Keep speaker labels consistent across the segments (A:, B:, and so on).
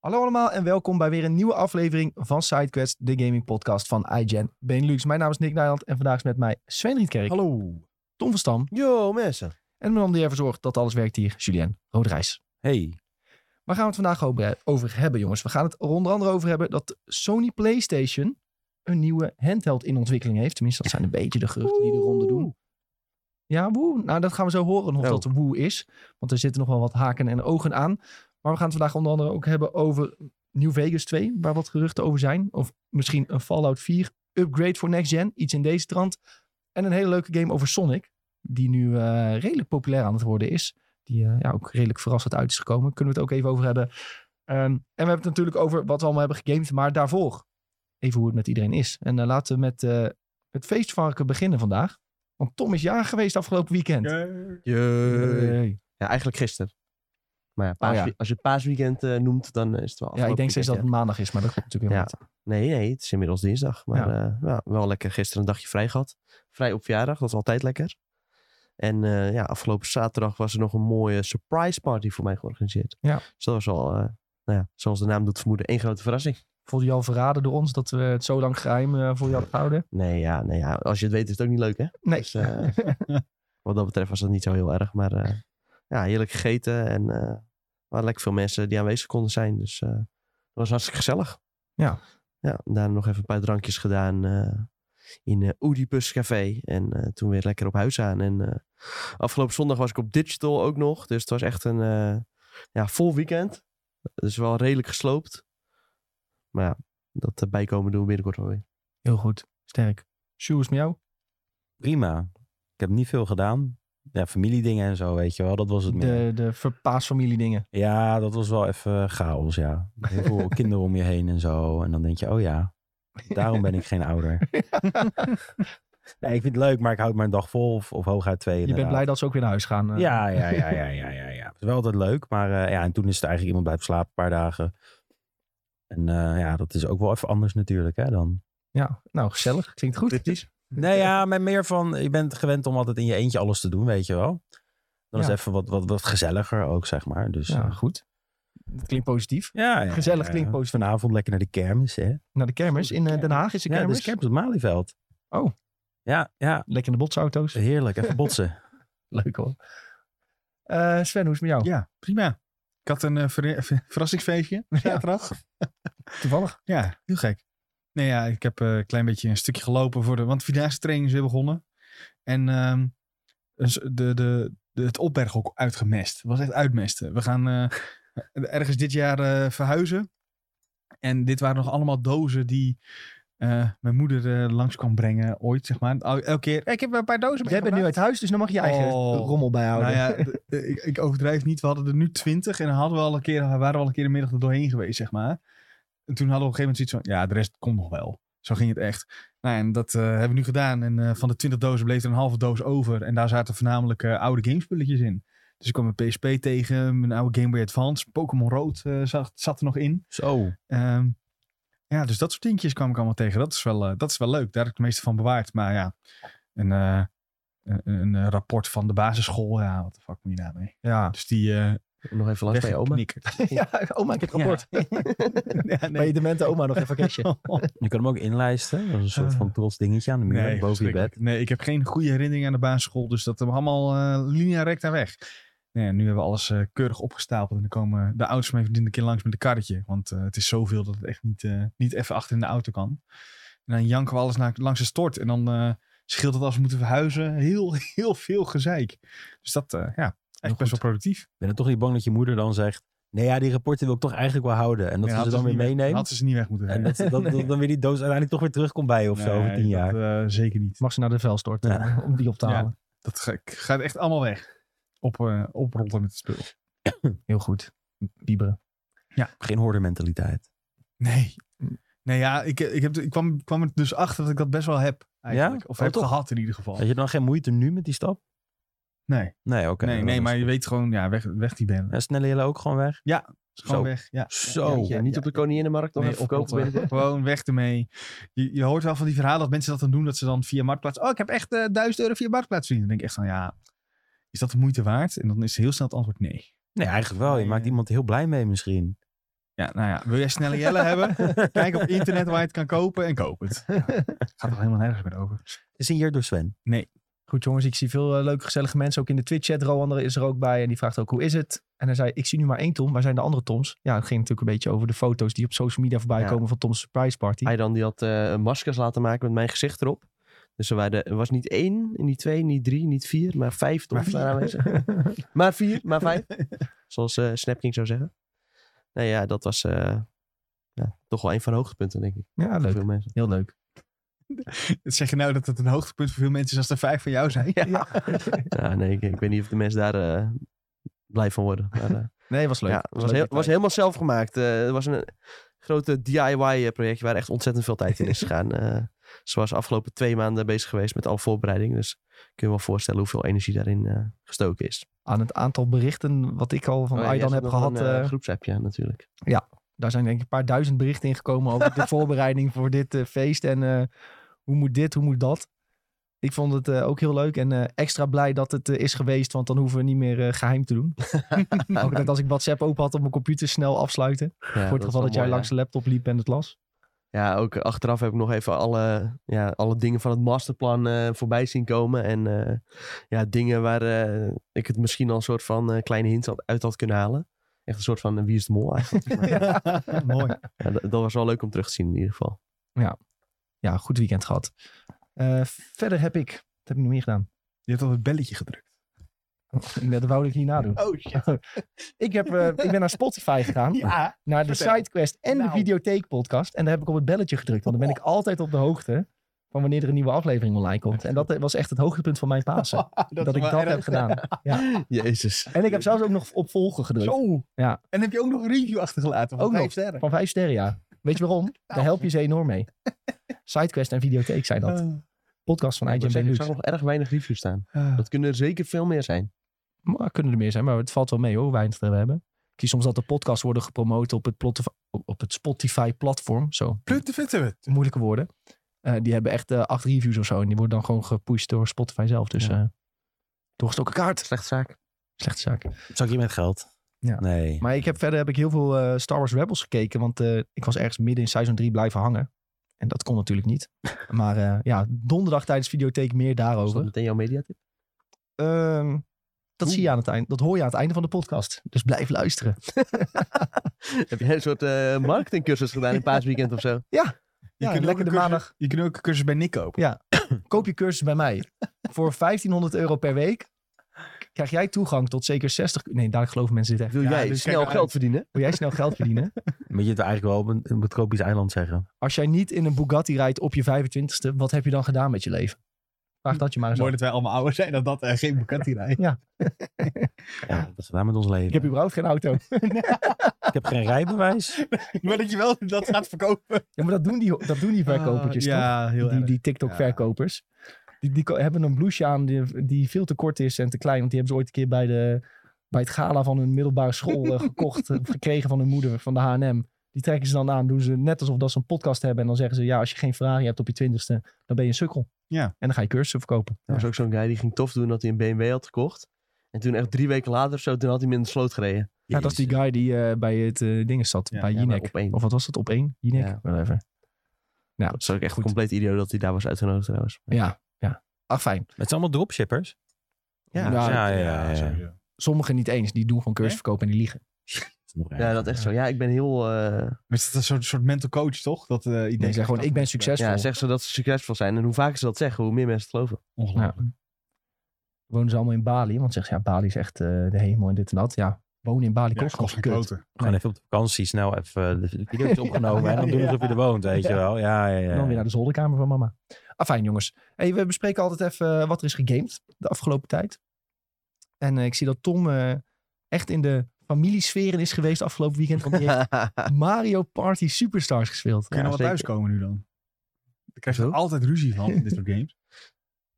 A: Hallo allemaal en welkom bij weer een nieuwe aflevering van SideQuest, de gaming podcast van iGen Benelux. Mijn naam is Nick Nijland en vandaag is met mij Sven Rietkerk,
B: Hallo.
A: Tom van Stam
B: Yo, mensen.
A: en mijn man die ervoor zorgt dat alles werkt hier, Julien Roderijs.
B: Hey.
A: Waar gaan we het vandaag over- over hebben, jongens? We gaan het er onder andere over hebben dat Sony PlayStation een nieuwe handheld in ontwikkeling heeft. Tenminste, dat zijn een beetje de geruchten die de ronde doen. Ja, woe. Nou, dat gaan we zo horen of
B: Oh.
A: dat woe is. Want er zitten nog wel wat haken en ogen aan. Maar we gaan het vandaag onder andere ook hebben over New Vegas 2, waar wat geruchten over zijn. Of misschien een Fallout 4 upgrade voor next gen, iets in deze trant. En een hele leuke game over Sonic, die nu eh, redelijk populair aan het worden is. Die eh, ja, ook redelijk verrassend uit is gekomen. Kunnen we het ook even over hebben. Ehm, en we hebben het natuurlijk over wat we allemaal hebben gegamed, maar daarvoor even hoe het met iedereen is. En eh, laten we met eh, het feestvarken beginnen vandaag. Want Tom is jaar geweest afgelopen weekend. Hey.
B: Ja, eigenlijk gisteren. Maar ja,
A: Oh, ja.
B: paaswe- als je paasweekend eh, noemt, dan eh, is het wel
A: Ja, ik
B: afgelopen
A: denk steeds dat het
B: weekend,
A: maandag is, maar dat klopt natuurlijk helemaal niet.
B: ja. Nee, nee, het is inmiddels dinsdag. Maar eh, ja, wel lekker gisteren een dagje vrij gehad. Vrij op verjaardag, dat is altijd lekker. En eh, ja, afgelopen zaterdag was er nog een mooie surprise party voor mij georganiseerd.
A: Ja.
B: Dus dat was al, eh, nou ja, zoals de naam doet vermoeden, één grote verrassing.
A: Voelde je al verraden door ons dat we het zo lang geheim eh, voor je hadden gehouden?
B: Nee, ja, nee, ja, als je het weet is het ook niet leuk, hè?
A: Nee.
B: Dus, eh, wat dat betreft was dat niet zo heel erg. Maar eh, ja, heerlijk gegeten. En eh er waren lekker veel mensen die aanwezig konden zijn. Dus eh dat was hartstikke gezellig.
A: Ja.
B: Ja, daarna nog even een paar drankjes gedaan eh, in eh Oedipus Café. En eh, toen weer lekker op huis aan. En eh, afgelopen zondag was ik op Digital ook nog. Dus het was echt een eh, ja, vol weekend. Dus wel redelijk gesloopt. Maar ja, dat eh, bijkomen doen we binnenkort wel weer.
A: Heel goed. Sterk. Shoes met jou?
C: prima. Ik heb niet veel gedaan. Ja, familiedingen en zo, weet je wel. Dat was het meer.
A: De, de verpaasfamilie dingen.
C: Ja, dat was wel even chaos, ja. Heel veel kinderen om je heen en zo. En dan denk je, oh ja, daarom ben ik geen ouder. Nee, ik vind het leuk, maar ik houd maar een dag vol of, of hooguit twee.
A: Je bent blij dat ze ook weer naar huis gaan. eh.
C: Ja, ja, ja, ja, ja, ja, ja. Het is wel altijd leuk, maar eh, ja, en toen is het eigenlijk iemand blijft slapen een paar dagen. En eh, ja, dat is ook wel even anders natuurlijk, hè, dan.
A: ja. Nou, gezellig. Klinkt goed.
B: Cryptisch?
C: Nee, ja, maar meer van, je bent gewend om altijd in je eentje alles te doen, weet je wel. Dan is
A: Ja.
C: het even wat, wat, wat gezelliger ook, zeg maar. Dus,
A: Ja,
C: eh,
A: goed. Het klinkt positief.
C: ja, ja,
A: Gezellig
C: ja.
A: klinkt positief.
C: Vanavond lekker naar de kermis, hè.
A: Naar de kermis. In eh, Den Haag is de
C: ja,
A: kermis.
C: dus kermis op Malieveld.
A: Oh.
C: Ja, ja.
A: Lekker in de botsauto's.
C: Heerlijk, even botsen.
A: Leuk hoor. Eh, Sven, hoe is het met jou?
D: Ja, prima. Ik had een eh, verre- ver- verrassingsfeestje zaterdag.
A: Toevallig.
D: Ja, heel gek. Nee, ja, ik heb eh, een klein beetje een stukje gelopen voor de... Want Vierdaagse training is weer begonnen. En ehm, dus de, de, de, het opberg ook uitgemest. Het was echt uitmesten. We gaan eh, ergens dit jaar eh, verhuizen. En dit waren nog allemaal dozen die eh, mijn moeder eh langs kwam brengen ooit, zeg maar. Al- Elke keer, ik heb een paar dozen
A: Jij bent nu uit huis, dus dan mag je je eigen
D: Oh.
A: rommel bijhouden.
D: Nou ja, d- eh, ik, ik overdrijf niet. We hadden er nu twintig en dan hadden we al een keer, waren we al een keer de middag er doorheen geweest, zeg maar. En toen hadden we op een gegeven moment zoiets van, ja, de rest komt nog wel. Zo ging het echt. Nou, en dat eh, hebben we nu gedaan. En eh, van de twintig dozen bleef er een halve doos over. En daar zaten voornamelijk eh, oude gamespulletjes in. Dus ik kwam mijn PSP tegen, mijn oude Game Boy Advance. Pokémon Rood eh, zat, zat er nog in.
C: Zo.
D: Ehm, ja, dus dat soort dingetjes kwam ik allemaal tegen. Dat is wel, eh, dat is wel leuk. Daar heb ik het meeste van bewaard. Maar ja, een, eh, een, een, eh, rapport van de basisschool. Ja, wat de fuck moet je daarmee?
A: ja.
D: Dus die eh
B: Nog even langs bij je oma.
D: weggeknikkerd.
A: Ja, oma, ik heb het rapport.
D: ja,
A: Bij je demente oma nog even een kerstje.
C: Je kan hem ook inlijsten. Dat is een soort van trots dingetje aan de muur,
D: Ah. Nee,
C: boven je
D: verschrikkelijk.
C: bed.
D: Nee, ik heb geen goede herinneringen aan de basisschool. Dus dat hebben we allemaal eh linea recta weg. Nee, nu hebben we alles eh, keurig opgestapeld. En dan komen de ouders van mijn vriendin een keer langs met een karretje. Want eh, het is zoveel dat het echt niet, eh, niet even achter in de auto kan. En dan janken we alles naar, langs de stort. En dan eh, scheelt het als we moeten verhuizen heel, heel veel gezeik. Dus dat, eh, ja, eigenlijk best wel productief.
C: Ben je toch niet bang dat je moeder dan zegt... Nee, ja, die rapporten wil ik toch eigenlijk wel houden. En dat ze ze
D: Ja, hadden
C: dan weer
D: niet weg-
C: meeneemt.
D: Hadden ze ze niet weg moeten
C: En dat, dat, dat dan weer die doos uiteindelijk toch weer terugkomt bij je of zo
D: Nee,
C: over tien jaar.
D: dat, eh, zeker niet.
A: Mag ze naar de vuilstort eh,
C: Ja.
A: om die op te
D: Ja.
A: halen.
D: Dat ga- gaat echt allemaal weg. Op, eh oprollen met het spul.
A: Heel goed. Bieberen.
C: Geen hoordermentaliteit.
D: Nee.
C: Hm.
D: Nee, ja, ik, ik, heb, ik kwam, kwam er dus achter dat ik dat best wel heb. Eigenlijk.
C: Ja?
D: Of
C: Oh,
D: heb
C: toch?
D: gehad in ieder geval.
C: Had je dan geen moeite nu met die stap?
D: Nee,
C: Nee, oké.
D: nee,
C: dat
D: nee
C: is-
D: maar je weet gewoon, ja, weg, weg die ben.
C: Ja, snelle Jelle ook gewoon weg?
D: Is gewoon
C: zo.
D: weg. Ja.
C: Zo.
B: Jeetje, niet op de Koninginnenmarkt nog
D: Nee,
B: even verkopen
D: oprotten.
B: binnenkort?
D: Gewoon weg ermee. Je, je hoort wel van die verhalen dat mensen dat dan doen. Dat ze dan via Marktplaats... Oh, ik heb echt duizend 1000 euro via Marktplaats verdiend. Dan denk ik echt van, ja... Is dat de moeite waard? En dan is heel snel het antwoord nee.
C: Nee, eigenlijk wel. Je
D: Nee,
C: maakt
D: eh.
C: iemand heel blij mee misschien.
D: Ja, nou ja. Wil jij snelle Jelle hebben? Kijk op internet waar je het kan kopen en koop het. Ja. Gaat er helemaal nergens meer over.
C: Is een jaar door Sven.
A: Goed jongens, ik zie veel eh, leuke gezellige mensen ook in de Twitch-chat. Rowan is er ook bij en die vraagt ook hoe is het? En hij zei, ik zie nu maar één Tom, waar zijn de andere Toms? Ja, het ging natuurlijk een beetje over de foto's die op social media voorbij
B: Ja.
A: komen van Tom's surprise party.
B: Aydan die had eh, maskers laten maken met mijn gezicht erop. Dus er, waren, er was niet één, niet twee, niet drie, niet vier, maar vijf
D: Maar
B: tops daar aanwezig. maar vier, maar vijf. Zoals eh Snapking zou zeggen. Nou ja, dat was eh, ja, toch wel een van de hoogtepunten, denk ik.
A: Ja,
B: Voor
A: leuk.
B: veel mensen.
A: Heel leuk.
D: Zeg je nou dat het een hoogtepunt voor veel mensen is als er vijf van jou zijn?
B: Ja, nee, ik, ik weet niet of de mensen daar eh, blij van worden. Maar, eh,
A: Nee, was leuk.
B: ja, het was, heel, was helemaal zelf gemaakt. Eh, het was een grote DIY-projectje waar echt ontzettend veel tijd in is gegaan. Eh, ze was de afgelopen twee maanden bezig geweest met alle voorbereiding. Dus kun je je wel voorstellen hoeveel energie daarin eh, gestoken is.
A: Aan het aantal berichten wat ik al van
B: Oh ja, jij
A: Aydan
B: zat
A: heb
B: nog
A: gehad,
B: Een eh,
A: eh,
B: groepsappje natuurlijk.
A: daar zijn denk ik een paar duizend berichten ingekomen over de voorbereiding voor dit eh, feest. En eh, hoe moet dit, hoe moet dat? Ik vond het eh, ook heel leuk en eh, extra blij dat het eh, is geweest, want dan hoeven we niet meer eh, geheim te doen. ook net als ik WhatsApp open had op mijn computer, snel afsluiten.
B: Ja,
A: voor het
B: is
A: geval
B: wel
A: dat jij
B: mooi,
A: langs
B: hè.
A: de laptop liep en het las.
B: Ja, ook eh, achteraf heb ik nog even alle, ja, alle dingen van het masterplan eh, voorbij zien komen. En eh, ja, dingen waar eh, ik het misschien al een soort van eh, kleine hint had- uit had kunnen halen. Echt een soort van eh, wie is de mol eigenlijk. Maar,
D: Mooi.
B: ja, dat, dat was wel leuk om terug te zien in ieder geval.
A: Ja, goed weekend gehad. Eh, verder heb ik, wat heb ik nog meer gedaan?
D: Je hebt al het belletje gedrukt.
A: Dat wou ik niet nadoen.
D: Oh shit.
A: Ik, heb, eh, ik ben naar Spotify gegaan.
D: Ja.
A: naar de
D: Vertel.
A: SideQuest en de
D: Nou. Oh.
A: Videotheek podcast. En daar heb ik op het belletje gedrukt. Want dan ben ik altijd op de hoogte van wanneer er een nieuwe aflevering online komt. En dat eh, was echt het hoogtepunt van mijn
D: Oh,
A: Pasen. dat ik dat heb gedaan.
B: Jezus.
A: En ik heb zelfs ook nog op volgen gedrukt.
D: Zo.
A: Ja.
D: En heb je ook nog een review achtergelaten van
A: Ook
D: vijf
A: nog.
D: sterren?
A: Van vijf sterren, ja. Weet je
D: Nou.
A: waarom? Daar help je ze enorm mee. SideQuest en Videotheek zijn dat.
D: Eh,
A: Podcast van
B: Ik
A: IGN
B: moet zeggen, ik zag
A: Benelux.
B: nog erg weinig reviews staan.
D: eh.
B: Dat kunnen er zeker veel meer zijn.
A: Maar kunnen er meer zijn, maar het valt wel mee hoor, hoe weinig er we hebben. Ik zie soms dat de podcasts worden gepromoot op het, plot- op- op het Spotify-platform. Zo,
D: Plutte vitte we.
A: moeilijke woorden. Eh, die hebben echt eh, acht reviews of zo. En die worden dan gewoon gepusht door Spotify zelf. Dus eh doorgestoken kaart.
B: Slechte zaak.
A: Slechte zaak.
C: Zak je met geld?
A: Ja.
C: Nee.
A: Maar ik heb, verder heb ik heel veel eh, Star Wars Rebels gekeken. Want eh, ik was ergens midden in seizoen 3 blijven hangen. En dat kon natuurlijk niet. Maar eh, ja, donderdag tijdens videotheek meer
B: Was dat
A: daarover.
B: meteen jouw mediatip?
A: Ehm, dat zie je aan het eind. Dat hoor je aan het einde van de podcast. Dus blijf luisteren.
B: heb jij een soort eh, marketingcursus gedaan in paasweekend of zo?
A: Ja, lekker de maandag.
D: Je kunt ook een cursus bij Nick kopen.
A: Koop je cursus bij mij. Voor 1500 euro per week krijg jij toegang tot zeker 60... Nee, daar geloven mensen dit echt.
B: Wil
D: Ja,
B: jij
D: dus
B: snel
D: kijk maar
B: geld
D: uit.
B: verdienen?
A: Wil jij snel geld verdienen?
C: Moet je het eigenlijk wel op een, een tropisch eiland zeggen.
A: Als jij niet in een Bugatti rijdt op je 25ste, wat heb je dan gedaan met je leven? Vraag dat je maar eens
D: Mooi
A: af.
D: dat wij allemaal ouder zijn dan dat eh, geen Bugatti rijden.
C: Ja, dat is gedaan met ons leven.
A: Ik heb überhaupt geen auto.
C: geen rijbewijs.
D: maar dat je wel dat gaat verkopen.
A: Ja, maar dat doen die, dat doen die verkopertjes
D: Ah,
A: toch?
D: ja, heel
A: Die,
D: erg.
A: die TikTok-verkopers. Die, die ko- hebben een blouse aan die, die veel te kort is en te klein. Want die hebben ze ooit een keer bij, de, bij het gala van hun middelbare school eh, gekocht. eh, gekregen van hun moeder, van de H&M. Die trekken ze dan aan. Doen ze net alsof dat ze een podcast hebben. En dan zeggen ze, ja, als je geen Ferrari hebt op je twintigste, dan ben je een sukkel.
D: Ja.
A: En dan ga je cursussen verkopen.
B: Er was ook zo'n guy die ging tof doen dat hij een BMW had gekocht. En toen echt drie weken later of zo, toen had hij hem in de sloot gereden.
A: Ja, dat is die guy die eh, bij het eh ding zat,
D: Ja,
A: bij
B: ja,
A: Jinek.
B: bij Op één.
A: of wat was dat, op één? Jinek?
B: Ja.
A: Whatever. Nou,
B: Dat is ook echt
A: Goed.
B: compleet idioot dat hij daar was uitgenodigd trouwens.
A: ja, ja. Ach, fijn.
C: Het zijn allemaal dropshippers.
A: Ja,
C: ja, ja. ja, ja.
D: sowieso.
A: Sommigen niet eens. Die doen gewoon cursusverkoop en die liegen.
B: Ja, dat is echt zo. Ja, ik ben heel... eh,
D: Maar is dat een soort, soort mental coach, toch? Dat eh idee.
A: Nee, ze zeggen gewoon, ik ben succesvol.
B: ja, zeggen ze dat ze succesvol zijn. En hoe vaker ze dat zeggen, hoe meer mensen het geloven.
D: Ongelooflijk.
A: wonen ze allemaal in Bali. Want zeggen ze, ja, Bali is echt eh, de hemel en dit en dat. Ja, wonen in Bali
D: Ja,
A: kost gewoon
D: kost
A: kut.
D: geen klote.
A: Nee.
C: Gewoon even op de vakantie snel even de video's opgenomen. en dan doen alsof je er woont, weet je wel. Ja, ja, ja.
A: En dan weer naar de zolderkamer van mama. Afijn jongens. Hey, we bespreken altijd even eh, wat er is gegamed de afgelopen tijd. En eh, ik zie dat Tom eh, echt in de familiesferen is geweest afgelopen weekend. Want die heeft Mario Party Superstars gespeeld.
D: Kun je
B: Ja,
D: nou wel
B: zeker.
D: thuiskomen nu dan? Daar krijg je
B: Zo?
D: altijd ruzie van in dit soort games.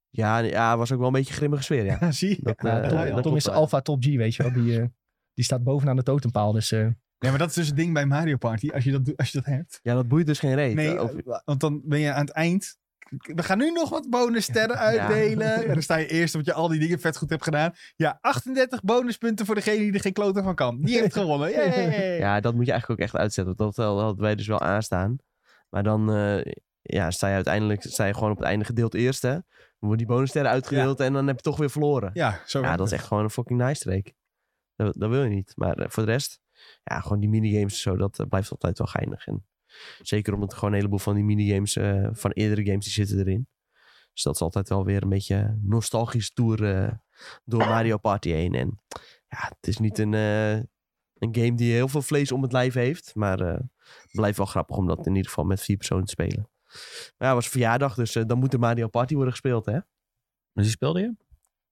B: ja, nee, ja, was ook wel een beetje een grimmige sfeer, ja.
D: Ja, zie je?
B: Dat,
A: Nou,
B: eh,
A: Tom,
B: dat
A: Tom
B: klopt
A: is de
B: wel.
A: Alpha Top G, weet je wel. Die, eh, die staat bovenaan de totempaal. Dus eh,
D: Nee, maar dat is dus het ding bij Mario Party. Als je dat, doet- als je dat hebt.
B: Ja, dat boeit dus geen reet.
D: Nee,
B: Of-
D: eh, want dan ben je aan het eind. we gaan nu nog wat bonussterren uitdelen. En dan sta je eerst omdat je al die dingen vet goed hebt gedaan. Ja, 38 bonuspunten voor degene die er geen klote van kan. Die heeft gewonnen. Yay.
B: Ja, dat moet je eigenlijk ook echt uitzetten. want Dat wel- hadden wij dus wel aanstaan. Maar dan eh, ja, sta je uiteindelijk sta je gewoon op het einde gedeeld eerste. Dan worden die bonussterren uitgedeeld en dan heb je toch weer verloren. Ja,
D: Ja, zo werkt
B: dat is echt gewoon een fucking nice streak. Dat, dat wil je niet. Maar eh, voor de rest, ja, gewoon die minigames en zo, dat eh, blijft altijd wel geinig. En zeker omdat gewoon een heleboel van die minigames eh, van eerdere games die zitten erin. Dus dat is altijd wel weer een beetje nostalgisch tour eh, door Mario Party heen. En ja, het is niet een, eh, een game die heel veel vlees om het lijf heeft. Maar eh, het blijft wel grappig om dat in ieder geval met vier personen te spelen. Maar ja, het was verjaardag, dus eh, dan moet de Mario Party worden gespeeld, hè?
C: Dus die speelde je?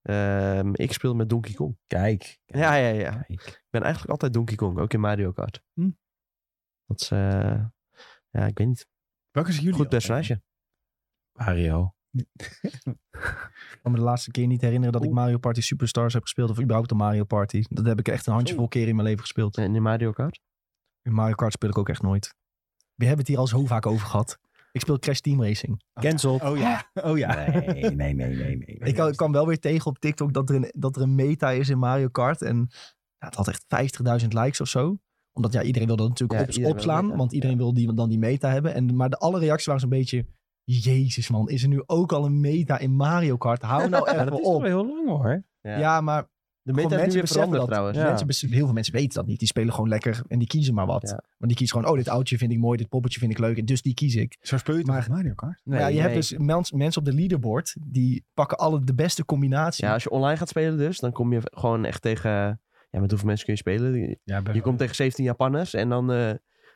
B: Ehm, ik speel met Donkey Kong.
C: Kijk. kijk,
B: Ja, ja, ja.
C: kijk.
B: Ik ben eigenlijk altijd Donkey Kong, ook in Mario Kart.
D: Hm.
B: Dat is, eh, ja, ik weet niet.
D: Welke is jullie?
B: Goed
D: altijd?
B: personage.
C: Mario.
D: Oh.
A: Ik kan me de laatste keer niet herinneren dat ik
D: Oeh.
A: Mario Party Superstars heb gespeeld. Of überhaupt de Mario Party. Dat heb ik echt een handjevol keer in mijn leven gespeeld.
B: En in Mario Kart.
A: In Mario Kart speel ik ook echt nooit. We hebben het hier al zo vaak over gehad. Ik speel Crash Team Racing.
C: Cancel.
D: Oh ja, oh ja.
C: Nee, nee, nee, nee. nee.
A: Ik kwam- kwam wel weer tegen op TikTok dat er een, dat er een meta is in Mario Kart. En ja, het had echt 50.000 likes of zo. Omdat ja, iedereen wilde dat natuurlijk
B: Ja,
A: op-
B: iedereen wil
A: opslaan.
B: meta,
A: want iedereen wil die, dan die meta hebben. En, maar de alle reacties waren zo'n beetje... Jezus man, is er nu ook al een meta in Mario Kart? Hou nou
C: Ja,
A: even
C: dat is
A: op.
C: wel heel lang hoor.
B: Ja.
A: Ja, maar
B: De
A: Gewoon
B: meta is nu weer
A: beseffen
B: veranderd
A: dat.
B: trouwens.
C: Ja.
A: Mensen bes- heel veel mensen weten dat niet. Die spelen gewoon lekker en die kiezen maar wat.
B: Ja.
A: Want die kiezen gewoon, oh, dit oudje vind ik mooi, dit poppetje vind ik leuk, en dus die kies ik.
D: Zo speel je toch
A: Maar-
D: met Mario Kart?
A: Maar ja, je hebt dus mens- mensen op de leaderboard, die pakken alle de beste combinatie.
B: Dus Ja, als je online gaat spelen dus, dan kom je gewoon echt tegen... Ja, met hoeveel mensen kun je spelen? Je
D: Ja, best
B: komt tegen 17 Japanners en dan eh,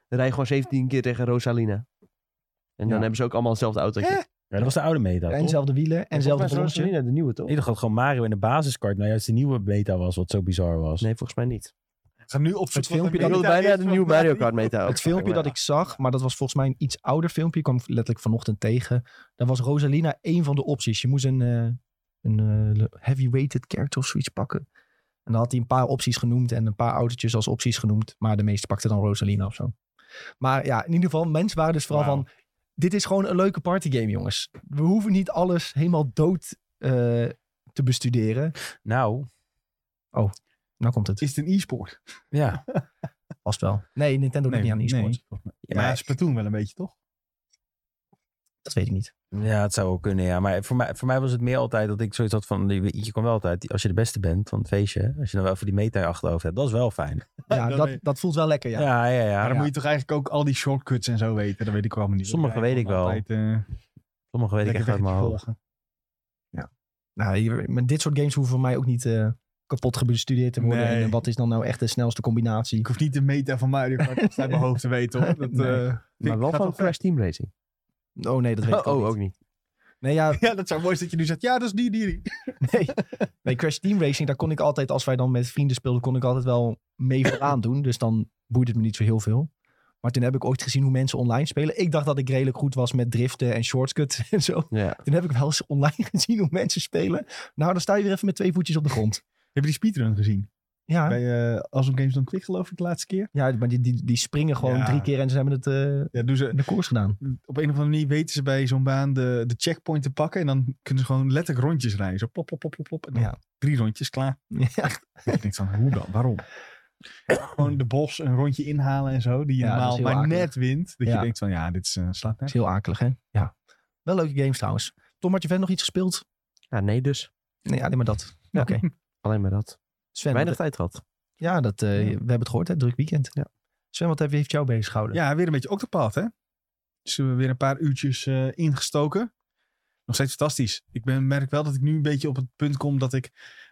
B: rij je gewoon 17 keer tegen Rosalina. En dan
C: Ja.
B: hebben ze ook allemaal hetzelfde autootje.
D: Hè?
C: Ja, dat was de oude meta,
A: en
C: toch?
A: zelfde wielen en zelfde
B: Volgens mij is
A: ballonnetje.
B: Rosalina de nieuwe, toch?
C: Ik dacht dat gewoon Mario in de basiskart nou juist de nieuwe beta was, wat zo bizar was.
B: Nee, volgens mij niet.
D: Ga nu op zoek
A: Het filmpje
B: Ik
A: dat-
B: wilde bijna de nieuwe Mario Kart meta.
A: Het filmpje dat ik zag, maar dat was volgens mij een iets ouder filmpje, ik kwam letterlijk vanochtend tegen. Daar was Rosalina één van de opties. Je moest een, eh, een eh, heavyweighted character of zoiets pakken. En dan had hij een paar opties genoemd en een paar autootjes als opties genoemd. Maar de meeste pakten dan Rosalina of zo. Maar ja, in ieder geval, mensen waren dus vooral
D: Wauw.
A: van... Dit is gewoon een leuke partygame, jongens. We hoeven niet alles helemaal dood eh, te bestuderen.
C: Nou,
A: Nou komt het,
D: Is het een e-sport?
C: ja.
A: vast wel. Nee, Nintendo doet niet aan e-sports.
D: nee. Maar ja, Splatoon wel een beetje, toch?
A: Dat weet ik niet.
C: Ja, het zou ook kunnen, ja. Maar voor mij, voor mij was het meer altijd dat ik zoiets had van... Je, je kan wel altijd, als je de beste bent van het feestje... Als je dan wel voor die meta in je achterhoofd hebt, dat is wel fijn.
A: Ja,
D: Dan
A: dat,
D: weet-
A: dat voelt wel lekker,
C: Ja,
A: ja.
C: ja, ja.
D: Maar dan
A: Ja.
D: moet je toch eigenlijk ook al die shortcuts en zo weten? Dat weet ik wel niet.
C: Sommige
D: Ja, ik
C: weet ik
D: kan
C: wel.
D: Altijd, eh,
C: Sommige weet ik
D: lekker
C: echt uit mijn
D: wegje
C: hoofd.
D: volgen.
A: Nou, hier- met dit soort games hoeven voor mij ook niet eh, kapot gebestudeerd te worden.
D: Nee.
A: En eh, wat is dan nou echt de snelste combinatie?
D: Ik hoef niet de meta van Mario Kart uit mijn hoofd te weten, hoor. Dat,
A: Nee.
D: eh, vind ik-
B: Maar wel
D: gaat
B: van
D: ver.
B: Crash Team Racing.
A: Oh nee, dat weet ik ook
B: oh,
A: niet.
B: ook niet.
A: Nee, ja,
D: Ja, dat zou mooi zijn dat je nu zegt, ja, dat is die, die, die.
A: nee. Bij Crash Team Racing, daar kon ik altijd, als wij dan met vrienden speelden, kon ik altijd wel mee vooraan doen. Dus dan boeide het me niet zo heel veel. Maar toen heb ik ooit gezien hoe mensen online spelen. Ik dacht dat ik redelijk goed was met driften en shortcuts en zo.
B: Ja.
A: Toen heb ik wel eens online gezien hoe mensen spelen. Nou, dan sta je weer even met twee voetjes op de grond.
D: Heb je die speedrun gezien?
A: Ja,
D: Bij eh Awesome Games dan Quick, geloof ik, de laatste keer.
A: ja maar die, die, die springen gewoon
D: Ja.
A: drie keer en ze hebben het eh,
D: Ja, doen ze...
A: in de koers gedaan.
D: Op een of andere manier weten ze bij zo'n baan de, de checkpoint te pakken. En dan kunnen ze gewoon letterlijk rondjes rijden. Zo plop, plop, plop, plop, plop. En dan
A: Ja.
D: drie rondjes, klaar.
A: Ja.
D: Ik denk van, hoe dan? Waarom? Gewoon de bos een rondje inhalen en zo. Die je
A: Ja, dat is
D: normaal
A: heel
D: maar
A: akelig.
D: net wint. Dat je
A: Ja.
D: denkt van, ja, dit is, eh, slaat
A: Dat
D: net.
A: is heel akelig, hè? Ja. Wel leuke games trouwens. Tom, had je verder nog iets gespeeld?
B: ja, nee dus.
A: Nee, alleen maar dat. Oké.
B: Alleen maar dat.
A: Sven,
B: Weinig
A: wat-
B: tijd gehad.
A: ja, dat, eh, we hebben het gehoord, hè? Druk weekend.
B: Ja.
A: Sven, wat heeft, heeft jou bezig gehouden?
D: Ja, weer een beetje octopad, hè? Dus we hebben weer een paar uurtjes eh, ingestoken. Nog steeds fantastisch. Ik ben, merk wel dat ik nu een beetje op het punt kom dat ik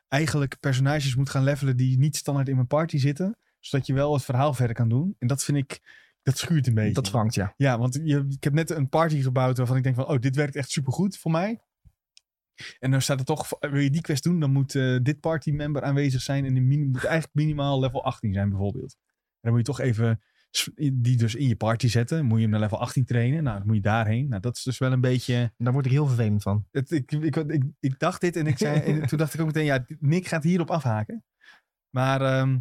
D: eigenlijk personages moet gaan levelen die niet standaard in mijn party zitten. Zodat je wel het verhaal verder kan doen. En dat vind ik, dat schuurt een beetje.
A: dat vangt, ja.
D: Ja, want je, ik heb net een party gebouwd waarvan ik denk van, oh, dit werkt echt supergoed voor mij. En dan staat er toch, wil je die quest doen, dan moet eh, dit partymember aanwezig zijn. En die mini- moet eigenlijk minimaal level 18 zijn bijvoorbeeld. En dan moet je toch even s- die dus in je party zetten. Moet je hem naar level 18 trainen. Nou, dan moet je daarheen. Nou, dat is dus wel een beetje...
A: En daar word ik heel vervelend van.
D: Het, ik, ik, ik, ik dacht dit en, ik zei, en toen dacht ik ook meteen, ja, Nick gaat hierop afhaken. Maar ehm,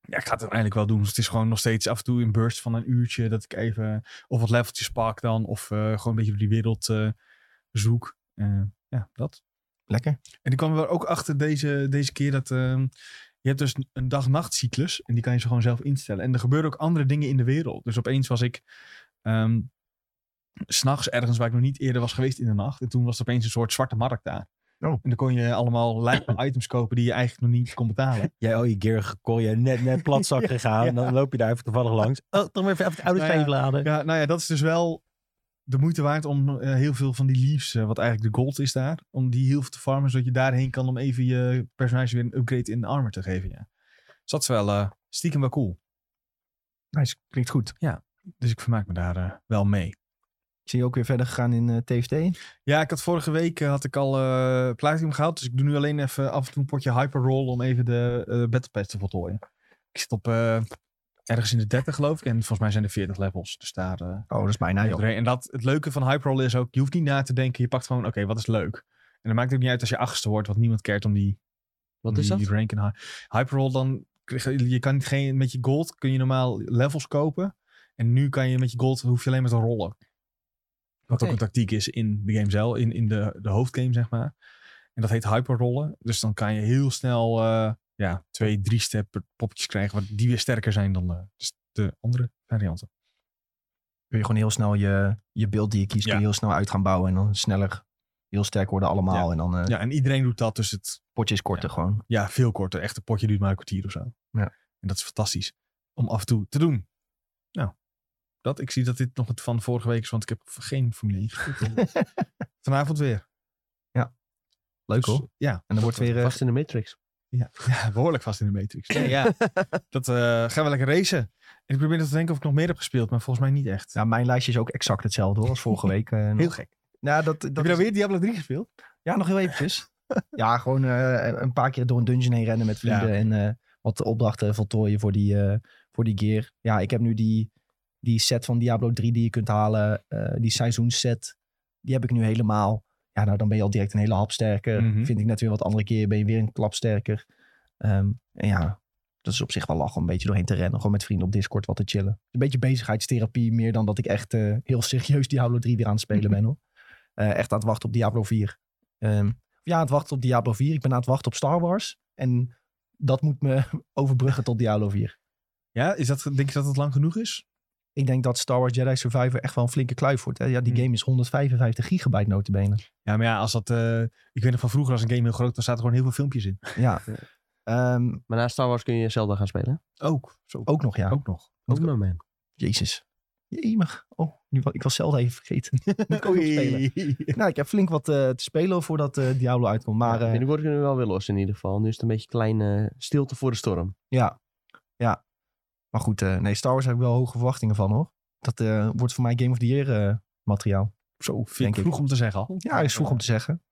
D: ja, ik ga het uiteindelijk wel doen. Dus het is gewoon nog steeds af en toe een burst van een uurtje dat ik even of wat leveltjes pak dan. Of eh, gewoon een beetje op die wereld eh, zoek. Eh, ja, dat.
A: Lekker.
D: En ik kwam er ook achter deze, deze keer dat ehm, je hebt dus een dag-nacht cyclus. En die kan je zo gewoon zelf instellen. En er gebeuren ook andere dingen in de wereld. Dus opeens was ik ehm, s s'nachts ergens waar ik nog niet eerder was geweest in de nacht. En toen was er opeens een soort zwarte markt daar.
A: Oh.
D: En dan kon je allemaal lijpe items kopen die je eigenlijk nog niet kon betalen.
C: Jij al je gear kon je net, net platzak gegaan. En dan loop je daar even toevallig langs. Oh, toch maar even, even het oude
D: Nou ja,
C: nou laden.
D: Ja, nou ja, dat is dus wel de moeite waard om eh, heel veel van die leaves, eh, wat eigenlijk de gold is daar, om die heel veel te farmen, zodat je daarheen kan om even je personage weer een upgrade in armor te geven. Ja. Dus dat is wel eh, stiekem wel cool.
A: Nice. Klinkt goed.
D: Dus ik vermaak me daar eh, wel mee.
A: Ik zie je ook weer verder gegaan in eh, TFT.
D: Ja, ik had vorige week eh, had ik al eh platinum gehaald, dus ik doe nu alleen even af en toe een potje hyper roll om even de eh battle pass te voltooien. Ik zit op eh, ergens in de 30 geloof ik en volgens mij zijn er 40 levels, dus daar... eh,
A: Oh, dat is bijna
D: Ja,
A: joh.
D: iedereen- En dat, het leuke van Hyperroll is ook, je hoeft niet na te denken. Je pakt gewoon, oké, wat is leuk? En dan maakt het ook niet uit als je achtste wordt, want niemand keert om die,
B: Wat
D: om
B: is
D: die
B: dat?
D: rank en hy- Hyperroll dan, krijg je je kan niet geen, met je gold kun je normaal levels kopen. En nu kan je met je gold, hoef je alleen maar te rollen. Wat
B: Oké.
D: ook een tactiek is in de game zelf, in, in de, de hoofdgame zeg maar. En dat heet hyperrollen. Dus dan kan je heel snel eh, ja, twee, drie step popjes krijgen, wat die weer sterker zijn dan de, dus de andere varianten.
A: Kun je gewoon heel snel je, je beeld die je kiest, kun
D: Ja.
A: je heel snel uit gaan bouwen. En dan sneller heel sterk worden allemaal. En dan eh
D: Ja, en iedereen doet dat, dus het,
A: potjes korter gewoon.
D: Ja, veel korter. Echt een potje duurt maar een kwartier of zo.
A: Ja.
D: En dat is fantastisch om af en toe te doen. Nou, dat. Ik zie dat dit nog het van vorige week is, want ik heb geen Formule 1 gespeeld. Vanavond weer.
A: Leuk
D: Dus,
A: hoor.
D: Ja.
A: En dan wordt weer... eh,
B: Vast in de Matrix.
D: ja. Ja, behoorlijk vast in de matrix. Nee, ja. Dat eh, gaan we lekker racen. En ik probeer nog te denken of ik nog meer heb gespeeld, maar volgens mij niet echt.
A: nou, mijn lijstje is ook exact hetzelfde hoor, als vorige week. eh, nog.
D: Heel gek.
A: Nou, dat, dat
D: heb je
A: is-
D: nou weer Diablo 3 gespeeld?
A: Ja, nog heel eventjes. ja, gewoon eh, een paar keer door een dungeon heen rennen met vrienden.
D: Ja.
A: En eh, wat opdrachten voltooien voor die, eh, voor die gear. Ja, ik heb nu die, die set van Diablo 3 die je kunt halen. eh, die seizoensset. Die heb ik nu helemaal. Ja, nou dan ben je al direct een hele hap sterker.
D: Mhm.
A: Vind ik net weer wat andere keer. Ben je weer een klap sterker. Ehm, en ja, dat is op zich wel lachen om een beetje doorheen te rennen. Gewoon met vrienden op Discord wat te chillen. Een beetje bezigheidstherapie. Meer dan dat ik echt eh, heel serieus Diablo 3 weer aan het spelen ben hoor. Eh, echt aan het wachten op Diablo 4. Ehm, ja, aan het wachten op Diablo 4. Ik ben aan het wachten op Star Wars. En dat moet me overbruggen tot Diablo 4.
D: Ja, is dat, denk je dat het lang genoeg is?
A: Ik denk dat Star Wars Jedi Survivor echt wel een flinke kluif wordt. Hè? Ja, die
D: Hmm.
A: game is 155 gigabyte notabene.
D: Ja, maar ja, als dat... eh, ik weet nog van vroeger, als een game heel groot, dan zaten er gewoon heel veel filmpjes in.
A: Ja.
B: Ja.
A: Ehm,
B: Maar na Star Wars kun je Zelda gaan spelen.
D: Ook. Zo.
A: ook nog, ja.
D: Ook nog.
B: Oh no man.
A: Jezus. Jemig. Oh, nu, wa- ik was Zelda even vergeten. Moet ik ook nog spelen. Nou, ik heb flink wat eh, te spelen voordat eh, Diablo uitkomt. Maar
B: Ja,
A: eh,
B: binnenkort kunnen we wel weer los in ieder geval. Nu is het een beetje kleine stilte voor de storm.
A: Ja, ja. Maar goed, eh, nee, Star Wars heb ik wel hoge verwachtingen van hoor. Dat eh, wordt voor mij Game of the Year eh, materiaal.
D: Zo, vind
A: Denk
D: ik
A: ik.
D: vroeg om te zeggen al.
A: Ja, is vroeg om te zeggen.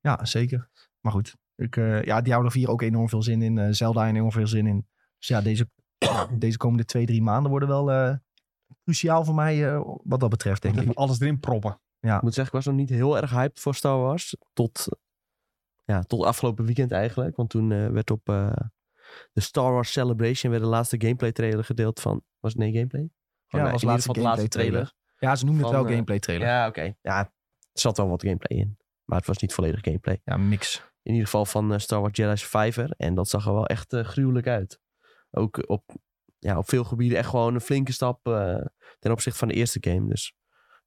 A: Ja, zeker. Maar goed, ik, eh ja, Diablo 4 ook enorm veel zin in. eh, Zelda enorm veel zin in. Dus ja, deze, deze komende twee, drie maanden worden wel eh, cruciaal voor mij eh, wat dat betreft, denk ik.
D: Even alles erin proppen.
B: Ik moet zeggen, ik was nog niet heel erg hyped voor Star Wars. Tot, ja, tot afgelopen weekend eigenlijk. Want toen eh, werd op eh, de Star Wars Celebration werd de laatste gameplay trailer gedeeld van... Was het nee gameplay? Gewoon,
A: was
B: eh, in ieder
A: laatste
B: geval de laatste
A: gameplay
B: trailer.
A: Ja, ze noemen het
B: Van,
A: wel
B: eh,
A: gameplay trailer. Ja,
B: Ja, oké. Ja, er zat wel wat gameplay in. Maar het was niet volledig gameplay.
A: mix.
B: In ieder geval van eh, Star Wars Jedi Survivor. En dat zag er wel echt eh, gruwelijk uit. Ook op, ja, op veel gebieden echt gewoon een flinke stap eh, ten opzichte van de eerste game. Dus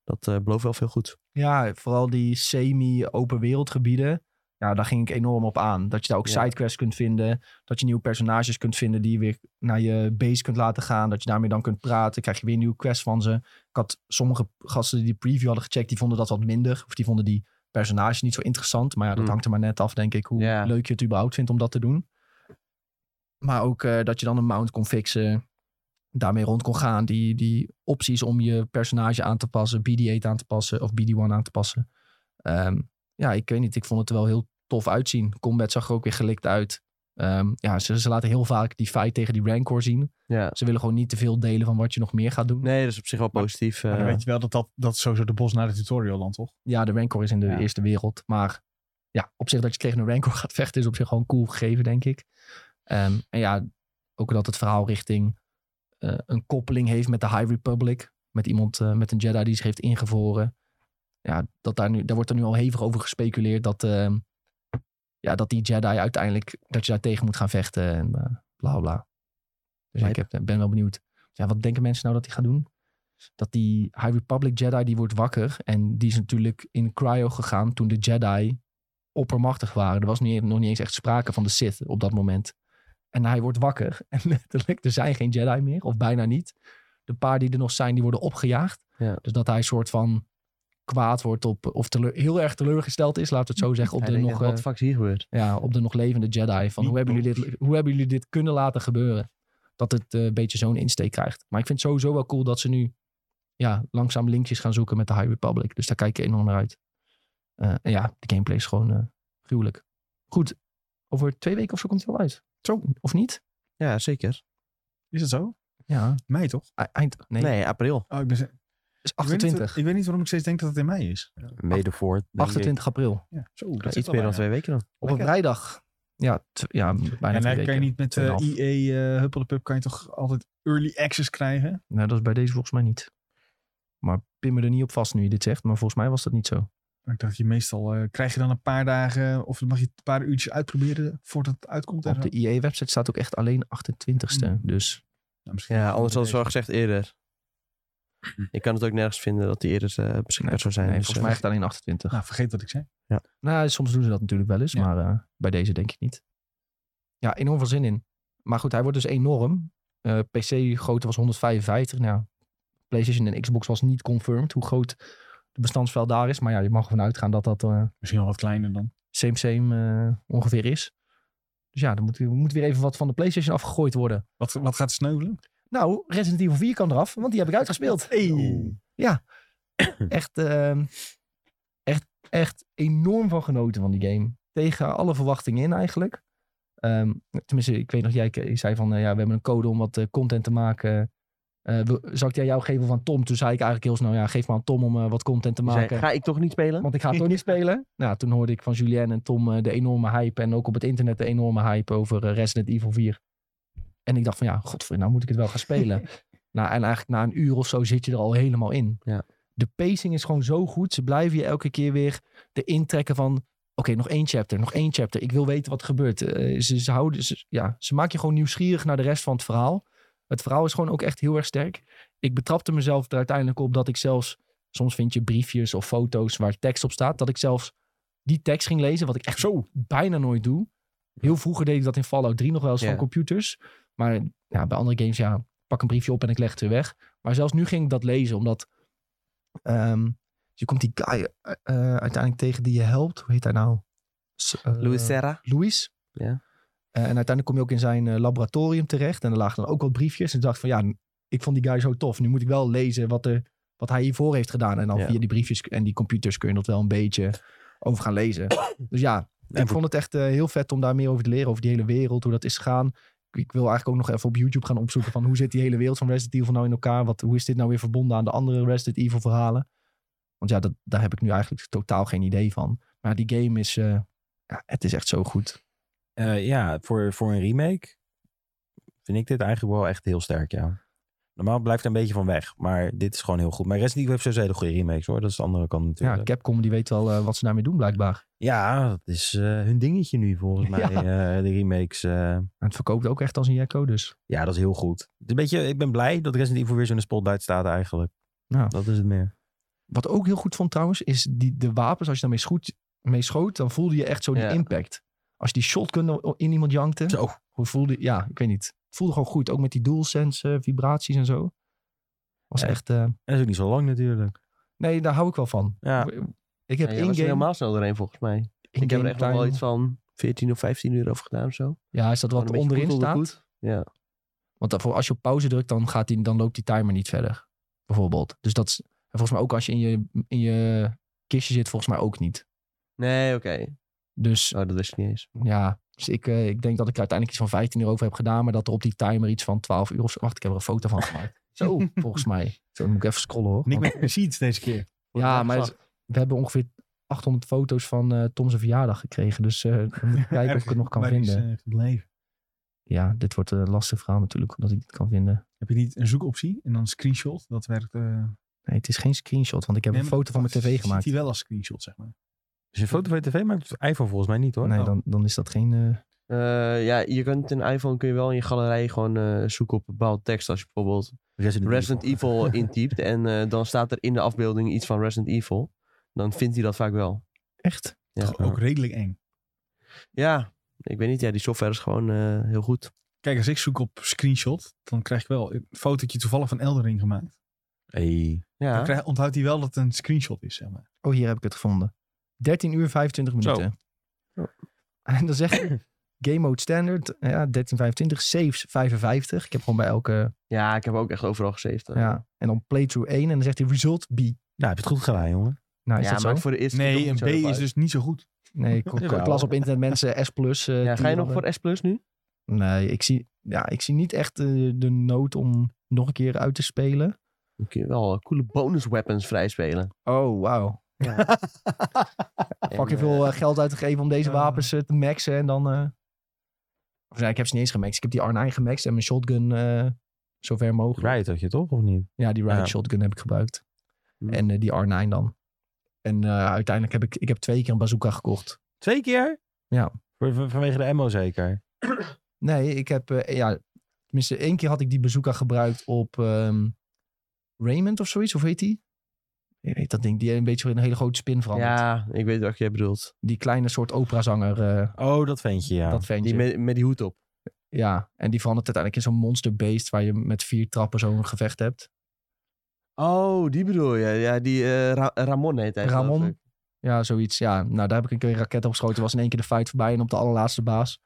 B: dat eh belooft wel veel goed.
A: Ja, vooral die semi-open wereldgebieden. Ja, daar ging ik enorm op aan. Dat je daar ook
B: Ja.
A: sidequests kunt vinden. Dat je nieuwe personages kunt vinden die je weer naar je base kunt laten gaan. Dat je daarmee dan kunt praten. Krijg je weer nieuwe quests van ze. Ik had sommige gasten die die preview hadden gecheckt, die vonden dat wat minder. Of die vonden die personages niet zo interessant. Maar ja, dat
B: Hmm.
A: hangt er maar net af, denk ik, hoe
B: Ja.
A: leuk je het überhaupt vindt om dat te doen. Maar ook eh, dat je dan een mount kon fixen. Daarmee rond kon gaan. Die, die opties om je personage aan te passen. BD-8 aan te passen. Of BD-1 aan te passen. Ehm, ja, ik weet niet. Ik vond het er wel heel tof uitzien. Combat zag er ook weer gelikt uit. Ehm, ja, ze, ze laten heel vaak die fight tegen die Rancor zien.
B: Ja.
A: Ze willen gewoon niet te veel delen van wat je nog meer gaat doen.
B: Nee, dat is op zich wel positief.
D: Maar
B: eh.
D: dan weet je wel dat dat, dat is sowieso de bos naar de tutorial dan, toch?
A: Ja, de Rancor is in de
D: Ja.
A: eerste wereld. Maar ja, op zich dat je tegen een Rancor gaat vechten is op zich gewoon cool gegeven, denk ik. Ehm, en ja, ook dat het verhaal richting eh, een koppeling heeft met de High Republic. Met iemand, eh, met een Jedi die zich heeft ingevroren. ja, dat daar, nu, daar wordt er nu al hevig over gespeculeerd dat, ehm, ja, dat die Jedi uiteindelijk, dat je daar tegen moet gaan vechten en eh, bla bla. Dus ja, ik heb, ben wel benieuwd. Ja, wat denken mensen nou dat hij gaat doen? Dat die High Republic Jedi, die wordt wakker en die is natuurlijk in cryo gegaan toen de Jedi oppermachtig waren. Er was niet, nog niet eens echt sprake van de Sith op dat moment. En hij wordt wakker en letterlijk, er zijn geen Jedi meer, of bijna niet. De paar die er nog zijn, die worden opgejaagd.
B: Ja.
A: Dus dat hij een soort van kwaad wordt op, of teleur- heel erg teleurgesteld is, laten we het zo zeggen, op,
B: Hij
A: de
B: denkt
A: nog,
B: echt, wat de
A: eh,
B: fuck is hier gebeurd?
A: ja, op de nog levende Jedi. Van hoe hebben, jullie dit, hoe hebben jullie dit kunnen laten gebeuren? Dat het eh, een beetje zo'n insteek krijgt. Maar ik vind het sowieso wel cool dat ze nu ja, langzaam linkjes gaan zoeken met de High Republic. Dus daar kijk ik enorm naar uit. Eh, en ja, de gameplay is gewoon eh, gruwelijk. Goed, over twee weken of zo komt hij al uit. Zo. Of niet?
B: Ja, zeker.
D: Is dat zo?
A: Ja,
D: Mei toch?
A: e- eind. Nee,
B: Nee, april.
D: Oh, ik ben, ik
A: is
D: Weet niet,
A: 28.
D: ik weet niet waarom ik steeds denk dat het in mei is.
C: Mede voort.
A: 28 april.
D: Ja, zo, dat
B: Iets meer dan twee weken dan.
A: Op een vrijdag. Ja, tw- ja bijna
D: En
A: twee
D: dan kan je
A: weken.
D: niet met eh
A: Tweeënhalf.
D: IE eh Huppelde Pup kan je toch altijd early access krijgen?
A: Nou, dat is bij deze volgens mij niet. Maar pin me er niet op vast nu je dit zegt. Maar volgens mij was dat niet zo.
D: Maar Ik dacht, je meestal eh, krijg je dan een paar dagen of dan mag je een paar uurtjes uitproberen voordat het uitkomt. en
A: Op
D: zo.
A: de IE-website staat ook echt alleen 28ste.
D: Mm.
A: Dus
D: Nou, misschien
B: Ja, anders hadden ze wel
D: wel.
B: gezegd eerder. Ik kan het ook nergens vinden dat die eerder eh, beschikbaar zou zijn.
A: nee,
B: dus,
A: volgens
B: eh,
A: mij echt alleen 28.
D: Nou, vergeet wat ik zei.
A: Nou, soms doen ze dat natuurlijk wel eens.
D: Ja.
A: Maar eh, bij deze denk ik niet. Ja, enorm veel zin in. Maar goed, hij wordt dus enorm. Eh, PC-grootte was 155. Nou, PlayStation en Xbox was niet confirmed hoe groot de bestandsvel daar is. Maar ja, je mag ervan uitgaan dat dat... eh,
D: Misschien wel wat kleiner dan.
A: same same eh, ongeveer is. Dus ja, er moet, er moet weer even wat van de PlayStation afgegooid worden.
D: Wat, wat gaat sneuvelen?
A: Nou, Resident Evil 4 kan eraf, want die heb ik uitgespeeld.
D: Oeh.
A: Echt, ehm, echt, echt enorm van genoten van die game. Tegen alle verwachtingen in eigenlijk. Ehm, tenminste, ik weet nog, jij ke- zei van, eh, ja, we hebben een code om wat eh, content te maken. Eh wil- zal ik die aan jou geven of aan Tom? Toen zei ik eigenlijk heel snel, ja, geef maar aan Tom om eh, wat content te
B: die zei,
A: maken.
B: ga ik toch niet spelen?
A: Want ik ga het toch niet spelen. Nou, toen hoorde ik van Julien en Tom eh, de enorme hype. En ook op het internet de enorme hype over eh, Resident Evil 4. En ik dacht van ja, godver, nou moet ik het wel gaan spelen. nou, en eigenlijk na een uur of zo zit je er al helemaal in.
B: Ja.
A: De pacing is gewoon zo goed. Ze blijven je elke keer weer de intrekken van... Oké, nog één chapter, nog één chapter. Ik wil weten wat er gebeurt. Eh, ze, ze, houden, ze, ja, ze maken je gewoon nieuwsgierig naar de rest van het verhaal. Het verhaal is gewoon ook echt heel erg sterk. Ik betrapte mezelf er uiteindelijk op dat ik zelfs Soms vind je briefjes of foto's waar tekst op staat. Dat ik zelfs die tekst ging lezen, wat ik echt
D: Zo.
A: bijna nooit doe. Heel vroeger deed ik dat in Fallout 3 nog wel eens
B: Ja.
A: van computers. Maar ja, bij andere games, ja, pak een briefje op en ik leg het weer weg. Maar zelfs nu ging ik dat lezen, omdat ehm, je komt die guy eh, eh, uiteindelijk tegen die je helpt. Hoe heet hij nou? S- eh,
B: Louis Serra?
A: Louis.
B: Ja.
A: Eh, en uiteindelijk kom je ook in zijn eh, laboratorium terecht. En er lagen dan ook wat briefjes. En ik dacht van ja, ik vond die guy zo tof. Nu moet ik wel lezen wat, er, wat hij hiervoor heeft gedaan. En dan
B: Ja.
A: via die briefjes en die computers kun je dat wel een beetje over gaan lezen. Dus ja, ik vond het echt eh, heel vet om daar meer over te leren. Over die hele wereld, hoe dat is gegaan. Ik, ik wil eigenlijk ook nog even op YouTube gaan opzoeken van hoe zit die hele wereld van Resident Evil nou in elkaar? Wat, hoe is dit nou weer verbonden aan de andere Resident Evil verhalen? Want ja, dat, daar heb ik nu eigenlijk totaal geen idee van. Maar die game is, eh, ja, het is echt zo goed.
C: Eh, ja, voor, voor een remake vind ik dit eigenlijk wel echt heel sterk, ja. Normaal blijft er een beetje van weg, maar dit is gewoon heel goed. Maar Resident Evil heeft sowieso hele goede remakes hoor, dat is de andere kant natuurlijk.
A: Ja, Capcom die weet wel eh, wat ze daarmee doen blijkbaar.
C: Ja, dat is eh, hun dingetje nu volgens mij, eh, de remakes. eh.
A: En het verkoopt ook echt als een jacko dus.
C: ja, dat is heel goed. Het is Een beetje, ik ben blij dat Resident Evil weer zo in de spotlight staat eigenlijk.
A: Ja.
C: Dat is het meer.
A: Wat ook heel goed vond trouwens, is die, de wapens. Als je daarmee schoot, mee schoot, dan voelde je echt zo die
B: Ja.
A: impact. Als je die shotgun in iemand jankte.
C: Zo.
A: Hoe voelde, ja, ik weet niet. Het voelde gewoon goed. Ook met die DualSense eh, vibraties en zo. Was
C: Ja.
A: echt... eh,
C: En dat is ook niet zo lang natuurlijk.
A: nee, daar hou ik wel van.
C: Ja.
A: Ik heb
B: Ja, jij was er
A: in-game...
B: helemaal snel doorheen volgens mij. Ik heb er
A: in-game
B: echt nog wel
A: time-
B: iets van 14 of 15 uur over gedaan of zo.
A: Ja, is dat
B: Gewoon
A: wat
B: een beetje
A: onderin
B: goed onder
A: staat?
B: goed. Ja.
A: Want daarvoor, als je op pauze drukt, dan, gaat die, dan loopt die timer niet verder. Bijvoorbeeld. Dus dat is en volgens mij ook als je in je, in je kistje zit, volgens mij ook niet.
B: Nee, oké.
A: Dus
B: Oh, dat wist ik niet eens.
A: ja, dus ik, eh, ik denk dat ik er uiteindelijk iets van 15 uur over heb gedaan. Maar dat er op die timer iets van 12 uur of zo. Wacht, ik heb er een foto van gemaakt. Zo, volgens mij. Zo, dan moet ik even scrollen hoor.
D: Nick
A: Want-
D: met de seeds deze keer.
A: ja, maar het- we hebben ongeveer 800 foto's van eh Tom's verjaardag gekregen. Dus eh, dan moet ik kijken of ik het nog kan
D: Waar die is,
A: vinden.
D: eh, gebleven.
A: Ja, dit wordt een lastig verhaal natuurlijk, omdat ik dit kan vinden.
D: Heb je niet een zoekoptie en dan screenshot? Dat werkt. eh,
A: Nee, het is geen screenshot, want ik heb
D: Nee,
A: een
D: maar
A: foto van mijn
D: dat
A: tv gemaakt.
D: Ziet hij wel als screenshot, zeg maar.
C: Als je een foto van je tv maakt, doet iPhone volgens mij niet hoor.
A: Nee,
D: Oh.
A: dan, dan is dat geen... eh,
B: Eh, ja, je kunt in iPhone kun je wel in je galerij gewoon eh, zoeken op bepaalde tekst. Als je bijvoorbeeld
C: Resident,
B: Resident Evil intypt en eh, dan staat er in de afbeelding iets van Resident Evil. Dan vindt hij dat vaak wel.
A: echt?
B: Ja.
D: Toch ook redelijk eng.
B: Ja, ik weet niet. Ja, die software is gewoon eh, heel goed.
D: Kijk, als ik zoek op screenshot, dan krijg ik wel een fotootje toevallig van Eldering gemaakt.
C: Hey.
D: Dan
B: Ja,
D: krijg, onthoudt hij wel dat het een screenshot is, zeg maar.
A: Oh, hier heb ik het gevonden. 13 uur 25
C: Zo.
A: minuten.
B: Oh.
A: En dan zegt hij, game mode standard, ja, 1325, saves 55. Ik heb gewoon bij elke,
B: ja, ik heb ook echt overal gesaved. eh.
A: ja. En dan playthrough 1 en dan zegt hij result B.
C: Nou, heb je het goed gedaan, jongen.
A: Nou, is
B: ja,
A: dat
B: maar
A: zo?
B: voor de eerste keer komt
D: Nee, een B
B: het zo
D: is
B: leuk
D: dus niet zo goed.
A: Nee, ik, ik
C: Jawel.
A: las op internet mensen S+. plus. eh,
B: uit.
D: eh,
B: Ja, ga je nog voor S Plus nu?
A: Nee, ik zie, ja, ik zie niet echt eh, de nood om nog een keer uit te spelen.
B: Dan kun je wel eh, coole bonus weapons vrijspelen.
A: Oh, wauw. Fucking
B: En, eh,
A: veel eh, geld uitgegeven om deze
D: Ja.
A: wapens eh, te maxen en dan... eh, Of nee, ik heb ze niet eens gemaxt. Ik heb die R9 gemaxt en mijn shotgun eh, zo ver mogelijk.
C: Riot had je toch, of niet?
A: Ja, die ride
C: Ja.
A: shotgun heb ik gebruikt.
B: Hmm.
A: En eh, die R9 dan. En eh, uiteindelijk heb ik, ik heb twee keer een bazooka gekocht.
C: Twee keer?
A: Ja.
C: Voor- voor- vanwege de ammo zeker?
A: Nee, ik heb, eh, ja, tenminste één keer had ik die bazooka gebruikt op ehm, Raymond of zoiets, of heet die? Je weet dat ding, die een beetje in een hele grote spin verandert.
B: Ja, ik weet wat jij bedoelt.
A: Die kleine soort operazanger, eh
C: Oh, dat ventje, ja.
A: dat ventje.
B: Die met, met die hoed op.
A: Ja, en die verandert uiteindelijk in zo'n monsterbeest waar je met vier trappen zo'n gevecht hebt.
B: Oh, die bedoel je. Ja, die eh, Ra- Ramon heet hij.
A: Ramon?
B: geloof ik.
A: Ja, zoiets. Ja, nou daar heb ik een keer een raket op geschoten. Was in één keer de fight voorbij en op de allerlaatste baas.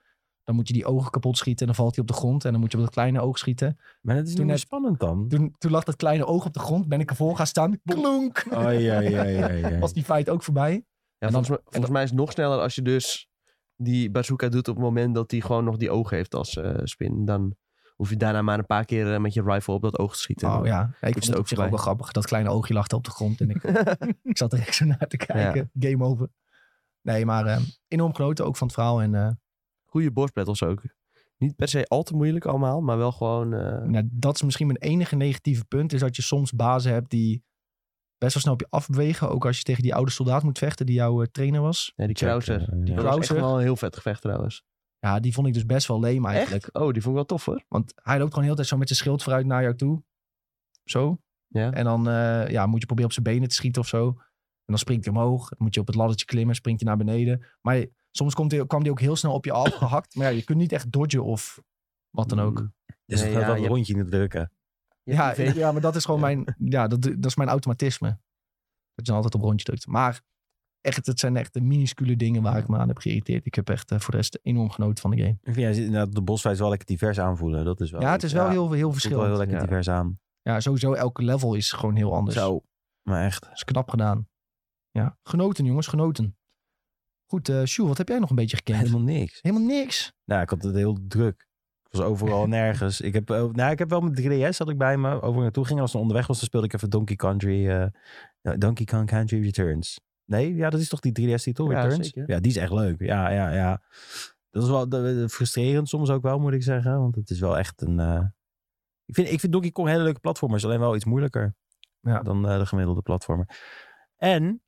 A: Dan moet je die ogen kapot schieten en dan valt hij op de grond. En dan moet je op dat kleine oog schieten.
C: Maar dat is
A: Toen
C: niet meer
A: het-
C: spannend dan.
A: Toen, toen lag dat kleine oog op de grond. Ben ik ervoor gaan staan. Klonk!
C: Oh, ja, ja, ja, ja.
A: Was die fight ook voorbij.
B: Ja,
A: En dan-
B: volgens, mij- volgens mij is het nog sneller als je dus die bazooka doet op het moment dat hij gewoon nog die ogen heeft als eh, spin. Dan hoef je daarna maar een paar keer eh, met je rifle op dat oog te schieten.
A: Oh ja, ja ik vond
B: het
A: het
B: ook
A: op zich
B: voorbij.
A: ook wel grappig. Dat kleine oogje lag daar op de grond. En ik, eh, ik zat er echt zo naar te kijken. Game over. Nee, maar eh, enorm genoten ook van het verhaal. En eh,
B: Goede borstbattles ook. Niet per se al te moeilijk allemaal, maar wel gewoon... eh,
A: nou, dat is misschien mijn enige negatieve punt. Is dat je soms bazen hebt die best wel snel op je afbewegen. Ook als je tegen die oude soldaat moet vechten die jouw eh, trainer was.
B: ja, die
C: Check,
B: Krauser.
C: eh,
B: Die
C: ja.
B: was echt
A: Krauser.
B: wel een heel vet gevecht trouwens.
A: Ja, die vond ik dus best wel leem eigenlijk.
B: Echt? Oh, die vond ik wel tof hoor.
A: Want hij loopt gewoon heel de tijd zo met zijn schild vooruit naar jou toe. Zo.
B: Ja.
A: En dan eh, ja, moet je proberen op zijn benen te schieten of zo. En dan springt hij omhoog. Dan moet je op het laddertje klimmen. Springt hij naar beneden. Maar je- soms komt hij, kwam hij ook heel snel op je af gehakt. Maar ja, je kunt niet echt dodgen of wat dan ook.
C: Dus
B: Nee,
C: dat
B: ja,
C: dat
B: je hebt-
C: rondje in het drukken.
B: Je hebt
A: Ja,
B: die veeg-
A: ja, maar dat is gewoon
B: Ja.
A: mijn... Ja, dat, dat is mijn automatisme. Dat je dan altijd op rondje drukt. Maar echt, het zijn echt de minuscule dingen waar ik me aan heb geïrriteerd. Ik heb echt eh, voor de rest enorm genoten van de game.
C: Ik vind, ja, inderdaad, de bosfights wel lekker divers aanvoelen. Dat is wel
A: Ja, het is wel heel, heel
C: Het voelt wel heel
A: verschillend.
C: lekker
B: Ja.
C: divers aan.
A: Ja, sowieso elke level is gewoon heel anders.
C: Zo. Maar echt.
A: Dat is knap gedaan. Ja, genoten jongens, genoten. Goed, eh Sjoe, wat heb jij nog een beetje gekend? Helemaal,
C: Helemaal niks.
A: niks.
C: Nou, ik had het heel druk. Ik was overal nergens. Ik heb, eh, nou, ik heb wel mijn 3DS had ik bij me. Over naartoe ging. Als ik onderweg was, dan speelde ik even Donkey Country. eh, nou, Donkey Kong Country Returns. Nee, ja, dat is toch die 3DS-titel,
B: Ja,
C: Returns?
B: zeker.
C: Ja, die is echt leuk. Ja, ja, ja. Dat is wel eh, frustrerend soms ook wel, moet ik zeggen. Want het is wel echt een... eh, Ik, vind, ik vind Donkey Kong hele leuke platformers. Alleen wel iets moeilijker
A: Ja.
C: dan eh, de gemiddelde platformer. En,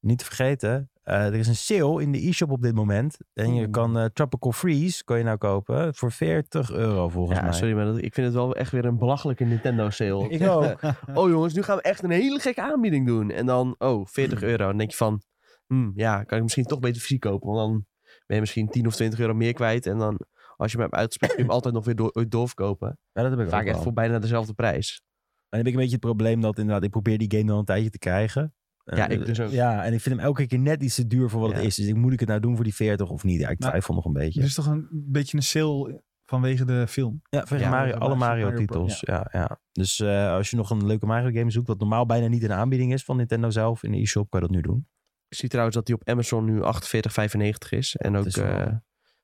C: niet te vergeten, eh, er is een sale in de e-shop op dit moment. En je
B: Oeh.
C: kan eh, Tropical Freeze, kan je nou kopen, voor 40 euro volgens
B: Ja,
C: mij.
B: sorry, maar dat, ik vind het wel echt weer een belachelijke Nintendo-sale.
C: Ik ook.
B: oh jongens, nu gaan we echt een hele gekke aanbieding doen. En dan, oh, 40 euro. Dan denk je van, hmm, ja, kan ik misschien toch beter fysiek kopen. Want dan ben je misschien 10 of 20 euro meer kwijt. En dan, als je hem hebt uitgespeeld, kun je hem altijd nog weer door, ooit doorverkopen.
C: Ja, dat heb ik ook
B: Vaak echt
C: wel.
B: voor bijna dezelfde prijs.
C: En dan heb ik een beetje het probleem dat inderdaad, ik probeer die game dan een tijdje te krijgen.
B: Ja,
C: Eh,
B: ik dus ook.
C: Ja, en ik vind hem elke keer net iets te duur voor wat
B: Ja. dus-
C: het is. Dus ik, moet ik het nou doen voor die 40 of niet? Ja, ik
D: Maar-
C: twijfel nog een beetje.
D: Er is toch een beetje een sale eh, vanwege de film.
C: ja, voor
B: Ja,
C: Mario, alle
D: Mario Pro-
C: Mario-titels. Ja. Ja, Dus eh, als je nog een leuke Mario-game zoekt, wat normaal bijna niet in de aanbieding is van Nintendo zelf, in de e-shop kan je dat nu doen.
B: Ik zie trouwens dat die op Amazon nu 48,95 is. En ook
C: is wel-
B: eh,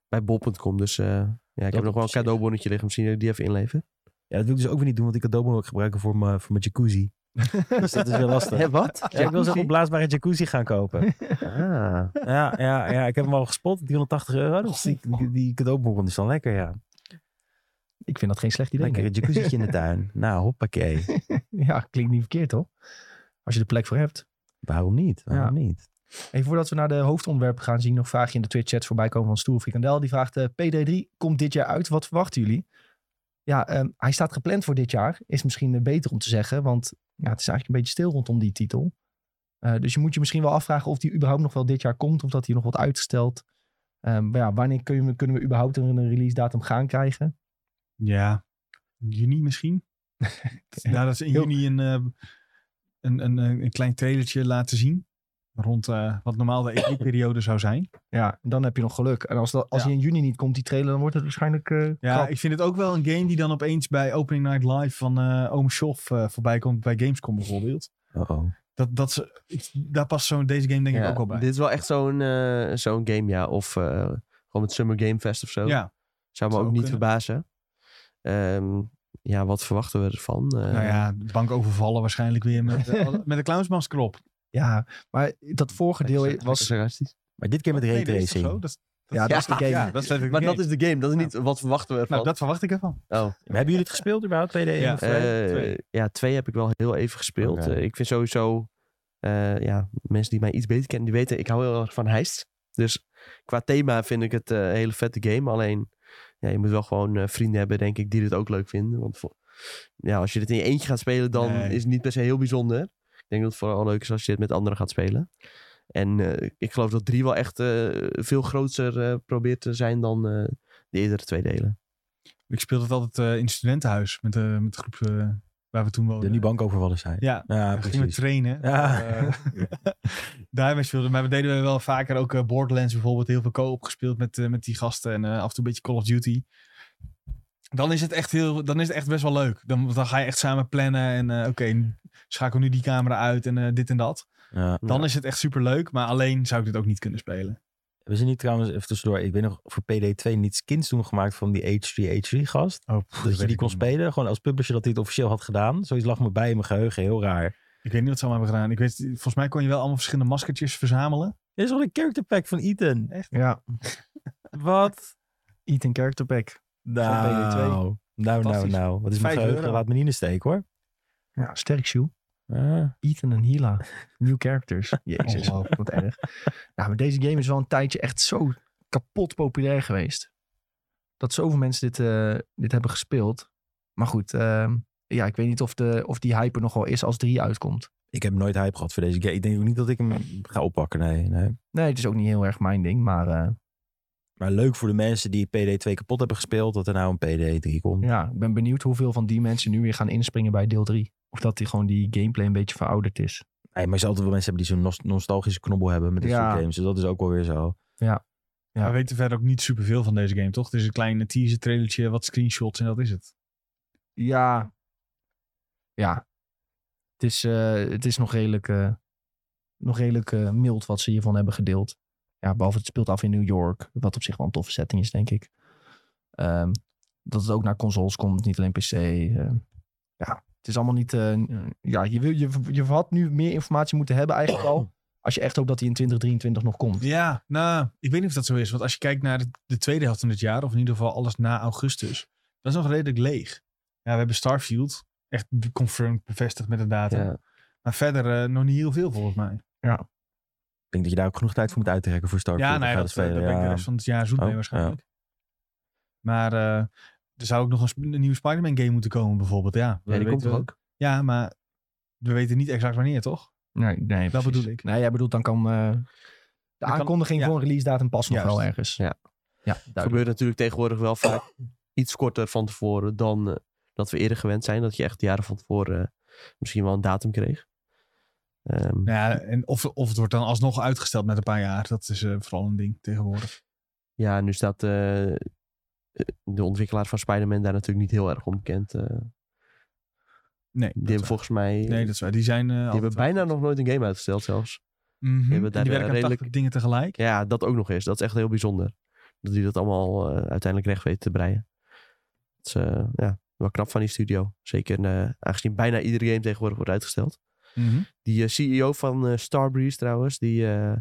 B: bij bol.com. Dus eh, ja, ik
C: op
B: heb nog wel een
C: zich.
B: cadeaubonnetje liggen. Misschien dat ik die even inlever.
C: Ja, dat wil ik dus ook weer niet doen, want ik cadeaubon wil ik gebruiken voor mijn, voor mijn jacuzzi. dus dat is weer lastig.
B: Hé, wat?
C: Ja, ik wil zo'n opblaasbare jacuzzi gaan kopen.
B: Ah.
C: ja, ja, ja, ik heb hem al gespot, 380 euro. Dus die, die- die cadeaubon is dan lekker, ja.
A: Ik vind dat geen slecht idee.
C: Lekker
A: nee.
C: een jacuzzietje in de tuin. Nou, hoppakee.
A: Ja, klinkt niet verkeerd, toch? Als je de plek voor hebt.
C: Waarom niet? Waarom niet?
A: Even voordat we naar de hoofdonderwerpen gaan, zie ik nog vraagje in de Twitch-chat voorbij komen van Stoer Frikandel. Die vraagt, eh, PD3 komt dit jaar uit. Wat verwachten jullie? Ja, ehm, hij staat gepland voor dit jaar. Is misschien eh, beter om te zeggen, want ja, het is eigenlijk een beetje stil rondom die titel. Eh, dus je moet je misschien wel afvragen of die überhaupt nog wel dit jaar komt, of dat die nog wordt uitgesteld. Ehm, maar ja, wanneer kun je- kunnen we überhaupt een een release datum gaan krijgen?
D: Ja, juni misschien. ja, dat ze in
A: Heel-
D: juni een, eh, een, een, een, een klein trailertje laten zien. Rond eh, wat normaal de E3-periode zou zijn.
A: Ja, dan heb je nog geluk. En als, dat, als
D: Ja.
A: die in juni niet komt, die trailer, dan wordt het waarschijnlijk eh,
D: Ja,
A: krap.
D: ik vind het ook wel een game die dan opeens bij Opening Night Live van eh Oom Schof eh, voorbij komt. Bij Gamescom bijvoorbeeld.
C: Uh-oh.
D: Dat, dat ze, ik- daar past zo'n deze game denk ik
B: Ja,
D: ook wel bij.
B: Dit is wel echt zo'n eh, zo'n game, ja. Of eh, gewoon het Summer Game Fest of zo.
D: ja,
B: Zou me ook
D: zou ook
B: niet
D: kunnen.
B: verbazen. Ehm, ja, wat verwachten we ervan? Eh,
D: nou ja, de bank overvallen waarschijnlijk weer met, eh, met een clownsmasker op.
A: Ja, maar dat vorige
B: lekker
A: deel
B: sar-
A: was...
B: lekker sarcastisch.
C: Maar dit keer met
D: Nee, dat is toch
C: raytracing.
D: zo? Dat is-
A: Ja, dat is de game.
D: Ja, dat is letterlijk
B: Maar
D: de
B: dat
D: game.
B: is de game. Dat is niet wat verwachten we ervan.
D: Nou, dat verwacht ik ervan.
B: Oh.
C: Maar Hebben jullie het gespeeld überhaupt? 2D?
D: Ja.
C: of, eh,
B: Eh,
D: twee.
B: ja, twee heb ik wel heel even gespeeld.
C: Oké.
B: Eh, ik vind sowieso, eh, ja, mensen die mij iets beter kennen, die weten, ik hou heel erg van heist. Dus qua thema vind ik het eh, een hele vette game. Alleen, ja, je moet wel gewoon eh, vrienden hebben, denk ik, die dit ook leuk vinden. Want voor- ja, als je dit in je eentje gaat spelen, dan
D: Nee.
B: is het niet per se heel bijzonder. Ik denk dat het vooral leuk is als je dit met anderen gaat spelen. En eh, ik geloof dat drie wel echt eh, veel groter eh, probeert te zijn dan eh, de eerdere twee delen.
D: Ik speelde het altijd eh, in het studentenhuis met, eh, met de groep eh, waar we toen
C: De
D: woonden.
C: nu bankovervallen zijn.
D: Ja,
C: Ja,
D: we gingen we
C: precies.
D: trainen.
C: Ja.
D: Eh, daarmee speelden we. Maar we deden wel vaker ook eh, Borderlands bijvoorbeeld. Heel veel co-op gespeeld met, eh, met die gasten. En eh, af en toe een beetje Call of Duty. Dan is het echt, heel, dan is het echt best wel leuk. Dan, dan ga je echt samen plannen. En eh, oké, schakel nu die camera uit en eh, dit en dat.
C: Ja.
D: Dan
B: Ja.
D: is het echt super leuk. Maar alleen zou ik dit ook niet kunnen spelen.
C: Hebben ze niet trouwens, even tussendoor, ik weet nog voor PD2 niet skins toen gemaakt van die H3H3 gast?
D: Oh,
C: dat je die kon spelen, gewoon als publisher dat hij het officieel had gedaan. Zoiets lag me bij in mijn geheugen, heel raar.
D: Ik weet niet wat ze allemaal hebben gedaan. Ik weet, volgens mij kon je wel allemaal verschillende maskertjes verzamelen.
C: Dit is wel een character pack van Ethan.
A: Ja,
C: Wat?
A: Ethan Character Pack. PD2.
C: Nou, nou, nou,
D: Fantastisch.
C: nou. Wat is mijn
D: Vijf
C: geheugen?
D: euro.
C: Laat me niet in de steek hoor.
A: Ja, sterk, Sjoe.
C: Ah.
A: Ethan en Hila. New characters. Jezus,
D: Ongelooflijk.
A: wat erg. Nou, maar deze game is wel een tijdje echt zo kapot populair geweest. Dat zoveel mensen dit, eh, dit hebben gespeeld. Maar goed, ehm, ja, ik weet niet of, de, of die hype er nog wel is als 3 uitkomt.
C: Ik heb nooit hype gehad voor deze game. Ik denk ook niet dat ik hem ga oppakken, nee. nee.
A: Nee, het is ook niet heel erg mijn ding, maar eh,
C: Maar leuk voor de mensen die PD2 kapot hebben gespeeld, dat er nou een PD3 komt.
A: ja, ik ben benieuwd hoeveel van die mensen nu weer gaan inspringen bij deel 3. Of dat die gewoon die gameplay een beetje verouderd is.
C: Nee, maar je zal altijd wel mensen hebben die zo'n nos- nostalgische knobbel hebben met dit
A: Ja.
C: soort games. Dus dat is ook wel weer zo.
A: Ja.
D: We weten verder ook niet superveel van deze game, toch? Het is een kleine teaser trailertje, wat screenshots en dat is het.
A: Ja. Ja. Het is, eh, het is nog redelijk, eh, nog redelijk eh, mild wat ze hiervan hebben gedeeld. Ja, behalve het speelt af in New York. Wat op zich wel een toffe setting is, denk ik. Ehm, dat het ook naar consoles komt, niet alleen PC. ehm. ja, het is allemaal niet... eh, ja, je, wil, je, je had nu meer informatie moeten hebben eigenlijk al. Als je echt hoopt dat die in 2023 nog komt.
D: Ja, nou, ik weet niet of dat zo is. Want als je kijkt naar de, de tweede helft van dit jaar, of in ieder geval alles na augustus, dat is nog redelijk leeg. Ja, we hebben Starfield, echt confirmed, bevestigd met de datum.
B: Ja.
D: Maar verder eh, nog niet heel veel volgens mij.
C: Ik denk dat je daar ook genoeg tijd voor moet uittrekken voor Starfield.
D: ja,
C: te
D: nee,
C: gaan
D: dat, eh,
C: spelen,
D: dat ben ik
C: ja.
D: de rest van het jaar zoet
C: Oh,
D: mee waarschijnlijk. Maar eh, er zou ook nog een, sp- een nieuwe Spider-Man game moeten komen bijvoorbeeld. Ja, dat
B: Ja, die
D: weten
B: komt
D: we-
B: toch ook?
D: Ja, maar we weten niet exact wanneer, toch?
A: Nee, nee
D: Dat
A: precies.
D: bedoel ik.
A: Nee, jij bedoelt dan kan... eh, de
D: kan-
A: aankondiging
D: ja.
A: voor een release datum past nog
D: Juist.
A: wel ergens.
B: Ja.
A: ja duidelijk.
B: gebeurt natuurlijk tegenwoordig wel vaak iets korter van tevoren dan eh, dat we eerder gewend zijn. Dat je echt jaren van tevoren eh, misschien wel een datum kreeg. Ehm, ja.
D: Nou ja, en of, of het wordt dan alsnog uitgesteld met een paar jaar. Dat is eh, vooral een ding tegenwoordig.
B: nu staat eh, eh, de ontwikkelaar van Spider-Man daar natuurlijk niet heel erg onbekend. eh.
D: Nee,
B: die
D: dat is
B: hebben volgens mij
D: waar. nee, dat is waar. Die zijn eh,
B: die
D: altijd
B: hebben bijna
D: wel-
B: nog nooit een game uitgesteld zelfs.
D: Mhm.
B: hebben daar,
D: En die
B: eh,
D: werken aan
B: redelijk-
D: 80 dingen tegelijk.
B: Ja, dat ook nog eens. Dat is echt heel bijzonder. Dat die dat allemaal eh, uiteindelijk recht weten te breien. Dat is eh, ja, wel knap van die studio. Zeker eh, aangezien bijna iedere game tegenwoordig wordt uitgesteld.
D: Mhm.
B: Die eh, CEO van eh, Starbreeze trouwens, die eh, eh,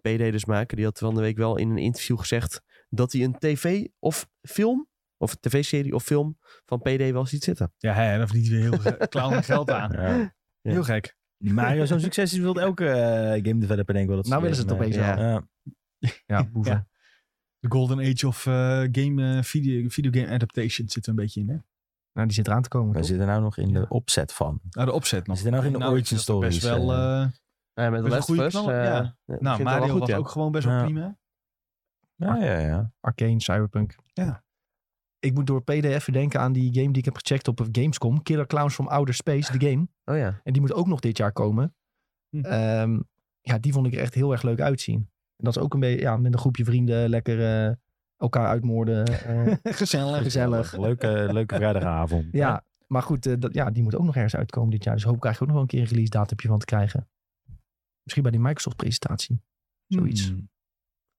B: PD dus maken, die had van de week wel in een interview gezegd dat hij een tv of film of tv-serie of film van PD wel eens iets zitten.
D: Ja, hè, daar verdient hij weer heel veel clown geld aan.
C: Ja.
B: Ja.
D: Heel gek.
C: Die Mario, zo'n succes is wilde elke eh, game developer denk ik wel. Dat
A: Nou willen ze het
C: hebben.
A: opeens
B: ja.
A: wel.
C: Ja.
A: Ja, boeven.
D: Ja. De golden age of eh, game, eh, video, videogame adaptation zit er een beetje in, hè?
A: Nou, die zit eraan te komen.
C: We
A: toch?
C: zitten nou nog in de opzet van.
D: Nou, de opzet nog.
C: Zit er nog in de
D: Nou, ik
C: origin
D: vind dat er
C: stories?
D: Best wel...
C: eh,
D: eh,
B: Eh, met de
D: een
B: Last of
D: goede
B: Us.
D: knaller,
B: eh,
D: ja.
B: het begint
D: nou,
B: wel
D: Mario
B: goed,
D: was
B: ja.
D: ook gewoon best wel
C: Ja.
D: prima.
C: ja, ja, ja.
A: Arcane, Cyberpunk.
D: Ja.
A: Ik moet door PD even denken aan die game die ik heb gecheckt op Gamescom. Killer Clowns from Outer Space, de game.
B: Oh ja.
A: En die moet ook nog dit jaar komen.
D: Hm.
A: Ehm, ja, die vond ik er echt heel erg leuk uitzien. En dat is ook een beetje, ja, met een groepje vrienden lekker eh, elkaar uitmoorden. eh,
D: Gezellig.
A: gezellig.
C: Leuke, leuke vrijdagavond.
A: Ja, maar goed, eh, dat, ja, die moet ook nog ergens uitkomen dit jaar. Dus hoop krijg ik ook nog wel een keer een release datumje van te krijgen. Misschien bij die Microsoft presentatie. Zoiets.
D: Hmm.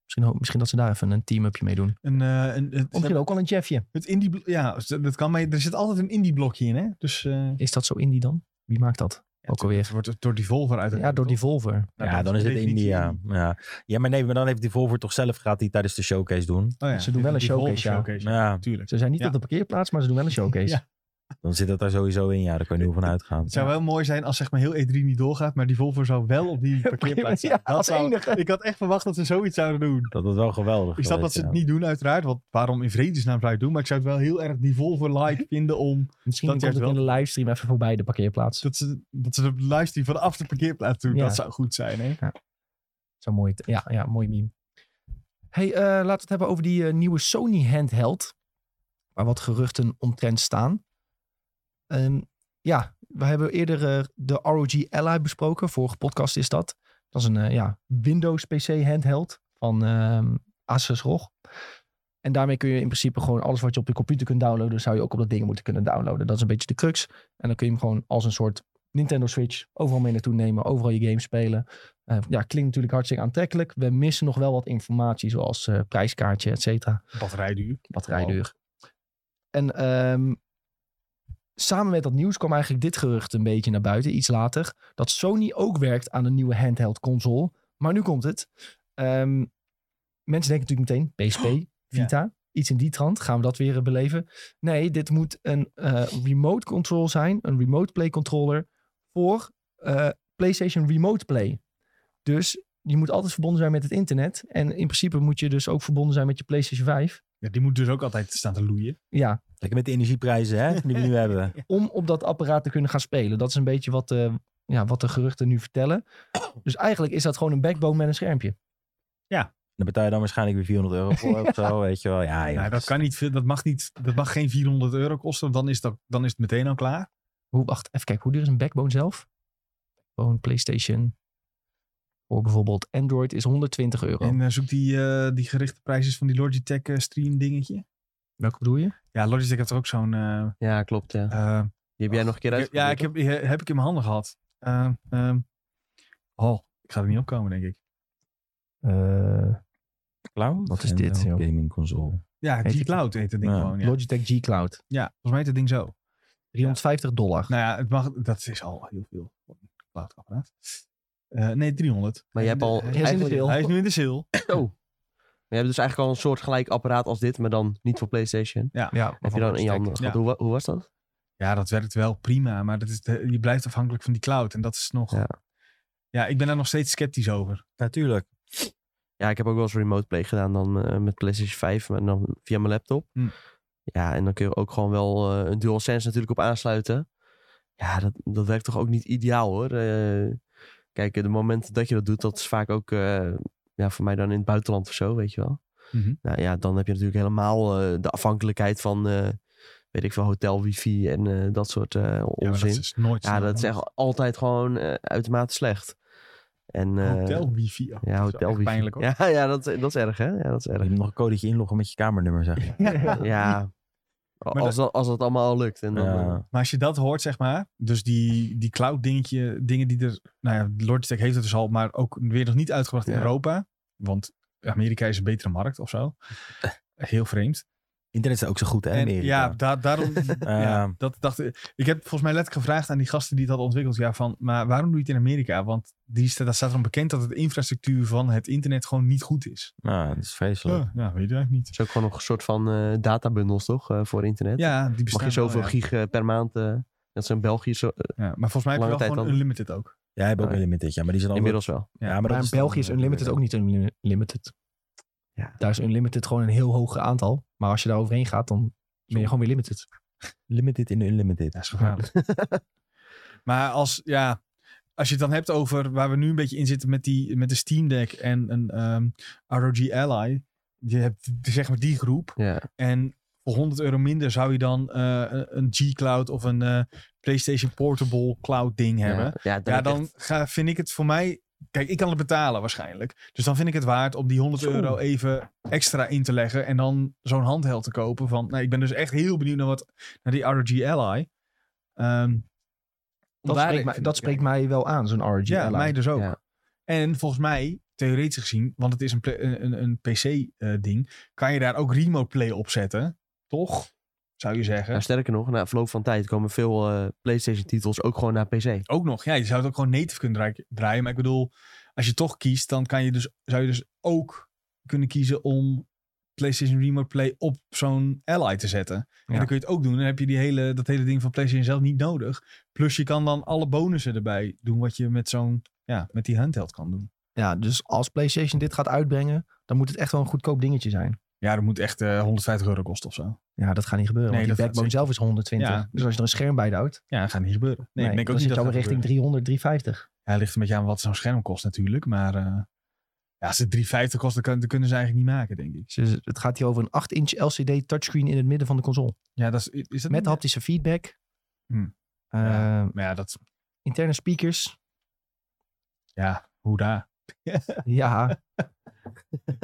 A: Misschien, ho- misschien dat ze daar even een team-upje mee doen.
D: Een, eh, een,
A: Of misschien
D: het,
A: ook al een Jeffje.
D: het indie... blo- Ja, dus dat kan, maar er zit altijd een indie blokje in, hè? Dus... eh,
A: Is dat zo indie dan? Wie maakt dat? Ook alweer.
D: Het wordt door die Volver uit.
A: Ja, door die Volver.
C: Ja, dan is het India.
D: Oh,
C: Ja. ja, maar nee, maar dan heeft die Volvo toch zelf gaat die tijdens de showcase doen.
D: Oh ja.
A: Ze doen wel een
D: Die
A: showcase,
D: Devolver
A: ja.
D: showcase,
C: Ja,
D: Tuurlijk.
A: Ze zijn niet
D: Ja.
A: op de parkeerplaats, maar ze doen wel een showcase.
D: Ja.
C: dan zit dat daar sowieso in. Ja, daar kun je nu van uitgaan.
D: Het zou wel mooi zijn als zeg maar heel E3 niet doorgaat, maar die Volvo zou wel op die parkeerplaats
A: Ja,
D: staan. Dat
A: als
D: zou-
A: enige.
D: Ik had echt verwacht dat ze zoiets zouden doen.
C: Dat is wel geweldig.
D: Ik snap dat ze het
C: geweest,
D: niet doen uiteraard, want waarom in vredesnaam zou je het doen? Maar ik zou het wel heel erg die Volvo-like vinden om
A: Misschien
D: Dat
A: komt het
D: juist
A: in de
D: wel.
A: livestream even voorbij de parkeerplaats. Dat
D: dat ze, dat ze de livestream vanaf de parkeerplaats doen.
A: Ja.
D: Dat zou goed zijn, hè?
A: zou mooi, ja, ja, mooi meme. hey, eh, laten we het hebben over die eh, nieuwe Sony handheld. Waar wat geruchten omtrent staan. Ehm, ja, we hebben eerder eh, de ROG Ally besproken. Vorige podcast is dat. Dat is een eh, ja, Windows PC handheld van ehm Asus ROG. En daarmee kun je in principe gewoon alles wat je op je computer kunt downloaden, zou je ook op dat ding moeten kunnen downloaden. Dat is een beetje de crux. En dan kun je hem gewoon als een soort Nintendo Switch overal mee naartoe nemen, overal je games spelen. Eh, ja, klinkt natuurlijk hartstikke aantrekkelijk. We missen nog wel wat informatie, zoals eh, prijskaartje, et cetera
D: Batterijduur.
A: batterijduur. En ehm, samen met dat nieuws kwam eigenlijk dit gerucht een beetje naar buiten, iets later. Dat Sony ook werkt aan een nieuwe handheld console. Maar nu komt het. Ehm, mensen denken natuurlijk meteen PSP, Vita, iets in die trant. Gaan we dat weer eh, beleven? Nee, dit moet een eh, remote control zijn, een remote play controller voor eh, PlayStation Remote Play. Dus je moet altijd verbonden zijn met het internet. En in principe moet je dus ook verbonden zijn met je PlayStation 5.
D: Ja, die moet dus ook altijd staan te loeien.
A: Ja,
C: ja. Lekker met de energieprijzen hè, die we nu hebben.
A: om op dat apparaat te kunnen gaan spelen. Dat is een beetje wat, eh, ja, wat de geruchten nu vertellen. Dus eigenlijk is dat gewoon een backbone met een schermpje.
C: Dan betaal je dan waarschijnlijk weer 400 euro voor of zo, weet je wel. Ja, joh.
D: Nou, dat, kan niet, veel- dat, mag niet, dat mag geen 400 euro kosten, want dan is, dat, dan is het meteen al klaar.
A: Hoe, wacht, even kijken. Hoe duur is een backbone zelf? Backbone PlayStation voor bijvoorbeeld Android is 120 euro.
D: En eh, zoek die, eh, die gerichte prijzen van die Logitech eh, stream dingetje.
A: Welke bedoel je?
D: Ja, Logitech heeft er ook zo'n... eh,
B: Ja, klopt. Ja.
D: eh,
B: Die heb jij nog een keer
D: Ik-
B: uitgeprobeerd.
D: Ja, ik heb, die he- heb ik in mijn handen gehad. Eh, ehm, oh, ik ga er niet op komen, denk ik.
A: Eh,
C: Cloud
A: Wat is
C: en
A: dit,
C: een
A: joh?
C: Gaming console.
D: Ja,
A: Heet die-
D: G-Cloud heet dat ding
C: Ja.
D: gewoon. Ja.
A: Logitech G Cloud.
D: ja, volgens mij heet het ding zo.
A: 350 dollar.
D: Nou ja, het mag, dat is al heel veel voor een cloud-apparaat. Eh, nee, 300.
B: Maar je hebt al
D: Hij is, in de
B: eigenlijk-
D: sale. hij is nu in de sale.
B: Oh. Maar je hebt dus eigenlijk al een soort gelijk apparaat als dit, maar dan niet voor PlayStation.
A: ja, maar
B: Heb je
A: van
B: dan in je
A: Logitech.
B: handen gehad?
D: Ja.
B: Hoe, wa- hoe was dat?
D: Ja, dat werkt wel prima, maar dat is de- je blijft afhankelijk van die cloud. En dat is nog...
B: Ja.
D: Ja, ik ben daar nog steeds sceptisch over.
C: Natuurlijk.
B: Ja, ik heb ook wel eens remote play gedaan dan eh, met PlayStation 5, maar dan via mijn laptop.
D: Hm.
B: Ja, en dan kun je ook gewoon wel eh, een DualSense natuurlijk op aansluiten. Ja, dat, dat werkt toch ook niet ideaal hoor. Eh, kijk, de momenten dat je dat doet, dat is vaak ook eh, ja, voor mij dan in het buitenland of zo, weet je wel.
D: Mhm.
B: Nou ja, dan heb je natuurlijk helemaal eh, de afhankelijkheid van, eh, weet ik veel, hotel, wifi en eh, dat soort eh,
D: Ja, maar
B: onzin.
D: dat is nooit
B: Ja,
D: snel.
B: dat is echt altijd gewoon eh, uitermate slecht. En, eh,
D: Hotel wifi. Oh, dat is
B: Ja,
D: wel
B: hotel
D: echt
B: wifi.
D: Pijnlijk hoor.
B: Ja, ja dat, dat is erg, hè? Ja, dat is
C: Je
B: erg.
C: moet nog een codetje inloggen met je kamernummer, zeg.
B: Ja. Als
D: dat-
B: dat, als dat allemaal al lukt. En dan, eh,
C: Ja.
D: Maar als je dat hoort, zeg maar, dus die, die cloud dingetje, dingen die er, nou ja, Logitech heeft het dus al, maar ook weer nog niet uitgebracht in
B: Ja.
D: Europa, want Amerika is een betere markt of zo. Heel vreemd.
C: Internet is ook zo goed, hè?
D: En
C: Amerika.
D: ja, da- daarom.
C: Ehm.
D: ja, dat dacht ik. Ik heb volgens mij letterlijk gevraagd aan die gasten die het hadden ontwikkeld. Ja, van, maar waarom doe je het in Amerika? Want die staat, daar staat erom bekend dat de infrastructuur van het internet gewoon niet goed is. Oh,
C: Nou, dat is vreselijk.
D: Ja, ja, weet je eigenlijk niet.
B: Het is ook gewoon nog een soort van eh, databundels, toch? eh, voor internet.
D: Ja, die
B: Mag
D: bestaan
B: je zoveel
D: wel, ja.
B: gig eh, per maand... eh, dat is in België zo, eh,
D: Ja, maar volgens mij heb
B: Lange
D: je wel
B: tijd
D: gewoon
B: dan.
D: unlimited ook.
C: Jij hebt ook
B: Nee.
C: een limited, ja, maar die zijn allemaal...
B: inmiddels wel.
C: Ja, maar,
A: Maar
C: dat
A: in
C: dan,
A: België is
C: eh,
A: Unlimited ook niet Unlimited.
B: Ja.
A: Daar is Unlimited gewoon een heel hoog aantal. Maar als je daar overheen gaat, dan ben je gewoon weer limited.
C: Limited in Unlimited.
D: Dat is gevaarlijk. maar als, ja, als je het dan hebt over waar we nu een beetje in zitten met, die, met de Steam Deck en een ehm, ROG Ally. Je hebt zeg maar die groep.
B: Ja.
D: En voor 100 euro minder zou je dan eh, een G-Cloud of een eh, PlayStation Portable Cloud ding hebben.
B: Ja, ja,
D: Ja,
B: heb je
D: dan ga, vind ik het voor mij. Kijk, ik kan het betalen waarschijnlijk. Dus dan vind ik het waard om die 100
B: Zo.
D: euro even extra in te leggen. En dan zo'n handheld te kopen. Van, nou, ik ben dus echt heel benieuwd naar, wat, naar die ROG Ally. Ehm, om
A: Dat,
D: daar
A: spreekt,
D: even
A: mij,
D: te
A: dat
D: kijken.
A: spreekt mij wel aan, zo'n RG.
D: Ja, mij dus ook.
B: Ja.
D: En volgens mij, theoretisch gezien, want het is een, pla- een, een- een PC-ding, kan je daar ook remote play op zetten. Toch? Zou je zeggen.
B: Nou, sterker nog, na verloop van tijd komen veel eh, PlayStation-titels ook gewoon naar PC.
D: Ook nog, ja, je zou het ook gewoon native kunnen draai- draaien. Maar ik bedoel, als je toch kiest, dan kan je dus, zou je dus ook kunnen kiezen om PlayStation Remote Play op zo'n Ally te zetten. En
A: Ja.
D: dan kun je het ook doen. Dan heb je die hele, dat hele ding van PlayStation zelf niet nodig. Plus je kan dan alle bonussen erbij doen wat je met zo'n, ja, met die handheld kan doen.
A: Ja, dus als PlayStation dit gaat uitbrengen, dan moet het echt wel een goedkoop dingetje zijn.
D: Ja, dat moet echt eh, 150 euro kosten of zo.
A: Ja, dat gaat niet gebeuren.
D: Nee,
A: want die
D: dat gaat
A: backbone zelf is 120.
D: Ja.
A: Dus als je er een scherm bij houdt,
D: Ja, dat gaat niet gebeuren.
A: nee,
D: ik denk
A: dan
D: ook niet
A: zit je
D: dat
A: al
D: gaat
A: richting
D: gebeuren.
A: 300, 350.
D: Ja, het ligt een beetje aan wat zo'n scherm kost natuurlijk. Maar eh, ja, als het 350 kost, dan, kan- dan kunnen ze eigenlijk niet maken, denk ik.
A: Dus het gaat hier over een 8-inch LCD touchscreen in het midden van de console.
D: Ja, dat is, is dat
A: Met
D: niet-
A: haptische feedback.
D: Hm.
A: Eh,
D: Ja. Maar ja, dat...
A: Interne speakers.
D: Ja, hoera.
A: ja,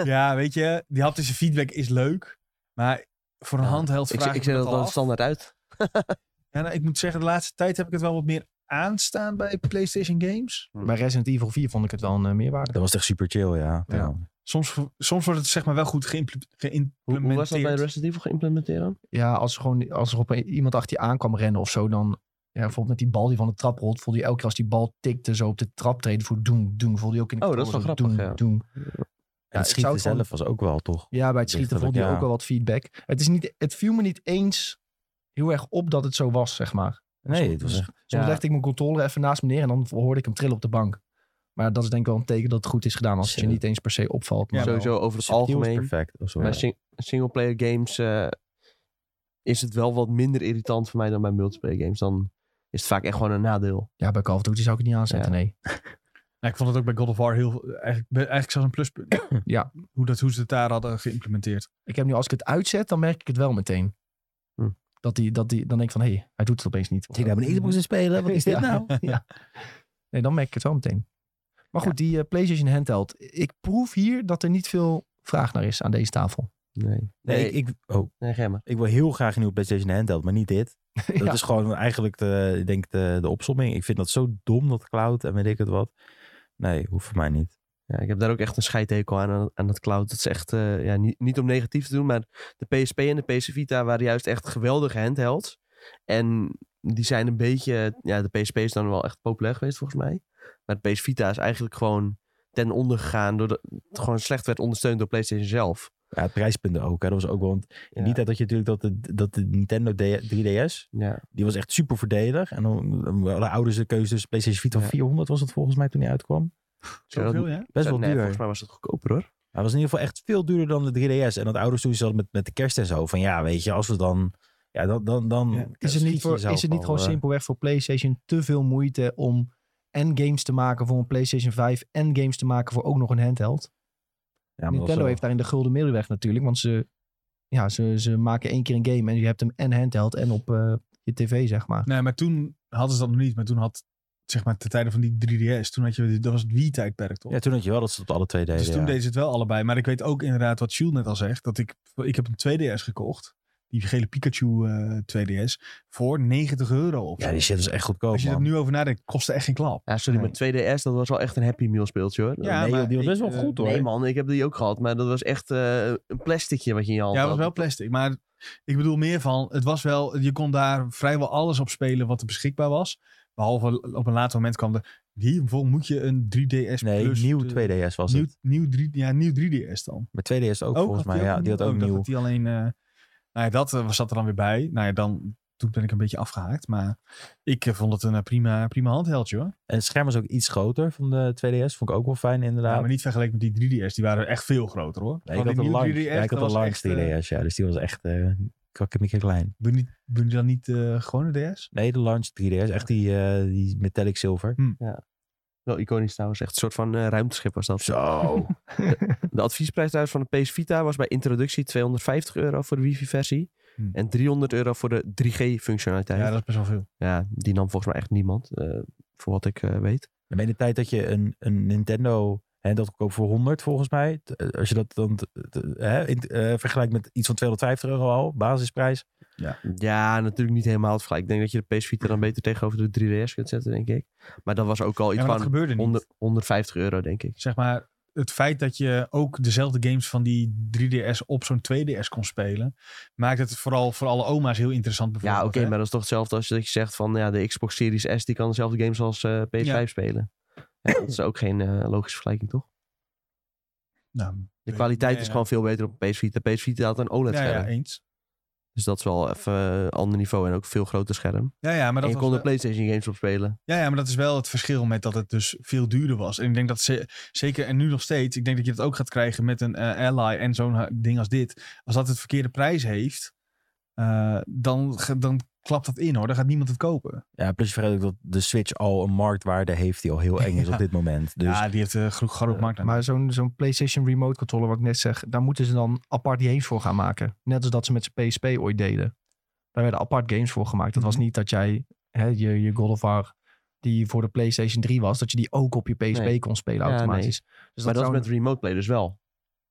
D: ja, weet je, die haptische feedback is leuk. Maar voor een
B: Ja,
D: handheld
B: Ik,
D: vraag ik,
B: ik
D: me
B: zet dat
D: al
B: wel
D: af.
B: standaard uit.
D: Ja, nou, ik moet zeggen, de laatste tijd heb ik het wel wat meer aanstaan bij PlayStation games.
A: bij Resident Evil 4 vond ik het wel een eh, meerwaarde.
C: Dat was echt super chill, ja.
B: Ja.
C: Ja.
D: Soms, soms wordt het zeg maar wel goed geïmple- geïmplementeerd.
B: Hoe, hoe was dat bij Resident Evil geïmplementeerd dan?
A: Ja, als, er gewoon, als er op een- iemand achter je aan kwam rennen of zo, dan... Ja, bijvoorbeeld met die bal die van de trap rolt, voelde je elke keer als die bal tikte zo op de trap treden voor doen, doen. Voelde je ook in de
B: Oh, dat is wel
A: controle zo
B: grappig,
A: doen, doen.
C: En
A: ik
C: het
A: zou
C: schieten
A: het gewoon-
C: zelf was ook wel, toch?
A: Ja, bij het schieten
C: Lichtelijk,
A: vond hij
C: ja.
A: ook wel wat feedback. Het, is niet, het viel me niet eens heel erg op dat het zo was, zeg maar.
C: Nee, het was echt...
A: Soms
B: Ja.
A: legde ik mijn controller even naast me neer en dan hoorde ik hem trillen op de bank. Maar dat is denk ik wel een teken dat het goed is gedaan als het je
C: Zo.
A: niet eens per se opvalt. Maar
D: Ja,
B: Sowieso over het
C: subtiel is
B: algemeen.
C: perfect. Oh, sorry.
B: Bij sing singleplayer games eh, is het wel wat minder irritant voor mij dan bij multiplayer games. Dan is het vaak echt gewoon een nadeel.
A: ja, bij Call of Duty zou ik het niet aanzetten,
B: Ja.
A: nee.
D: Nou, ik vond het ook bij God of War heel, eigenlijk, bij- eigenlijk zelfs een pluspunt.
A: Ja.
D: Hoe, dat, hoe ze het daar hadden geïmplementeerd.
A: Ik heb nu, als ik het uitzet, dan merk ik het wel meteen.
B: Hm.
A: Dat die, dat die, dan denk ik van, hé, hey, hij doet het opeens niet.
C: Ik zit daar mijn Xbox te spelen, wat is dit
A: Ja.
C: nou?
A: ja. Nee, dan merk ik het wel meteen. Maar goed, die eh, PlayStation handheld. Ik proef hier dat er niet veel vraag naar is aan deze tafel.
B: Nee.
C: Nee,
B: Nee,
C: ik, ik- oh,
B: nee Gemma.
C: ik wil heel graag een nieuwe PlayStation handheld, maar niet dit. Dat
A: Ja.
C: is gewoon eigenlijk de, ik denk de, de opsomming. Ik vind dat zo dom, dat cloud en weet ik het wat. Nee, hoeft voor mij niet.
B: Ja, ik heb daar ook echt een scheidhekel aan, aan dat cloud. Dat is echt, eh, ja, niet, niet om negatief te doen, maar de PSP en de PS Vita waren juist echt geweldige handhelds. En die zijn een beetje, ja, de PSP is dan wel echt populair geweest volgens mij. Maar de PS Vita is eigenlijk gewoon ten onder gegaan doordat het gewoon slecht werd ondersteund door PlayStation zelf.
C: Ja, prijspunten ook. Hè. Dat was ook wel... Want in
B: Ja.
C: die tijd had je natuurlijk dat de, dat de Nintendo D- 3DS,
B: Ja.
C: die was echt super voordelig. En dan dan hadden ouders de keuze tussen PlayStation Vita of
B: Ja.
C: 400 was het volgens mij toen die uitkwam.
D: Zoveel, ja?
C: Best wel
B: Eh, nee,
C: duur.
B: Volgens mij was het goedkoper hoor.
C: Hij was in ieder geval echt veel duurder dan de 3DS. En dat ouders toen hadden met, met de kerst en zo. Van ja, weet je, als we dan... Ja, dan... dan, dan
D: Ja.
A: Is het
C: schiet je
A: niet, voor,
C: jezelf
A: is het niet
C: al,
A: gewoon
C: eh,
A: simpelweg voor PlayStation te veel moeite om en games te maken voor een PlayStation 5 en games te maken voor ook nog een handheld?
C: ja, maar
A: Nintendo
C: dat was wel-
A: heeft daarin de gulden middelweg natuurlijk, want ze, ja, ze, ze maken één keer een game en je hebt hem en handheld en op eh, je tv, zeg maar.
D: Nee, maar toen hadden ze dat nog niet. Maar toen had, zeg maar, ten tijde van die 3DS, toen had je, dat was het Wii-tijdperk toch?
C: Ja, toen had je wel dat ze het op alle twee deden.
D: Dus toen
C: ja.
D: deden ze het wel allebei. Maar ik weet ook inderdaad wat Jules net al zegt. Dat ik, ik heb een 2DS gekocht. die gele Pikachu eh, 2DS, voor 90 euro of
C: Ja,
D: zo.
C: die shit is echt goedkoop,
D: Als je er
C: man.
D: nu over nadenkt, kost het echt geen klap.
B: Ja, sorry,
C: Nee.
B: maar 2DS, dat was wel echt een Happy Meal speeltje hoor.
D: Ja,
C: nee,
D: maar
C: joh, die was
D: ik,
C: best wel
D: eh,
C: goed, hoor.
B: Nee man, ik heb die ook gehad, maar dat was echt eh, een plasticje wat je in je hand
D: Ja, het
B: had.
D: was wel plastic. Maar ik bedoel meer van, het was wel, je kon daar vrijwel alles op spelen wat er beschikbaar was. Behalve op een later moment kwam er, hiervoor moet je een 3DS
C: Nee,
D: Plus,
C: nieuw
D: eh,
C: 2DS was
D: nieuw,
C: het.
D: nieuw, 3, ja, nieuw 3DS dan.
C: Maar 2DS ook,
D: Ook,
C: volgens
D: Oh, had
C: mij. Ja, die had ook
D: dat
C: nieuw.
D: had die alleen, eh, nou ja, dat eh, zat er dan weer bij. Nou ja, dan, toen ben ik een beetje afgehaakt. Maar ik eh, vond het een eh, prima, prima handheldje hoor.
C: En het scherm was ook iets groter van de 2DS. Vond ik ook wel fijn,
D: Ja,
C: inderdaad.
D: maar niet vergeleken met die 3DS. Die waren echt veel groter hoor.
C: Nee,
D: Want
C: ik had
D: die
C: een
D: nieuwe
C: large, ja, ik had
D: dat
C: een
D: was
C: large
D: echt, eh,
C: 3DS, ja. Dus die was echt uh, krakkemikke klein.
D: Doen die- doen die dan niet eh gewoon een DS?
C: Nee, de large 3DS. Echt die, eh, die metallic zilver.
B: Wel iconisch trouwens, echt een soort van eh, ruimteschip was dat.
C: Zo.
B: De adviesprijs trouwens van de PS Vita was bij introductie 250 euro voor de wifi versie.
D: Hm.
B: En 300 euro voor de 3G functionaliteit.
D: Ja,
B: Ja,
D: dat is best wel veel.
B: die nam volgens mij echt niemand, eh, voor wat ik eh, weet.
C: Dan ben je de tijd dat je een, een Nintendo... En dat ook voor 100 volgens mij. t- eh, Als je dat dan t- t- hè, in- eh, vergelijkt met iets van 250 euro al, basisprijs.
B: Ja, natuurlijk niet helemaal het vergelijk. Ik denk dat je de PS Vita dan beter tegenover de 3DS kunt zetten, denk ik. Maar dat was ook al
D: Ja,
B: iets
D: maar dat
B: van
D: gebeurde niet.
B: 100 150 euro, denk ik.
D: zeg maar, het feit dat je ook dezelfde games van die 3DS op zo'n 2DS kon spelen, maakt het vooral voor alle oma's heel interessant.
B: Ja,
D: Bijvoorbeeld,
B: oké,
D: hè?
B: maar dat is toch hetzelfde als dat je zegt van ja, de Xbox Series S die kan dezelfde games als eh, PS5
D: Ja.
B: spelen. Ja, dat is ook geen eh, logische vergelijking, toch?
D: Nou,
B: De
D: weet-
B: kwaliteit
D: ja,
B: is
D: ja.
B: gewoon veel beter op PS Vita. PS Vita had een
D: Ja,
B: OLED-scherm.
D: ja, eens.
B: Dus dat is wel even een ander niveau en ook veel groter scherm.
D: Ja ja, maar
B: en
D: dat
B: je
D: was
B: kon de
D: wel-
B: PlayStation games op spelen.
D: ja, ja, maar dat is wel het verschil met dat het dus veel duurder was. En ik denk dat ze, zeker, en nu nog steeds, ik denk dat je dat ook gaat krijgen met een eh, Ally en zo'n ha- ding als dit. Als dat het verkeerde prijs heeft, eh, dan, ge- dan klapt dat in hoor. Dan gaat niemand het kopen.
C: Ja, plus je vergeet ook dat de Switch al een marktwaarde heeft die al heel eng is
D: Ja.
C: op dit moment. Dus
D: ja, die heeft eh groot, groot markt aan.
A: Maar zo'n zo'n PlayStation Remote Controller, wat ik net zeg, daar moeten ze dan apart games voor gaan maken. Net als dat ze met zijn PSP ooit deden. Daar werden apart games voor gemaakt. Dat
D: Mhm.
A: was niet dat jij hè, je, je God of War, die voor de PlayStation 3 was, dat je die ook op je PSP
B: Nee.
A: kon spelen
B: Ja,
A: automatisch. Dus
B: maar dat is
A: zou-
B: met remote play dus wel.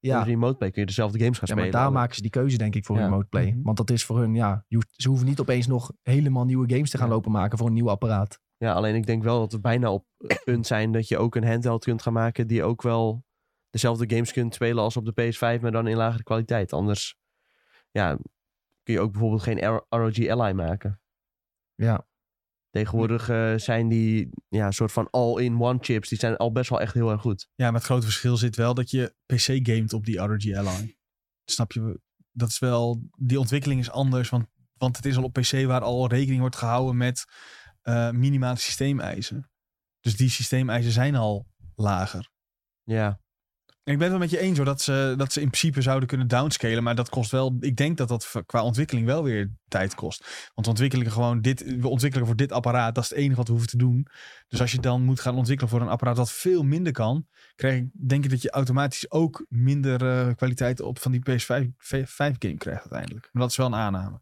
A: ja,
B: Met remote play kun je dezelfde games gaan
A: ja, maar
B: spelen.
A: daar maken ze die keuze denk ik voor
B: Ja.
A: remote play.
D: Mhm.
A: Want dat is voor hun, ja, je hoeft- ze hoeven niet opeens nog helemaal nieuwe games te gaan
B: Ja.
A: lopen maken voor een nieuw apparaat.
B: Ja, alleen ik denk wel dat we bijna op het punt zijn dat je ook een handheld kunt gaan maken die ook wel dezelfde games kunt spelen als op de PS5, maar dan in lagere kwaliteit. Anders ja, kun je ook bijvoorbeeld geen R- ROG Ally maken.
A: Ja.
B: Tegenwoordig eh, zijn die ja, soort van all-in-one chips, die zijn al best wel echt heel erg goed.
D: Ja, maar het grote verschil zit wel dat je PC gamet op die ROG Ally. Snap je? Dat is wel, die ontwikkeling is anders, want, want het is al op PC waar al rekening wordt gehouden met eh, minimale systeemeisen. Dus die systeemeisen zijn al lager.
B: Ja,
D: En ik ben het wel met je eens hoor, dat ze, dat ze in principe zouden kunnen downscalen, maar dat kost wel, ik denk dat dat v- qua ontwikkeling wel weer tijd kost. Want ontwikkelen gewoon dit, we ontwikkelen voor dit apparaat, dat is het enige wat we hoeven te doen. Dus als je dan moet gaan ontwikkelen voor een apparaat dat veel minder kan, krijg ik, denk ik dat je automatisch ook minder eh, kwaliteit op van die PS5 5 game krijgt uiteindelijk. Maar dat is wel een aanname.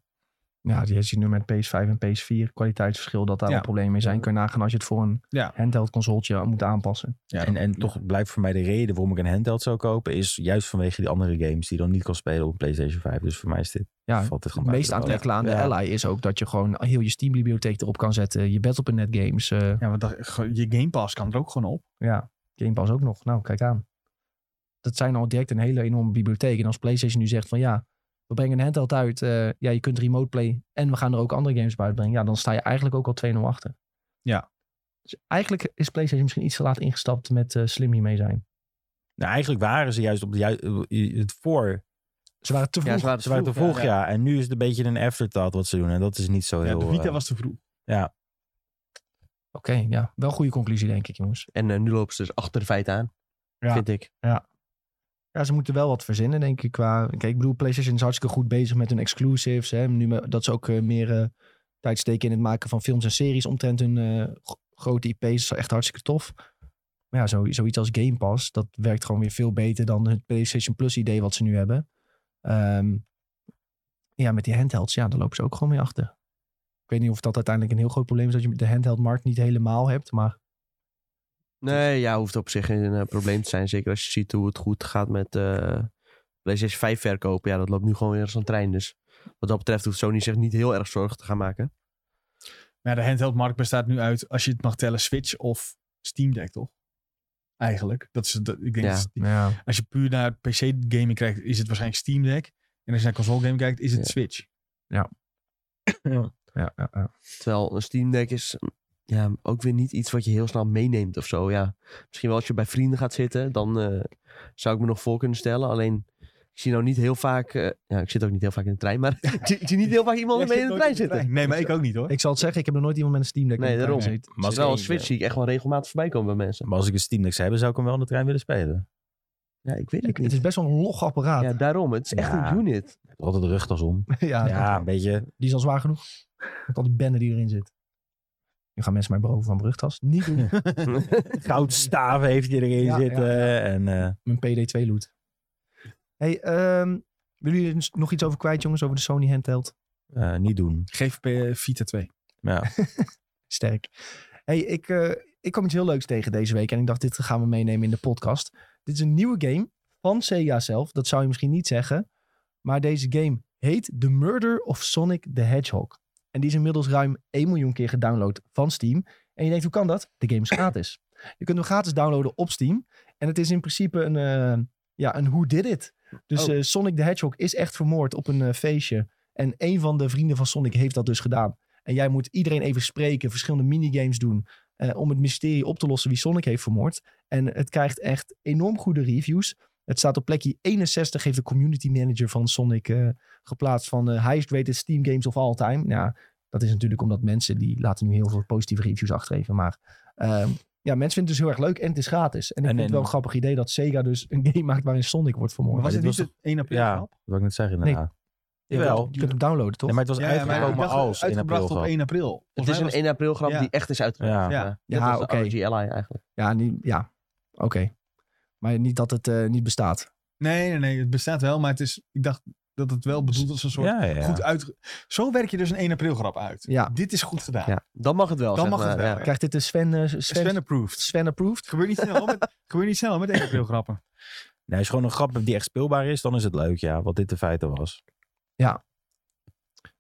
A: Ja, die zie je nu met PS5 en PS4 kwaliteitsverschil dat daar
D: Ja.
A: wel problemen mee zijn. Kun je nagaan als je het voor een
D: Ja.
A: handheld consoletje moet aanpassen.
D: Ja,
C: En, en toch blijft voor mij de reden waarom ik een handheld zou kopen, is juist vanwege die andere games die je dan niet kan spelen op een PlayStation 5. Dus voor mij is dit,
A: Ja,
C: valt dit
A: het
C: gewoon
A: meest
C: buiten de
A: aantrekkelijk aan de
C: Ja.
A: Ally is ook dat je gewoon heel je Steam bibliotheek erop kan zetten. Je Battle.net games, eh
D: ja, want dat, ge- je Game Pass kan er ook gewoon op.
A: ja, Game Pass ook nog. Nou, kijk aan. Dat zijn al direct een hele enorme bibliotheek. En als PlayStation nu zegt van ja, we brengen een handheld uit. eh, ja, je kunt remote play en we gaan er ook andere games bij uitbrengen. Ja, dan sta je eigenlijk ook al 2-0 achter.
D: Ja.
A: Dus eigenlijk is PlayStation misschien iets te laat ingestapt met eh, Slim hiermee zijn.
C: Nou, eigenlijk waren ze juist op de ju- het voor.
A: Ze waren te vroeg.
B: ja ze waren
C: Ze waren te
B: vroeg, ja.
C: vroeg, ja, En nu is het een beetje een afterthought wat ze doen. En dat is niet zo
D: Ja,
C: heel...
D: de Vita
C: eh,
D: was te vroeg.
A: Oké, ja. Wel een goede conclusie, denk ik, jongens.
B: En eh, nu lopen ze dus achter de feiten aan,
D: Ja.
B: vind ik.
A: Ja, ze moeten wel wat verzinnen, denk ik. Qua... Kijk, ik bedoel, PlayStation is hartstikke goed bezig met hun exclusives. Hè. Nu me- dat ze ook eh, meer eh, tijd steken in het maken van films en series omtrent hun eh, gro- grote IP's. Dat is echt hartstikke tof. Maar ja, zo, zoiets als Game Pass, dat werkt gewoon weer veel beter dan het PlayStation Plus idee wat ze nu hebben. Ehm, ja, met die handhelds, ja, daar lopen ze ook gewoon mee achter. Ik weet niet of dat uiteindelijk een heel groot probleem is dat je de handheldmarkt niet helemaal hebt, maar...
B: Nee, ja, hoeft op zich geen eh, probleem te zijn. Zeker als je ziet hoe het goed gaat met eh PlayStation 5 verkopen. Ja, dat loopt nu gewoon weer als een trein. Dus wat dat betreft hoeft Sony zich niet heel erg zorgen te gaan maken.
D: Maar ja, de handheldmarkt bestaat nu uit, als je het mag tellen, Switch of Steam Deck, toch? Eigenlijk. Dat is, dat, ik denk
B: Ja.
D: dat is-
A: Ja.
D: als je puur naar PC-gaming kijkt, is het waarschijnlijk Steam Deck. En als je naar console-gaming kijkt, is het
B: Ja.
D: Switch.
A: Ja, ja, ja.
B: Terwijl een Steam Deck is mm, ja, ook weer niet iets wat je heel snel meeneemt of zo. Ja, misschien wel als je bij vrienden gaat zitten, dan eh, zou ik me nog voor kunnen stellen. Alleen, ik zie nou niet heel vaak... eh, ja, ik zit ook niet heel vaak in de trein, maar ik, zie, ik zie niet heel vaak iemand
D: Jij
B: mee
D: zit
B: in de trein
D: nooit
B: zitten.
D: Nee, maar ik ook niet hoor.
A: Ik zal het zeggen, ik heb nog nooit iemand met een Steam Deck
B: Nee,
A: in de tuin
B: daarom.
A: gezeten.
C: Maar als,
B: Terwijl een
C: ik-
B: Switch zie ik echt wel regelmatig voorbij komen bij mensen.
C: maar als ik een Steam Deck zou hebben, zou ik hem wel in de trein willen spelen.
B: Ja, ik weet het
A: Ik- Het
B: niet.
A: is best wel een log apparaat.
B: Ja, daarom. Het is echt
C: Ja.
B: een unit.
C: Ik heb Altijd de rugtas om.
A: Ja,
C: Ja, een beetje.
A: die is al zwaar genoeg. Met al die benden die erin zit. Nu gaan mensen mij beroven van mijn rugtas. Niet doen.
C: Goudstaven heeft hij erin
A: Ja,
C: zitten.
A: ja,
C: En eh,
A: mijn PD2 loot. Hey, ehm, willen jullie er nog iets over kwijt, jongens? Over de Sony handheld?
C: eh, niet doen.
D: Geef P- Vita 2.
C: Ja.
A: Sterk. Hey, ik, eh, ik kwam iets heel leuks tegen deze week. En ik dacht, dit gaan we meenemen in de podcast. Dit is een nieuwe game van Sega zelf. Dat zou je misschien niet zeggen. Maar deze game heet The Murder of Sonic the Hedgehog. En die is inmiddels ruim 1 miljoen keer gedownload van Steam. En je denkt, hoe kan dat? De game is gratis. Je kunt hem gratis downloaden op Steam. En het is in principe een, eh, ja, een who did it. Dus
B: Oh.
A: eh, Sonic the Hedgehog is echt vermoord op een eh, feestje. En een van de vrienden van Sonic heeft dat dus gedaan. En jij moet iedereen even spreken, verschillende minigames doen. eh, om het mysterie op te lossen wie Sonic heeft vermoord. En het krijgt echt enorm goede reviews. Het staat op plekje 61, heeft de community manager van Sonic eh, geplaatst van eh, highest rated Steam games of all time. Nou, dat is natuurlijk omdat mensen die laten nu heel veel positieve reviews achtergeven. Maar ehm, ja, mensen vinden het dus heel erg leuk en het is gratis. En ik
C: En-
A: vind het wel
C: en-
A: een grappig idee dat Sega dus een game maakt waarin Sonic wordt vermoord.
D: Maar was
C: dit
D: het niet
C: was
D: het 1 april?
C: Ja,
D: grap?
C: dat wil ik net zeggen
A: Nee.
C: inderdaad.
A: Je
C: Jawel.
A: kunt- Je kunt hem downloaden, toch?
C: Nee, maar het was
D: Ja, ja, maar
C: uitgekomen
D: ik dacht,
C: als in
D: uitgebracht
C: april.
D: op
C: gehad.
D: 1 april.
B: Het is een 1 april grap
D: Ja.
B: die echt is uitgebracht.
C: Ja.
D: Ja.
B: Net
A: Ja,
B: als de
A: oké.
B: RG Ally eigenlijk.
A: Ja, niet, ja. oké. Maar niet dat het eh, niet bestaat.
D: Nee, nee, nee. Het bestaat wel, maar het is, ik dacht dat het wel bedoeld was als een soort
C: Ja, ja.
D: goed uit. Zo werk je dus een 1 april grap uit.
A: Ja.
D: Dit is goed gedaan.
B: Ja. Dan mag het wel,
D: Dan
B: zeg
D: mag het
B: maar.
D: wel,
B: Ja.
D: ja.
A: Krijgt dit de Sven, eh, Sven,
D: Sven
A: Sven,
D: approved. Het
A: approved?
D: gebeurt niet snel met, het gebeurt niet snel met 1 april grappen.
C: Nee, als je gewoon een grap hebt die echt speelbaar is, dan is het leuk, ja. Wat dit de feiten was.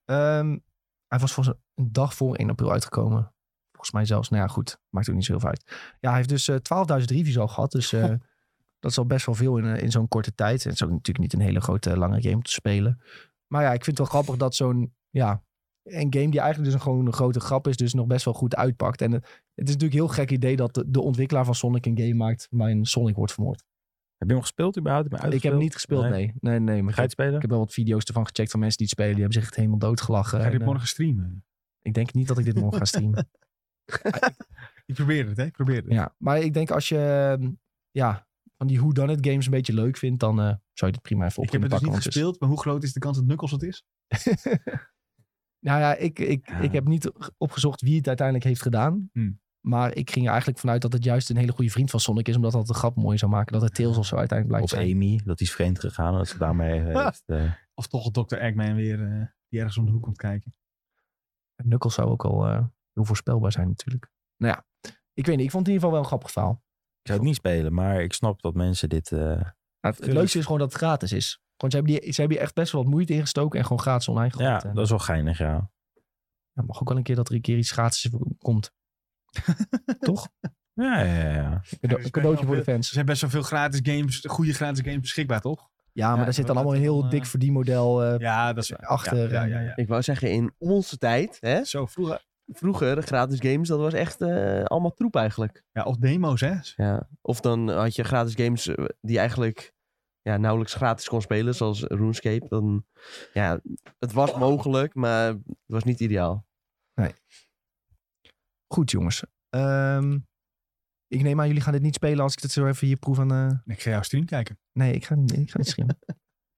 A: Ehm, hij was volgens een dag voor 1 april uitgekomen. Volgens mij zelfs. Nou ja, goed. Maakt ook niet zoveel uit. Ja, hij heeft dus eh, 12.000 reviews al gehad. Dus eh, dat is al best wel veel in, eh, in zo'n korte tijd. En het is ook natuurlijk niet een hele grote eh, lange game om te spelen. Maar ja, ik vind het wel grappig dat zo'n... Ja, een game die eigenlijk dus een, gewoon een grote grap is... dus nog best wel goed uitpakt. En het, het is natuurlijk een heel gek idee dat de, de ontwikkelaar van Sonic een game maakt... waarin Sonic wordt vermoord.
C: Heb je hem gespeeld überhaupt? Heb je hem
A: Ik heb hem niet gespeeld, nee.
C: Nee.
A: Nee, nee. maar
C: Ga je het spelen?
A: ik heb wel wat video's ervan gecheckt van mensen die het spelen. Die hebben zich echt helemaal doodgelachen.
D: Ga je
A: En,
D: dit
A: eh,
D: morgen streamen?
A: ik denk niet dat ik dit morgen ga streamen.
D: Ik probeer het, hè? Ik probeer het.
A: ja, maar ik denk als je ehm, ja, van die whodunit games een beetje leuk vindt, dan eh, zou je dit prima even op
D: ik heb
A: kunnen
D: het dus
A: pakken.
D: niet
A: want het is-
D: gespeeld, maar hoe groot is de kans dat Knuckles het is?
A: Nou ja, ik, ik,
C: Ja.
A: ik heb niet opgezocht wie het uiteindelijk heeft gedaan.
D: Hmm.
A: Maar ik ging er eigenlijk vanuit dat het juist een hele goede vriend van Sonic is. Omdat dat de grap mooi zou maken. Dat het Tails of zo uiteindelijk
C: Of
A: blijkt zijn.
C: Amy, dat is vreemd gegaan. en Dat ze daarmee heeft. eh,
D: Of toch Dr. Eggman weer eh, die ergens om de hoek komt kijken.
A: Knuckles zou ook al eh, heel voorspelbaar zijn natuurlijk. Nou ja, ik weet niet. Ik vond het in ieder geval wel een grappig verhaal.
C: ik zou het niet spelen, maar ik snap dat mensen dit... eh,
A: Nou, het, het leukste is gewoon dat het gratis is. Want ze hebben, die, ze hebben hier echt best wel wat moeite in gestoken. En gewoon gratis online gegooid. eh.
C: ja,
A: En-
C: dat is wel geinig, ja.
A: Ja, mag ook wel een keer dat er een keer iets gratis komt. Toch?
C: Ja, ja, ja, ja.
D: dus
A: Een cadeau- een cadeautje voor de
D: Er
A: fans.
D: zijn best wel veel gratis games, goede gratis games beschikbaar, toch?
A: Ja, maar
D: Ja,
A: daar zit dan
D: dat
A: allemaal een
D: dan,
A: heel
D: eh,
A: dik verdienmodel eh,
D: Ja, dat is waar.
A: achter.
D: Ja,
A: en,
D: ja, ja,
B: Ik wou zeggen, in onze tijd, hè,
D: ja. Zo vroeger.
B: vroeger, gratis games, dat was echt eh, allemaal troep eigenlijk.
D: Ja, of demo's, hè?
B: Ja. Of dan had je gratis games eh, die je eigenlijk ja, nauwelijks gratis kon spelen, zoals RuneScape. Dan, ja, het was mogelijk, maar het was niet ideaal.
A: Goed, jongens. Ehm, ik neem aan, jullie gaan dit niet spelen als ik het zo even hier proef aan... eh,
D: Ik ga jouw stream kijken.
A: Nee, ik ga, niet- ik ga niet schreeuwen.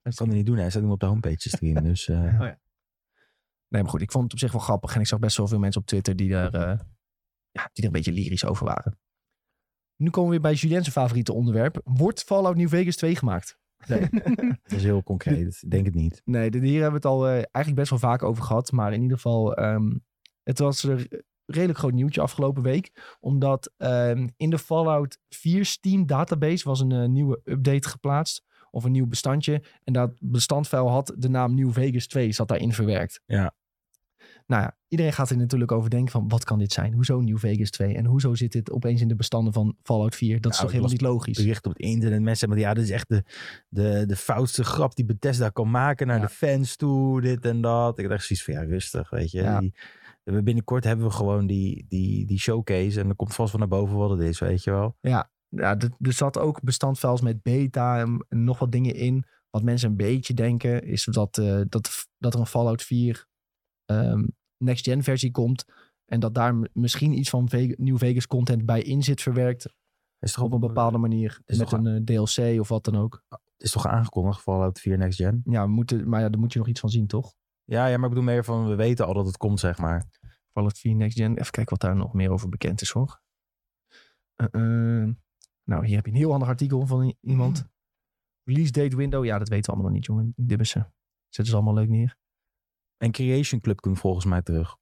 C: Dat kan hij niet doen. Hij staat hem op de homepage te streamen. Dus eh,
D: Oh
A: Ja. Nee, maar goed. Ik vond het op zich wel grappig. En ik zag best wel veel mensen op Twitter die er, eh, ja, die er een beetje lyrisch over waren. Nu komen we weer bij Julien's favoriete onderwerp. Wordt Fallout New Vegas 2 gemaakt?
C: dat is heel concreet. Ik denk het niet.
A: Nee, dit- hier hebben we het al eh, eigenlijk best wel vaak over gehad. Maar in ieder geval, ehm, het was er redelijk groot nieuwtje afgelopen week. Omdat ehm, in de Fallout 4 Steam database was een eh, nieuwe update geplaatst. of een nieuw bestandje. En dat bestandvuil had de naam New Vegas 2 zat daarin verwerkt.
C: Ja.
A: Nou ja, iedereen gaat er natuurlijk over denken van wat kan dit zijn? Hoezo New Vegas 2? En hoezo zit dit opeens in de bestanden van Fallout 4? Dat is
C: Nou,
A: toch helemaal
C: het
A: niet logisch?
C: bericht op het internet. Mensen maar ja, dit is echt de, de, de foutste grap die Bethesda kan maken naar
A: Ja.
C: de fans toe, dit en dat. Ik dacht zoiets van, ja, rustig, weet je.
A: Ja.
C: Die- we- binnenkort hebben we gewoon die, die, die showcase en dan komt vast wel naar boven wat het is, weet je wel.
A: ja, d- er zat ook bestandfiles met beta en, en nog wat dingen in. Wat mensen een beetje denken is dat, eh, dat, f- dat er een Fallout 4 ehm, next-gen versie komt. En dat daar m- misschien iets van Ve- New Vegas content bij in zit verwerkt.
C: Is toch
A: Op een bepaalde manier.
C: is
A: Met
C: toch
A: een eh, DLC of wat dan ook.
C: Is toch aangekondigd, Fallout 4 Next Gen?
A: Ja, we moeten, maar ja, daar moet je nog iets van zien, toch?
C: Ja, ja, maar ik bedoel meer van, we weten al dat het komt, zeg maar.
A: Fallout 4 Next Gen. Even kijken wat daar nog meer over bekend is, hoor. Eh, eh. nou, hier heb je een heel handig artikel van i- iemand.
C: Mm.
A: Release date window. Ja, dat weten we allemaal nog niet, jongen. Dibbissen. Zetten ze allemaal leuk neer.
C: En Creation Club komt volgens mij terug.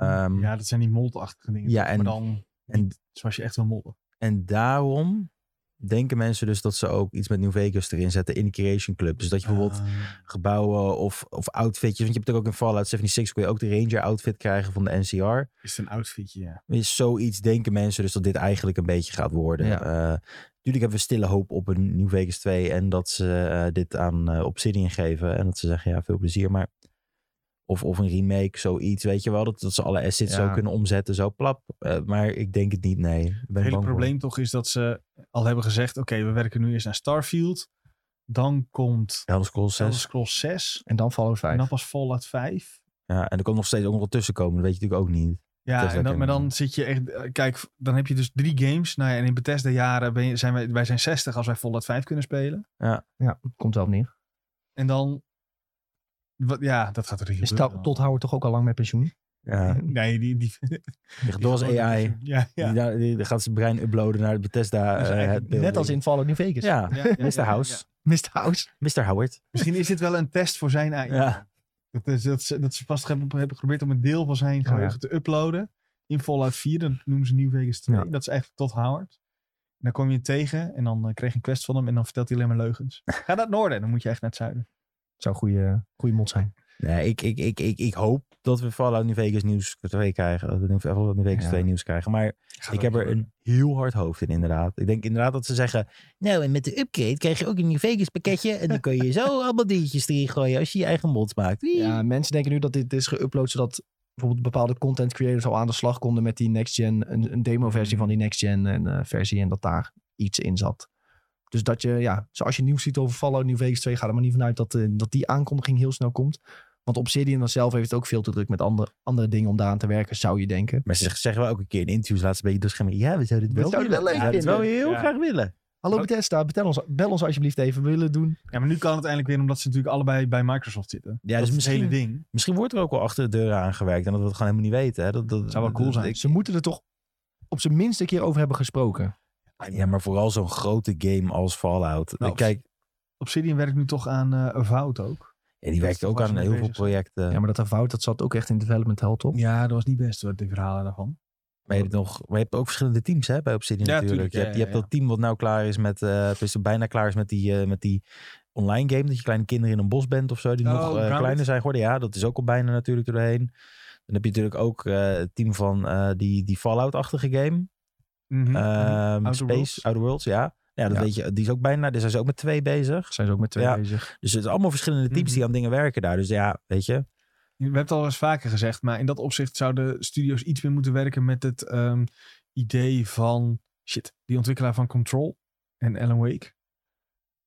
C: Ehm,
D: Ja, dat zijn die moldachtige dingen.
C: Ja,
D: toch?
C: en-
D: maar dan
C: en-
D: zoals je echt wil molden.
C: En daarom denken mensen dus dat ze ook iets met New Vegas erin zetten in de Creation Club. Dus dat je bijvoorbeeld
D: Ah.
C: gebouwen of, of outfitjes. Want je hebt natuurlijk ook in Fallout 76 kun je ook de Ranger outfit krijgen van de NCR.
D: is het een outfitje, ja.
C: Dus zoiets denken mensen dus dat dit eigenlijk een beetje gaat worden.
A: Ja.
C: Eh, Natuurlijk hebben we stille hoop op een New Vegas 2 en dat ze eh, dit aan eh, Obsidian geven. En dat ze zeggen, ja, veel plezier, maar... Of, of een remake, zoiets, weet je wel. Dat, dat ze alle assets
A: Ja.
C: zo kunnen omzetten, zo plap. Eh, maar ik denk het niet, nee. Ik ben
D: Het hele
C: bang voor.
D: probleem toch is dat ze al hebben gezegd... oké, we werken nu eerst naar Starfield. Dan komt
C: Elder Scrolls 6.
D: Elder Scrolls 6.
A: En dan Fallout 5.
D: En dan pas Fallout 5.
C: Ja, en er kan nog steeds ook nog wat tussen komen. Dat weet je natuurlijk ook niet.
D: Ja,
C: Bethesda
D: en dan, maar
C: kennen we.
D: dan zit je echt... eh, Kijk, dan heb je dus drie games. Nou ja, en in Bethesda jaren ben je, zijn wij, wij zijn 60 als wij Fallout 5 kunnen spelen.
A: Ja, komt wel op neer.
D: En dan... Wat, ja, dat gaat er niet
A: Is
D: gebeuren
A: tot
D: dan.
A: Tothouwer toch ook al lang met
C: Eh,
A: pensioen?
C: Ja,
D: Nee, die... die, die
C: ligt door als
D: die-
C: AI.
D: Ja, ja.
C: Die, daar- die, die gaat zijn brein uploaden naar het Bethesda.
D: Dat is
C: eh,
D: eigenlijk
C: het
A: Net
C: beeld.
A: als in Fallout New Vegas.
C: Ja,
D: Ja, ja, ja,
C: Mr.
D: ja,
C: House.
D: ja.
A: Mr. House.
C: Mr. Howard.
D: Misschien is dit wel een test voor zijn AI.
C: Ja.
D: Dat, is- dat, ze, dat ze vast hebben, hebben geprobeerd om een deel van zijn
A: ja.
D: geheugen te uploaden. In Fallout 4, dan noemen ze New Vegas 2.
A: Ja.
D: Dat is eigenlijk tot Howard. En dan kom je hem tegen en dan eh, kreeg je een quest van hem. En dan vertelt hij alleen maar leugens. Ga naar het noorden en dan moet je echt naar het zuiden.
A: Zou een goede, goede mond zijn.
C: Nee, ik, ik, ik, ik, ik hoop dat we Fallout New Vegas nieuws 2 krijgen. Dat we Fallout New Vegas
A: Ja.
C: 2 nieuws krijgen. Maar ik heb er een heel hard hoofd in, inderdaad. Ik denk inderdaad dat ze zeggen... Nou, en met de upgrade krijg je ook een New Vegas pakketje. En dan kun je zo allemaal dingetjes erin gooien als je je eigen mod maakt. Wie?
A: Ja, mensen denken nu dat dit is geüpload zodat bijvoorbeeld bepaalde content creators al aan de slag konden met die next gen, een, een demo
D: Mm.
A: versie van die next gen en, eh, versie en dat daar iets in zat. Dus dat je, ja, zoals je nieuws ziet over Fallout New Vegas 2, ga er maar niet vanuit dat, eh, dat die aankondiging heel snel komt. Want Obsidian dan zelf heeft het ook veel te druk met andere, andere dingen om daaraan te werken, zou je denken.
C: Maar ze zeggen wel ook een keer in interviews laatst een beetje doorschermen. Ja, we zouden het
A: We
C: wel
A: zouden het
C: willen.
A: wel
C: We
A: leuk
C: zouden het
A: vinden.
C: wel heel
D: Ja.
C: graag willen.
A: Hallo Bethesda, bel ons, bel ons alsjeblieft even, we willen het doen.
D: Ja, maar nu kan het eindelijk weer omdat ze natuurlijk allebei bij Microsoft zitten.
C: Ja,
D: dat
C: dus
D: is het
C: misschien,
D: hele ding.
C: misschien wordt er ook wel achter de deuren aangewerkt. En dat we het gewoon helemaal niet weten. Hè? Dat, dat
D: Zou wel cool
C: dat-
D: zijn.
C: ik-
A: Eh, Ze moeten er toch op zijn minst een keer over hebben gesproken.
C: ja, maar vooral zo'n grote game als Fallout.
D: Nou,
C: Kijk,
D: Obsidian werkt nu toch aan eh Avowed ook.
C: ja, die werkt
D: dat
C: ook
D: was
C: aan
D: met
C: heel veel
D: deze-
C: projecten.
A: Ja, maar dat fout, dat zat ook echt in development hell, toch?
D: Ja, dat was niet best hoor, de verhalen daarvan.
C: Maar je hebt, nog, maar je hebt ook verschillende teams hè, bij Obsidian
D: Ja,
C: natuurlijk.
D: tuurlijk,
C: je hebt,
D: ja,
C: je hebt
D: ja,
C: dat team wat nou klaar is met, eh, of is bijna klaar is met die, eh, met die online game. Dat je kleine kinderen in een bos bent of zo. Die
D: Oh,
C: nog eh,
D: Grounded.
C: kleiner zijn geworden. Ja, dat is ook al bijna natuurlijk doorheen. Dan heb je natuurlijk ook eh, het team van eh, die, die Fallout-achtige game. Ehm,
D: Mhm. Outer
C: Space,
D: Worlds.
C: Outer Worlds, ja. Ja, dat
A: Ja.
C: weet je. Die is ook bijna, daar zijn ze ook met twee bezig.
A: Zijn ze ook met twee
C: Ja.
A: bezig.
C: Dus het zijn allemaal verschillende
D: Hm,
C: teams die aan dingen werken daar. Dus ja, weet je.
D: We hebben het al eens vaker gezegd, maar in dat opzicht zouden studio's iets meer moeten werken met het ehm, idee van shit, die ontwikkelaar van Control en Alan Wake.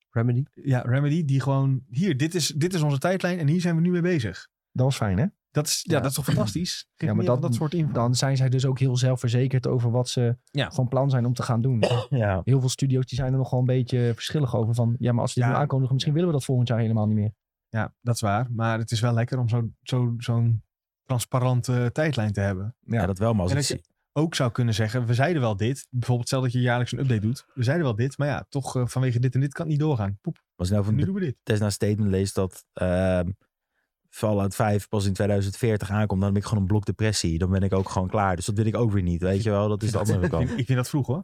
B: Remedy.
D: Ja, Remedy, die gewoon hier, dit is, dit is onze tijdlijn en hier zijn we nu mee bezig.
A: Dat was fijn, hè?
D: Dat is, ja,
A: Ja.
D: dat is toch fantastisch?
A: Ja,
D: ja,
A: maar
D: maar dat,
A: dat-
D: dat soort info.
A: dan zijn zij dus ook heel zelfverzekerd over wat ze
D: Ja.
A: van plan zijn om te gaan doen.
C: Ja.
A: Heel veel studio's die zijn er nogal een beetje verschillig over. Van ja, maar als we dit
D: Ja.
A: nu aankondigen, misschien willen we dat volgend jaar helemaal niet meer.
D: Ja, dat is waar. Maar het is wel lekker om zo'n zo, zo'n transparante tijdlijn te hebben.
C: Ja, dat wel. Maar als
D: En
C: ik
D: dat je-
C: zie-
D: Ook zou kunnen zeggen, we zeiden wel dit. Bijvoorbeeld stel dat je jaarlijks een update doet. We zeiden wel dit, maar ja, toch eh, vanwege dit en dit kan het niet doorgaan. Poep,
C: als ik nou van
D: nu
C: de
D: doen we dit.
C: Tesla statement lees dat ehm, Fallout 5 pas in 2040 aankomt, dan ben ik gewoon een blok depressie. Dan ben ik ook gewoon klaar. Dus dat wil ik ook weer niet, weet je wel. Dat is de andere
D: Ik
C: kant.
D: vind, ik vind dat vroeg hoor.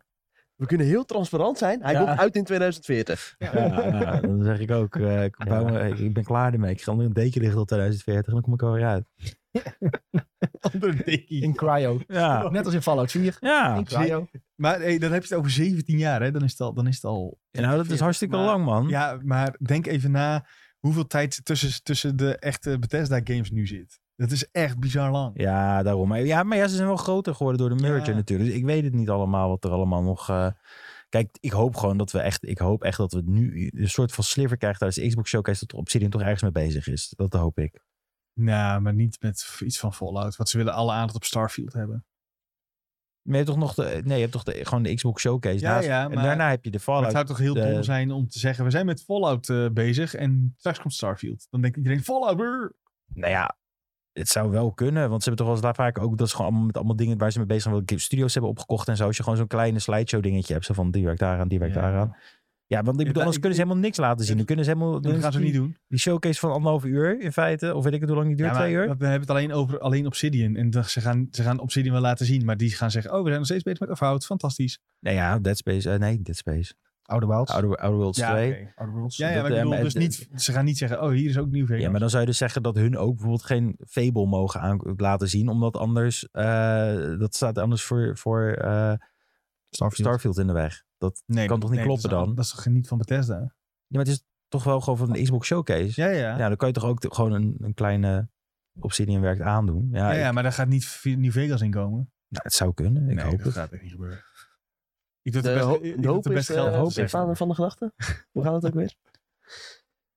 B: We kunnen heel transparant zijn. Hij
C: Ja.
B: komt uit in 2040.
C: Ja, ja, dan zeg ik ook, eh, ik, bouw me- ik- ik ben klaar ermee. Ik ga onder een deken liggen tot 2040 en dan kom ik er weer uit.
D: Andere dikkie.
A: In cryo.
C: Ja.
A: Net als in Fallout 4.
C: Ja.
A: in cryo.
D: Maar hey, dan heb je het over 17 jaar, hè? Dan is het al. Dan is het al
C: Nou, dat is hartstikke
D: Maar-
C: lang, man.
D: Ja, maar denk even na hoeveel tijd tussen, tussen de echte Bethesda-games nu zit. Dat is echt bizar lang.
C: Ja, daarom. Maar, ja, maar ja, ze zijn wel groter geworden door de merger
D: Ja.
C: natuurlijk. Dus ik weet het niet allemaal wat er allemaal nog... eh, Kijk, ik hoop gewoon dat we echt... Ik hoop echt dat we nu een soort van sliver krijgen tijdens de Xbox Showcase... dat Obsidian toch ergens mee bezig is. Dat hoop ik.
D: Nou, maar niet met iets van Fallout. Want ze willen alle aandacht op Starfield hebben.
C: Maar je hebt toch nog de... Nee, je hebt toch de, gewoon de Xbox Showcase.
D: Ja,
C: naast-
D: ja,
C: en
D: maar-
C: daarna heb je de
D: Maar het
C: Fallout. eh,
D: zou toch heel
C: de-
D: dom zijn om te zeggen, we zijn met Fallout eh, bezig en straks komt Starfield. Dan denkt iedereen, Fallout, brr.
C: Nou ja, het zou wel kunnen. Want ze hebben toch wel eens daar vaak ook... Dat is gewoon allemaal met allemaal dingen waar ze mee bezig zijn. Welke studios ze hebben opgekocht en zo. Als je gewoon zo'n kleine slideshow dingetje hebt. Zo van, die werkt daaraan, die werkt
D: Ja.
C: daaraan. Ja, want ik
D: Ja,
C: bedoel, anders
D: ik-
C: kunnen ze helemaal niks laten zien. Dan kunnen ze helemaal...
D: Dat gaan ze niet doen.
C: Die showcase van anderhalf uur in feite. Of weet ik het hoe lang die duurt,
D: Ja, maar
C: twee uur.
D: dat- We hebben het alleen over alleen Obsidian. En dat- ze gaan, ze gaan Obsidian wel laten zien. Maar die gaan zeggen, oh, we zijn nog steeds bezig met Avowed. Fantastisch.
C: Nee, ja, Dead Space. eh, nee, Dead Space.
A: Oude Wilds.
C: Outer, Outer Worlds 2.
D: Ja, ja,
C: Dat,
D: maar
C: eh,
D: ik bedoel,
C: maar
D: dus
C: het-
D: niet, ze gaan niet zeggen, oh, hier is ook nieuw
C: Ja,
D: Vegas.
C: maar dan zou je dus zeggen dat hun ook bijvoorbeeld geen Fable mogen aan, laten zien. Omdat anders, eh, dat staat anders voor, voor eh,
A: Starfield.
C: Starfield in de weg. Dat,
D: Nee,
C: Kan toch niet
D: dat is
C: kloppen
D: al-
C: dan?
D: Dat is toch niet van Bethesda?
C: ja, maar het is toch wel gewoon van de Xbox Showcase.
D: Ja, ja. Ja,
C: Nou, dan kan je toch ook te- gewoon een, een kleine Obsidian werkt aandoen. Ja,
D: ja,
C: ik-
D: maar daar gaat niet v- New Vegas in komen.
C: nou, het zou kunnen. Ik hoop het.
D: gaat echt niet gebeuren. Ik doe
B: De,
D: het
B: ho-
D: best, ik
B: de
D: doe
B: hoop
D: het
B: is
D: best
B: eh,
D: geld
B: de
D: hoop
B: vader
D: zeggen.
B: van de gedachte. Hoe gaat het ook weer?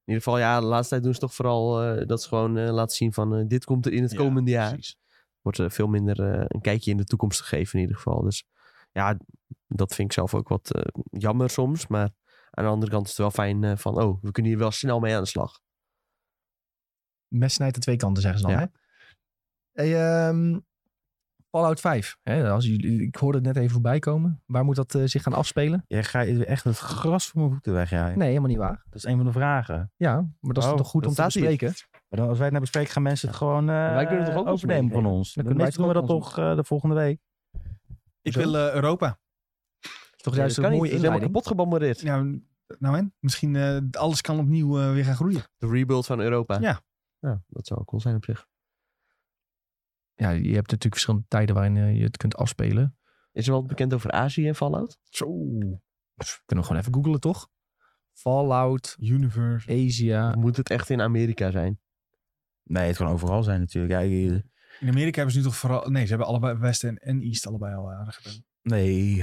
B: In ieder geval, ja, de laatste tijd doen ze toch vooral eh, dat ze gewoon eh, laten zien van eh, dit komt er in het
D: Ja,
B: komende jaar.
D: precies.
B: Wordt eh, veel minder eh, een kijkje in de toekomst gegeven in ieder geval. Dus ja, dat vind ik zelf ook wat eh, jammer soms. Maar aan de andere kant is het wel fijn eh, van, oh, we kunnen hier wel snel mee aan de slag.
A: mes snijdt aan twee kanten, zeggen ze dan.
B: Ja.
A: Hè? Hey, ehm, Fallout 5. Hè? Als jullie, ik hoorde het net even voorbij komen. Waar moet dat eh, zich gaan afspelen?
C: Jij gaat echt het gras voor mijn voeten wegjaaien.
A: Nee, helemaal niet waar.
C: Dat is een van de vragen.
A: Ja, maar dat is
C: Oh,
A: toch goed
B: dat
A: om te
B: staat hier.
A: bespreken?
C: Maar dan, als wij het nou bespreken, gaan mensen het gewoon eh
B: wij kunnen het toch ook ons
C: overnemen van
B: meenemen?
C: ons.
A: Dan
C: Dan
A: kunnen wij
C: doen we
A: het
C: dat
A: ook ons
C: toch eh, de volgende week.
D: Ik
A: Hoezo?
D: wil eh, Europa.
A: Is toch juist
B: dat
A: een
B: kan niet,
A: mooie
B: het is helemaal
A: inleiding?
B: kapot gebombardeerd.
D: Nou, nou en? Misschien eh, alles kan opnieuw eh, weer gaan groeien.
B: De rebuild van Europa.
D: Ja.
B: Nou, dat zou ook cool zijn op zich.
A: Ja, je hebt natuurlijk verschillende tijden waarin eh, je het kunt afspelen.
B: Is er wat bekend over Azië en Fallout?
A: Zo. Pff, Kunnen we gewoon even googlen, toch? Fallout,
D: Universe.
A: Asia.
B: Moet het echt in Amerika zijn?
C: Nee, het kan overal zijn natuurlijk. Ja, je-
D: In Amerika hebben ze nu toch vooral... Nee, ze hebben allebei West en, en East allebei al eh, aardig gedaan.
C: nee,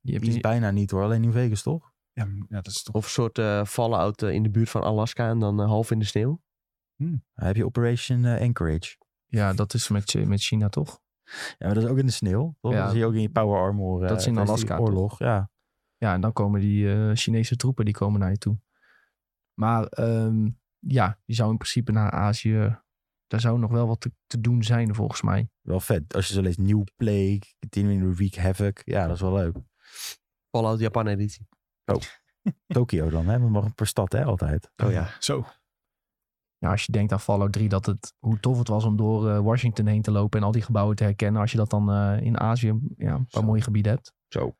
A: Je hebt
C: is
A: die-
C: bijna niet hoor. Alleen New Vegas toch?
D: Ja, m- ja, dat is toch...
B: Of een soort eh, Fallout eh, in de buurt van Alaska en dan eh, half in de sneeuw?
C: Dan heb je Operation eh, Anchorage.
A: ja, dat is met, eh, met China, toch?
C: Ja, maar dat is ook in de sneeuw. Toch?
A: Ja.
C: Dat zie je ook in je Power Armor. eh,
A: Dat is in
C: tijdens
A: Alaska,
C: die Oorlog, ja.
A: Ja, en dan komen die eh, Chinese troepen die komen naar je toe. Maar ehm, ja, je zou in principe naar Azië. Daar zou nog wel wat te, te doen zijn, volgens mij.
C: Wel vet. Als je zo leest New Plague, Continuing Week Havoc. Ja, dat is wel leuk.
B: Fallout Japan editie.
C: Tokio dan, hè? We mogen per stad, hè? Altijd.
B: Oh ja.
D: Zo.
A: Ja, als je denkt aan Fallout 3, dat het, hoe tof het was om door eh, Washington heen te lopen en al die gebouwen te herkennen. Als je dat dan eh, in Azië ja, een paar
C: Zo.
A: mooie gebieden hebt.
C: Zo.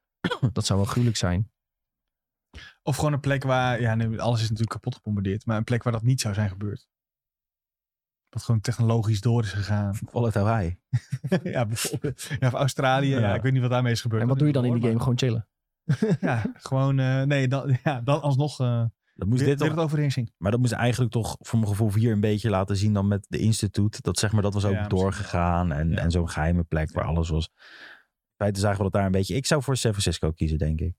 A: Dat zou wel gruwelijk zijn.
D: Of gewoon een plek waar... Ja, nee, alles is natuurlijk kapot gebombardeerd. Maar een plek waar dat niet zou zijn gebeurd. Wat gewoon technologisch door is gegaan.
C: Fallout Hawaii.
D: ja, bijvoorbeeld. Ja, of Australië. Ja.
C: Ja.
D: ik weet niet wat daarmee is gebeurd.
A: En wat doe je dan in die game?
D: Maar-
A: Gewoon chillen.
D: Ja, gewoon... eh, nee, dan, ja, dan alsnog... eh
C: Dat moest
D: weer,
C: dit
D: weer
C: toch
D: het overheersing.
C: Maar dat moest eigenlijk toch voor mijn gevoel hier een beetje laten zien dan met de instituut. Dat zeg maar, dat was ook
D: Ja, misschien
C: doorgegaan en,
D: Ja.
C: en zo'n geheime plek waar alles was. In feite zagen we dat daar een beetje. Ik zou voor San Francisco kiezen, denk ik.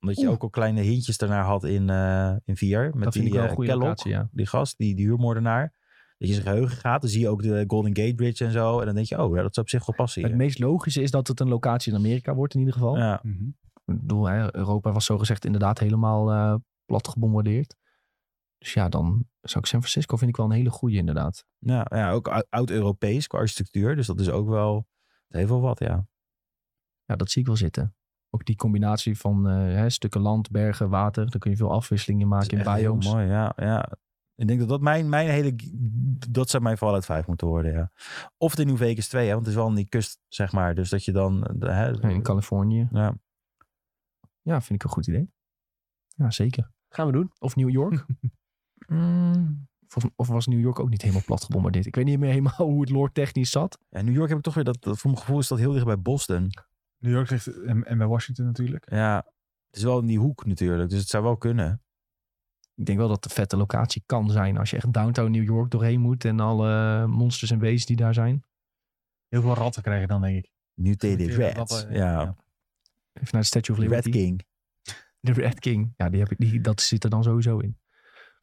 C: Omdat je
A: Oeh.
C: ook al kleine hintjes daarnaar had in, eh in VR. Met
A: dat vind
C: die
A: ik wel een
C: eh,
A: goede
C: Kellogg,
A: locatie, ja.
C: die gast, die, die huurmoordenaar. Dat je zijn geheugen gaat. Dan zie je ook de Golden Gate Bridge en zo. En dan denk je, oh ja, dat zou op zich wel passen
A: Het
C: hier.
A: meest logische is dat het een locatie in Amerika wordt, in ieder geval.
C: Ja.
D: Mhm.
A: Ik bedoel, hè, Europa was zogezegd inderdaad helemaal eh, plat gebombardeerd. Dus ja, dan zou ik San Francisco vind ik wel een hele goede inderdaad.
C: Ja, ja, ook ou- oud-Europees qua architectuur. Dus dat is ook wel, het heeft wel wat, ja.
A: Ja, dat zie ik wel zitten. Ook die combinatie van eh, hè, stukken land, bergen, water. Daar kun je veel afwisselingen maken in
C: is echt heel
A: biomes.
C: mooi, ja, ja. Ik denk dat dat mijn, mijn hele... Dat zou mijn Fallout 5 moeten worden, ja. Of de New Vegas 2, hè, want het is wel aan die kust, zeg maar. Dus dat je dan... eh, De, hè,
A: En In Californië.
C: ja.
A: Ja, vind ik een goed idee. Ja, zeker.
B: Gaan we doen.
A: Of New York. Mm, volgens- of was New York ook niet helemaal plat gebombardeerd? Ik weet niet meer helemaal hoe het lore technisch zat.
C: En New York heb ik toch weer dat, dat voor mijn gevoel is dat heel dicht bij Boston.
D: New York ligt, en, en bij Washington natuurlijk.
C: Ja, het is wel in die hoek natuurlijk, dus het zou wel kunnen.
A: Ik denk wel dat het een vette locatie kan zijn. Als je echt downtown New York doorheen moet. En alle monsters en wezens die daar zijn.
D: Heel veel ratten krijgen dan, denk ik.
C: Mutated
D: Mutated
C: Rats.
D: ratten,
C: eh, Ja,
D: ja.
A: Even naar de Statue of
C: Red
A: Liberty.
C: King.
A: De Red King. Ja, die heb ik, die, dat zit er dan sowieso in.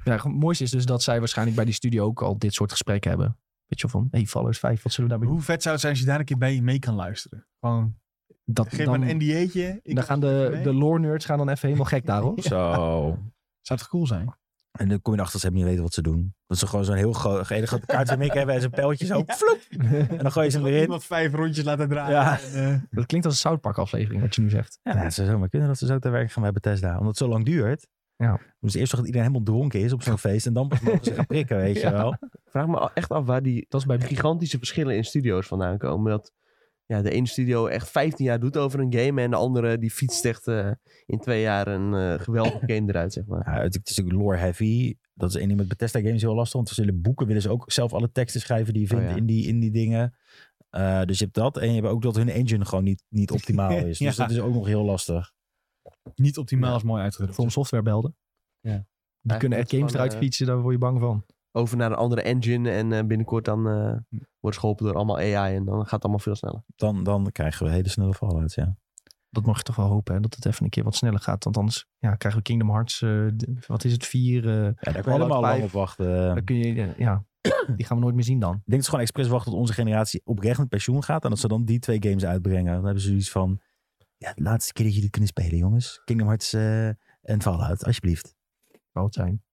A: Ja, het mooiste is dus dat zij waarschijnlijk bij die studio ook al dit soort gesprekken hebben. Weet je wel, van, hey, Fallout 5, wat zullen we daarmee doen?
D: Hoe vet zou het zijn als je daar een keer bij mee kan luisteren? Gewoon,
A: Dat,
D: geef
A: dan,
D: me een NDA'tje. ik-
A: dan gaan de,
D: mee.
A: de lore nerds gaan dan even helemaal gek daar, hoor.
C: Zo.
D: Zou het cool zijn?
C: En dan kom je erachter dat ze helemaal niet weten wat ze doen. Dat ze gewoon zo'n heel gro- hele grote kaart van Mick hebben en zo'n pijltje zo. Vloep, en dan gooi je ze
D: Dat
C: erin.
D: Iemand vijf rondjes laten draaien.
C: Ja.
D: en, eh,
A: dat klinkt als een South Park aflevering, wat je nu zegt.
C: Ja, het zou zomaar kunnen dat ze zo te werk gaan bij Bethesda. Omdat het zo lang duurt.
A: Ja.
C: Dus eerst zorgen dat iedereen helemaal dronken is op zo'n feest. En dan pas mogen ze gaan prikken, weet je
A: Ja.
C: wel.
B: vraag me al- echt af waar die
A: Dat is bij
B: gigantische verschillen in studio's vandaan komen. Dat ja, de ene studio echt 15 jaar doet over een game en de andere die fietst echt eh, in twee jaar een eh, geweldige game eruit, zeg maar.
C: Ja, het het is natuurlijk lore heavy. Dat is één ding met Bethesda games heel lastig. Want ze zullen boeken willen ze ook zelf alle teksten schrijven die je vindt
B: Oh ja.
C: in, die, in die dingen. Eh, dus je hebt dat. En je hebt ook dat hun engine gewoon niet, niet optimaal is. Dus
D: Ja.
C: dat is ook nog heel lastig.
D: niet optimaal is mooi uitgedrukt.
A: From Software belden.
B: Ja.
A: Die kunnen echt
B: Eigenlijk
A: games
B: van,
A: eruit
B: eh,
A: fietsen, daar word je bang van.
B: Over naar een andere engine en eh, binnenkort dan eh, wordt geholpen door allemaal AI en dan gaat het allemaal veel sneller.
C: Dan, dan krijgen we hele snelle Fallout, ja.
A: Dat mag je toch wel hopen, hè, dat het even een keer wat sneller gaat. Want anders ja, krijgen we Kingdom Hearts, eh, d- wat is het, 4.
C: ja daar
A: Fallout
C: kan je allemaal lang
A: vijf.
C: op wachten.
A: dan kun je, eh, ja, die gaan we nooit meer zien dan.
C: Ik denk dat ze gewoon expres wachten tot onze generatie oprecht met pensioen gaat. En dat ze dan die twee games uitbrengen. Dan hebben ze zoiets van... Ja, de laatste keer dat jullie dit kunnen spelen, jongens. Kingdom Hearts eh, en Fallout, alsjeblieft.
A: Zou het zijn.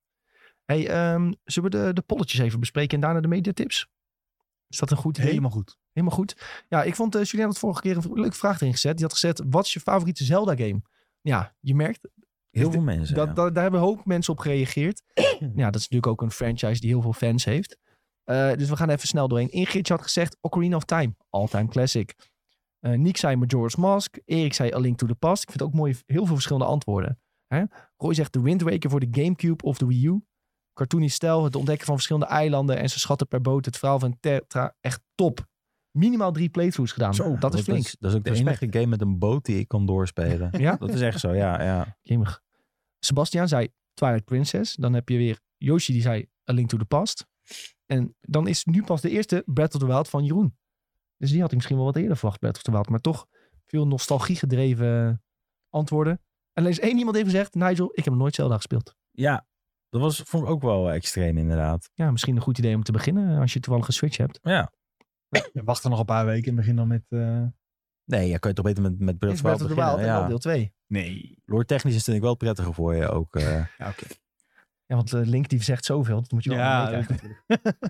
A: Hey, ehm, zullen we de, de polletjes even bespreken en daarna de mediatips? Is dat een goed idee?
D: Dus Helemaal goed.
A: Helemaal goed. Ja, ik vond eh Julien had vorige keer een v- leuke vraag erin gezet. Die had gezet, wat is je favoriete Zelda-game? Ja, je merkt,
C: Heel
A: Is
C: veel mensen,
A: dat,
C: ja.
A: dat- daar hebben een hoop mensen op gereageerd. ja, dat is natuurlijk ook een franchise die heel veel fans heeft. Eh, dus we gaan even snel doorheen. Ingridje had gezegd, Ocarina of Time, all-time classic. Eh Nick zei Majora's Mask. Erik zei A Link to the Past. Ik vind ook mooi, heel veel verschillende antwoorden. Hè? Roy zegt The Wind Waker voor de Gamecube of de Wii U. Cartoony stijl, het ontdekken van verschillende eilanden en ze schatten per boot. Het verhaal van Tetra, echt top. Minimaal drie playthroughs gedaan.
C: Zo,
A: dat is flink.
C: Dat is, ook de
A: Respect.
C: enige game met een boot die ik kan doorspelen.
A: Ja?
C: Dat is echt zo, ja. ja.
A: Jemig. Sebastian zei Twilight Princess. Dan heb je weer Yoshi die zei A Link to the Past. En dan is nu pas de eerste Breath of the Wild van Jeroen. Dus die had ik misschien wel wat eerder verwacht, Breath of the Wild. Maar toch veel nostalgie gedreven antwoorden. En er is één iemand die heeft gezegd, Nigel, ik heb nog nooit Zelda gespeeld.
C: Ja, dat was, vond ik ook wel extreem inderdaad.
A: Ja, misschien een goed idee om te beginnen eh, als je toevallig een Switch hebt.
C: Ja.
D: Ja, wacht er nog een paar weken en begin dan met... eh,
C: Nee, ja, kan je toch beter met, met Breath
A: Is
C: of the Wild beginnen.
A: en dan
C: Ja.
A: deel 2.
D: Nee.
C: Lore technisch is het denk ik wel prettiger voor je ook. eh.
D: Ja, oké.
A: Ja, want eh, Link die zegt zoveel, dat moet je wel
D: Ja,
A: ja, meekrijgen.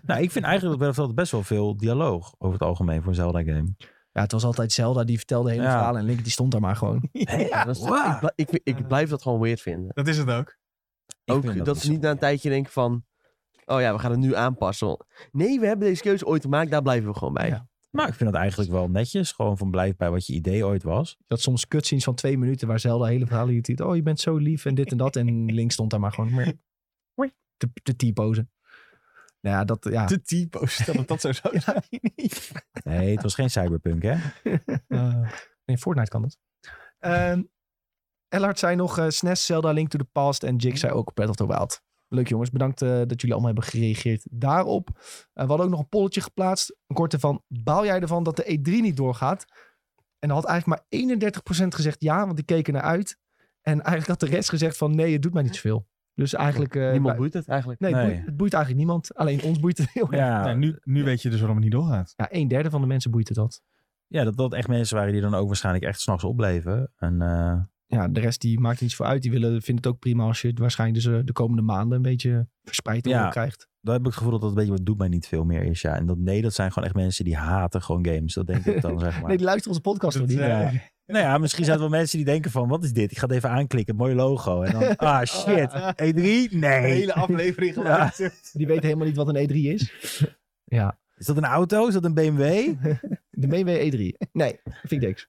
C: nou, ik vind eigenlijk dat Breath of the Wild best wel veel dialoog over het algemeen voor een Zelda game.
A: Ja, het was altijd Zelda, die vertelde hele
C: Ja.
A: verhalen en Link die stond daar maar gewoon.
C: Ah,
B: Ja, dat is- ik, bl- ik, ik blijf dat gewoon weird vinden.
D: Dat is het ook.
C: Ik
B: Ook
C: vind
B: dat, ze
C: zo-
B: niet na een tijdje denken van, oh ja, we gaan het nu aanpassen. Nee, we hebben deze keuze ooit gemaakt, daar blijven we gewoon bij.
A: Ja.
C: Maar Nou, ik vind dat eigenlijk wel netjes. Gewoon van blijf bij wat je idee ooit was.
A: Dat soms cutscenes van twee minuten waar Zelda hele verhalen liet. Oh, je bent zo lief en dit en dat. En Link stond daar maar gewoon meer te, te T-posen. Nou ja, dat, ja.
D: De typo, stel dat dat zo zou zijn.
C: Nee, het was geen cyberpunk, hè?
D: Eh,
A: In Fortnite kan dat. Ehm Ellard zei nog eh, SNES, Zelda, Link to the Past. En Jig zei ook Breath of the Wild. Leuk jongens, bedankt eh, dat jullie allemaal hebben gereageerd daarop. Eh, we hadden ook nog een polletje geplaatst. Een korte van, baal jij ervan dat de E3 niet doorgaat? En er had eigenlijk maar 31% gezegd ja, want die keken naar uit. En eigenlijk had de rest gezegd van nee, het doet mij niet zoveel. Dus eigenlijk... eh,
B: Niemand
A: bij-
B: boeit het eigenlijk.
A: Nee, het
C: Nee.
A: boeit, het boeit eigenlijk niemand. Alleen ons boeit het heel erg.
C: Ja,
D: nou, nu, nu weet je dus waarom het niet doorgaat.
A: Ja, een derde van de mensen boeit het dat.
C: ja dat dat echt mensen waren die dan ook waarschijnlijk echt s'nachts opbleven. En eh,
A: Ja, de rest die maakt niets voor uit. Die willen, vinden het ook prima als je het waarschijnlijk dus, eh, de komende maanden een beetje verspreid
C: Ja.
A: over krijgt.
C: Daar heb ik het gevoel dat dat een beetje wat doet mij niet veel meer is. Ja. En dat nee, dat zijn gewoon echt mensen die haten gewoon games. Dat denk ik dan, zeg maar.
A: Nee, die luisteren onze podcast nog
D: Dat,
A: niet.
C: ja.
D: eh,
C: Nou ja, misschien zijn het wel mensen die denken van, wat is dit? Ik ga het even aanklikken, mooi logo. En dan, ah shit, E3?
D: de
C: Nee.
D: hele aflevering
C: Ja.
D: geluisterd.
A: Die weten helemaal niet wat een E3 is.
C: Is dat een auto? Is dat een BMW? E
A: De BMW E3. Nee, dat vind ik niks.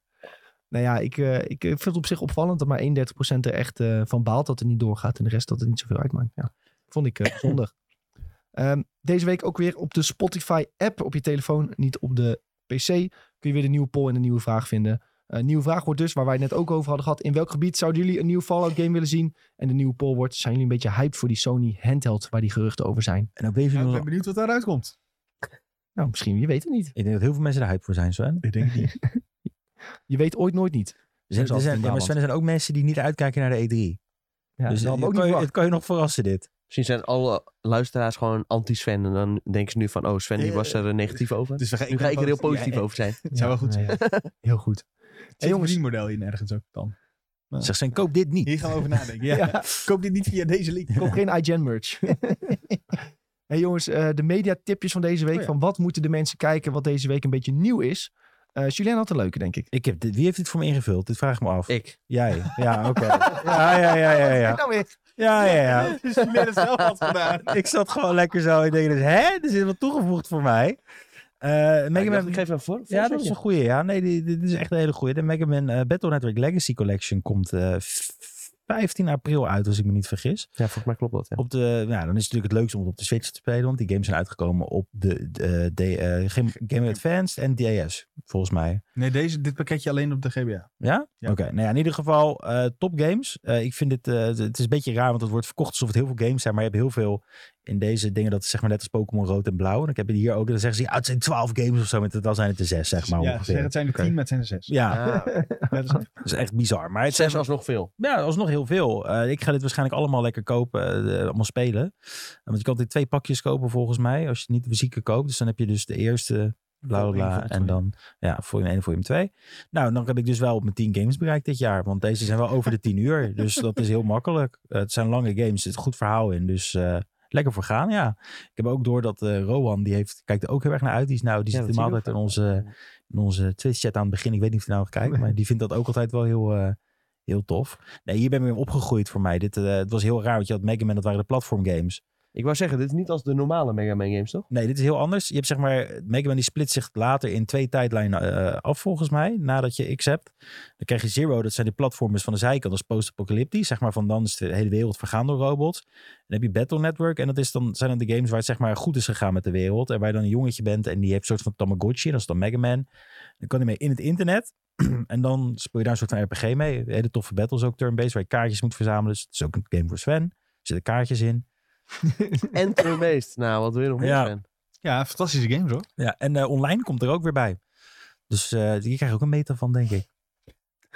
A: Nou ja, ik, eh, ik eh, vind het op zich opvallend dat maar 31% er echt eh, van baalt dat het niet doorgaat. En de rest dat het niet zoveel uitmaakt. Ja, vond ik eh, zondig. Ehm, deze week ook weer op de Spotify-app op je telefoon, niet op de PC. Kun je weer de nieuwe poll en de nieuwe vraag vinden. Een nieuwe vraag wordt dus, waar wij het net ook over hadden gehad. In welk gebied zouden jullie een nieuw Fallout game willen zien? En de nieuwe poll wordt, zijn jullie een beetje hyped voor die Sony handheld waar die geruchten over zijn?
C: En ook even
D: Nou, ik ben benieuwd wat daaruit komt.
A: Nou, misschien, je weet het niet.
C: Ik denk dat heel veel mensen er hype voor zijn, Sven.
D: Ik denk niet.
A: Je weet ooit nooit niet.
C: Er zijn,
A: Zoals
C: er zijn,
A: in
C: ja, maar Sven, er zijn ook mensen die niet uitkijken naar de E E3.
A: Ja,
C: dus
A: dat had ik
C: het
A: ook
C: kan,
A: niet
C: je,
A: verwacht.
C: het kan je nog verrassen, dit.
B: Misschien zijn alle luisteraars gewoon anti-Sven. En dan denken ze nu van, oh Sven die
D: Eh,
B: was er eh, negatief over.
D: Dus we gaan,
B: nu ga ik er heel positief
D: Ja,
B: over zijn.
C: eh,
D: Het zou wel goed zijn.
A: Ja, ja. Heel goed. jongens.
D: Hey, jongens, een model hier nergens ook dan.
C: Zeg Sven, koop dit niet.
D: Hier gaan we over nadenken. Ja. Koop dit niet via deze link.
A: Koop geen iGen merch. hey jongens, eh, de mediatipjes van deze week.
D: Oh ja.
A: Van wat moeten de mensen kijken wat deze week een beetje nieuw is? Eh Julien had een leuke, denk ik.
C: Ik heb dit, wie heeft dit voor me ingevuld? Dit vraag ik Nou me af.
B: Ik.
C: Jij. Ja, oké. ja, ja, ja, ja,
A: En
C: ja.
A: dan weer.
C: Ja, ja, ja.
D: Dus jullie hebben het zelf had gedaan.
C: Ik zat gewoon lekker zo. Ik denk, dus, hè? Er zit wat toegevoegd voor mij. Eh Mega
B: Maar ik
C: Man-
B: dacht, ik geef hem voor.
C: Ja, dat is een goeie. Ja, nee, die- dit is echt een hele goeie. De Mega Man eh, Battle Network Legacy Collection komt eh, v- 15 april uit, als ik me niet vergis.
B: Ja, volgens mij klopt dat. Ja.
C: Op de, nou, dan is het natuurlijk het leukste om het op de Switch te spelen, want die games zijn uitgekomen op de, de, de, eh, Game, Game Boy Advanced en DS, volgens mij.
D: Nee, deze, dit pakketje alleen op de GBA.
C: Ja?
D: Ja.
C: Oké. Nou ja, in ieder geval eh, top games. Eh, ik vind dit, eh, het is een beetje raar, want het wordt verkocht alsof het heel veel games zijn. Maar je hebt heel veel in deze dingen, dat is zeg maar net als Pokémon rood en blauw. En ik heb je hier ook, dan zeggen ze, ja, het zijn 12 games of zo, maar dan zijn het er zes, zeg maar
D: ja, ze
C: ongeveer.
D: zeggen het zijn er tien,
A: Oké.
D: maar het zijn er zes.
C: Ja,
B: Ah,
D: Dat is-
C: dat is echt bizar. Maar het
B: het
C: zijn
B: zes alsnog veel.
C: ja, alsnog heel veel. Eh, ik ga dit waarschijnlijk allemaal lekker kopen, eh, allemaal spelen. want je kan dit twee pakjes kopen volgens mij, als je het niet de fysieke koopt. Dus dan heb je dus de eerste, bla bla
D: Voor één, voor
C: bla.
D: twee.
C: En dan, ja, voor je hem één, voor je hem twee. Nou, dan heb ik dus wel op mijn 10 games bereikt dit jaar. Want deze zijn wel over de 10 uur. Dus dat is heel makkelijk. Eh, het zijn lange games, er zit een goed verhaal in. Dus eh, lekker voor gaan, ja. Ik heb ook door dat eh, Rohan, die heeft, kijkt er ook heel erg naar uit. Die, is nou, die
B: Ja,
C: zit
B: dat zie
C: hem
B: ik
C: altijd in
B: ook.
C: onze, in onze Twitch-chat aan het begin. Ik weet niet of hij nou nog kijkt, maar die vindt dat ook altijd wel heel... eh, Heel tof. Nee, hier ben ik mee opgegroeid voor mij. Dit, eh, het was heel raar, want je had Mega Man, dat waren de platform games.
B: Ik wou zeggen, dit is niet als de normale Mega Man games, toch?
C: Nee, dit is heel anders. Je hebt zeg maar, Mega Man die split zich later in twee tijdlijnen eh, af volgens mij, nadat je X hebt. Dan krijg je Zero, dat zijn die platformers van de zijkant, dat is post-apocalyptisch. Zeg maar van dan is de hele wereld vergaan door robots. Dan heb je Battle Network en dat is dan, zijn dan de games waar het zeg maar goed is gegaan met de wereld. En waar je dan een jongetje bent en die heeft een soort van Tamagotchi, dat is dan Mega Man. Dan kan hij mee in het internet. en dan speel je daar een soort van RPG mee. Hele toffe battles ook turn-based, waar je kaartjes moet verzamelen. Dus het is ook een game voor Sven. Er zitten kaartjes in.
B: En turn-based. Nou, wat wil je nog meer,
C: Ja.
B: Sven?
D: Ja, fantastische games hoor.
C: Ja, en eh, online komt er ook weer bij. Dus eh je krijgt ook een meta van, denk ik.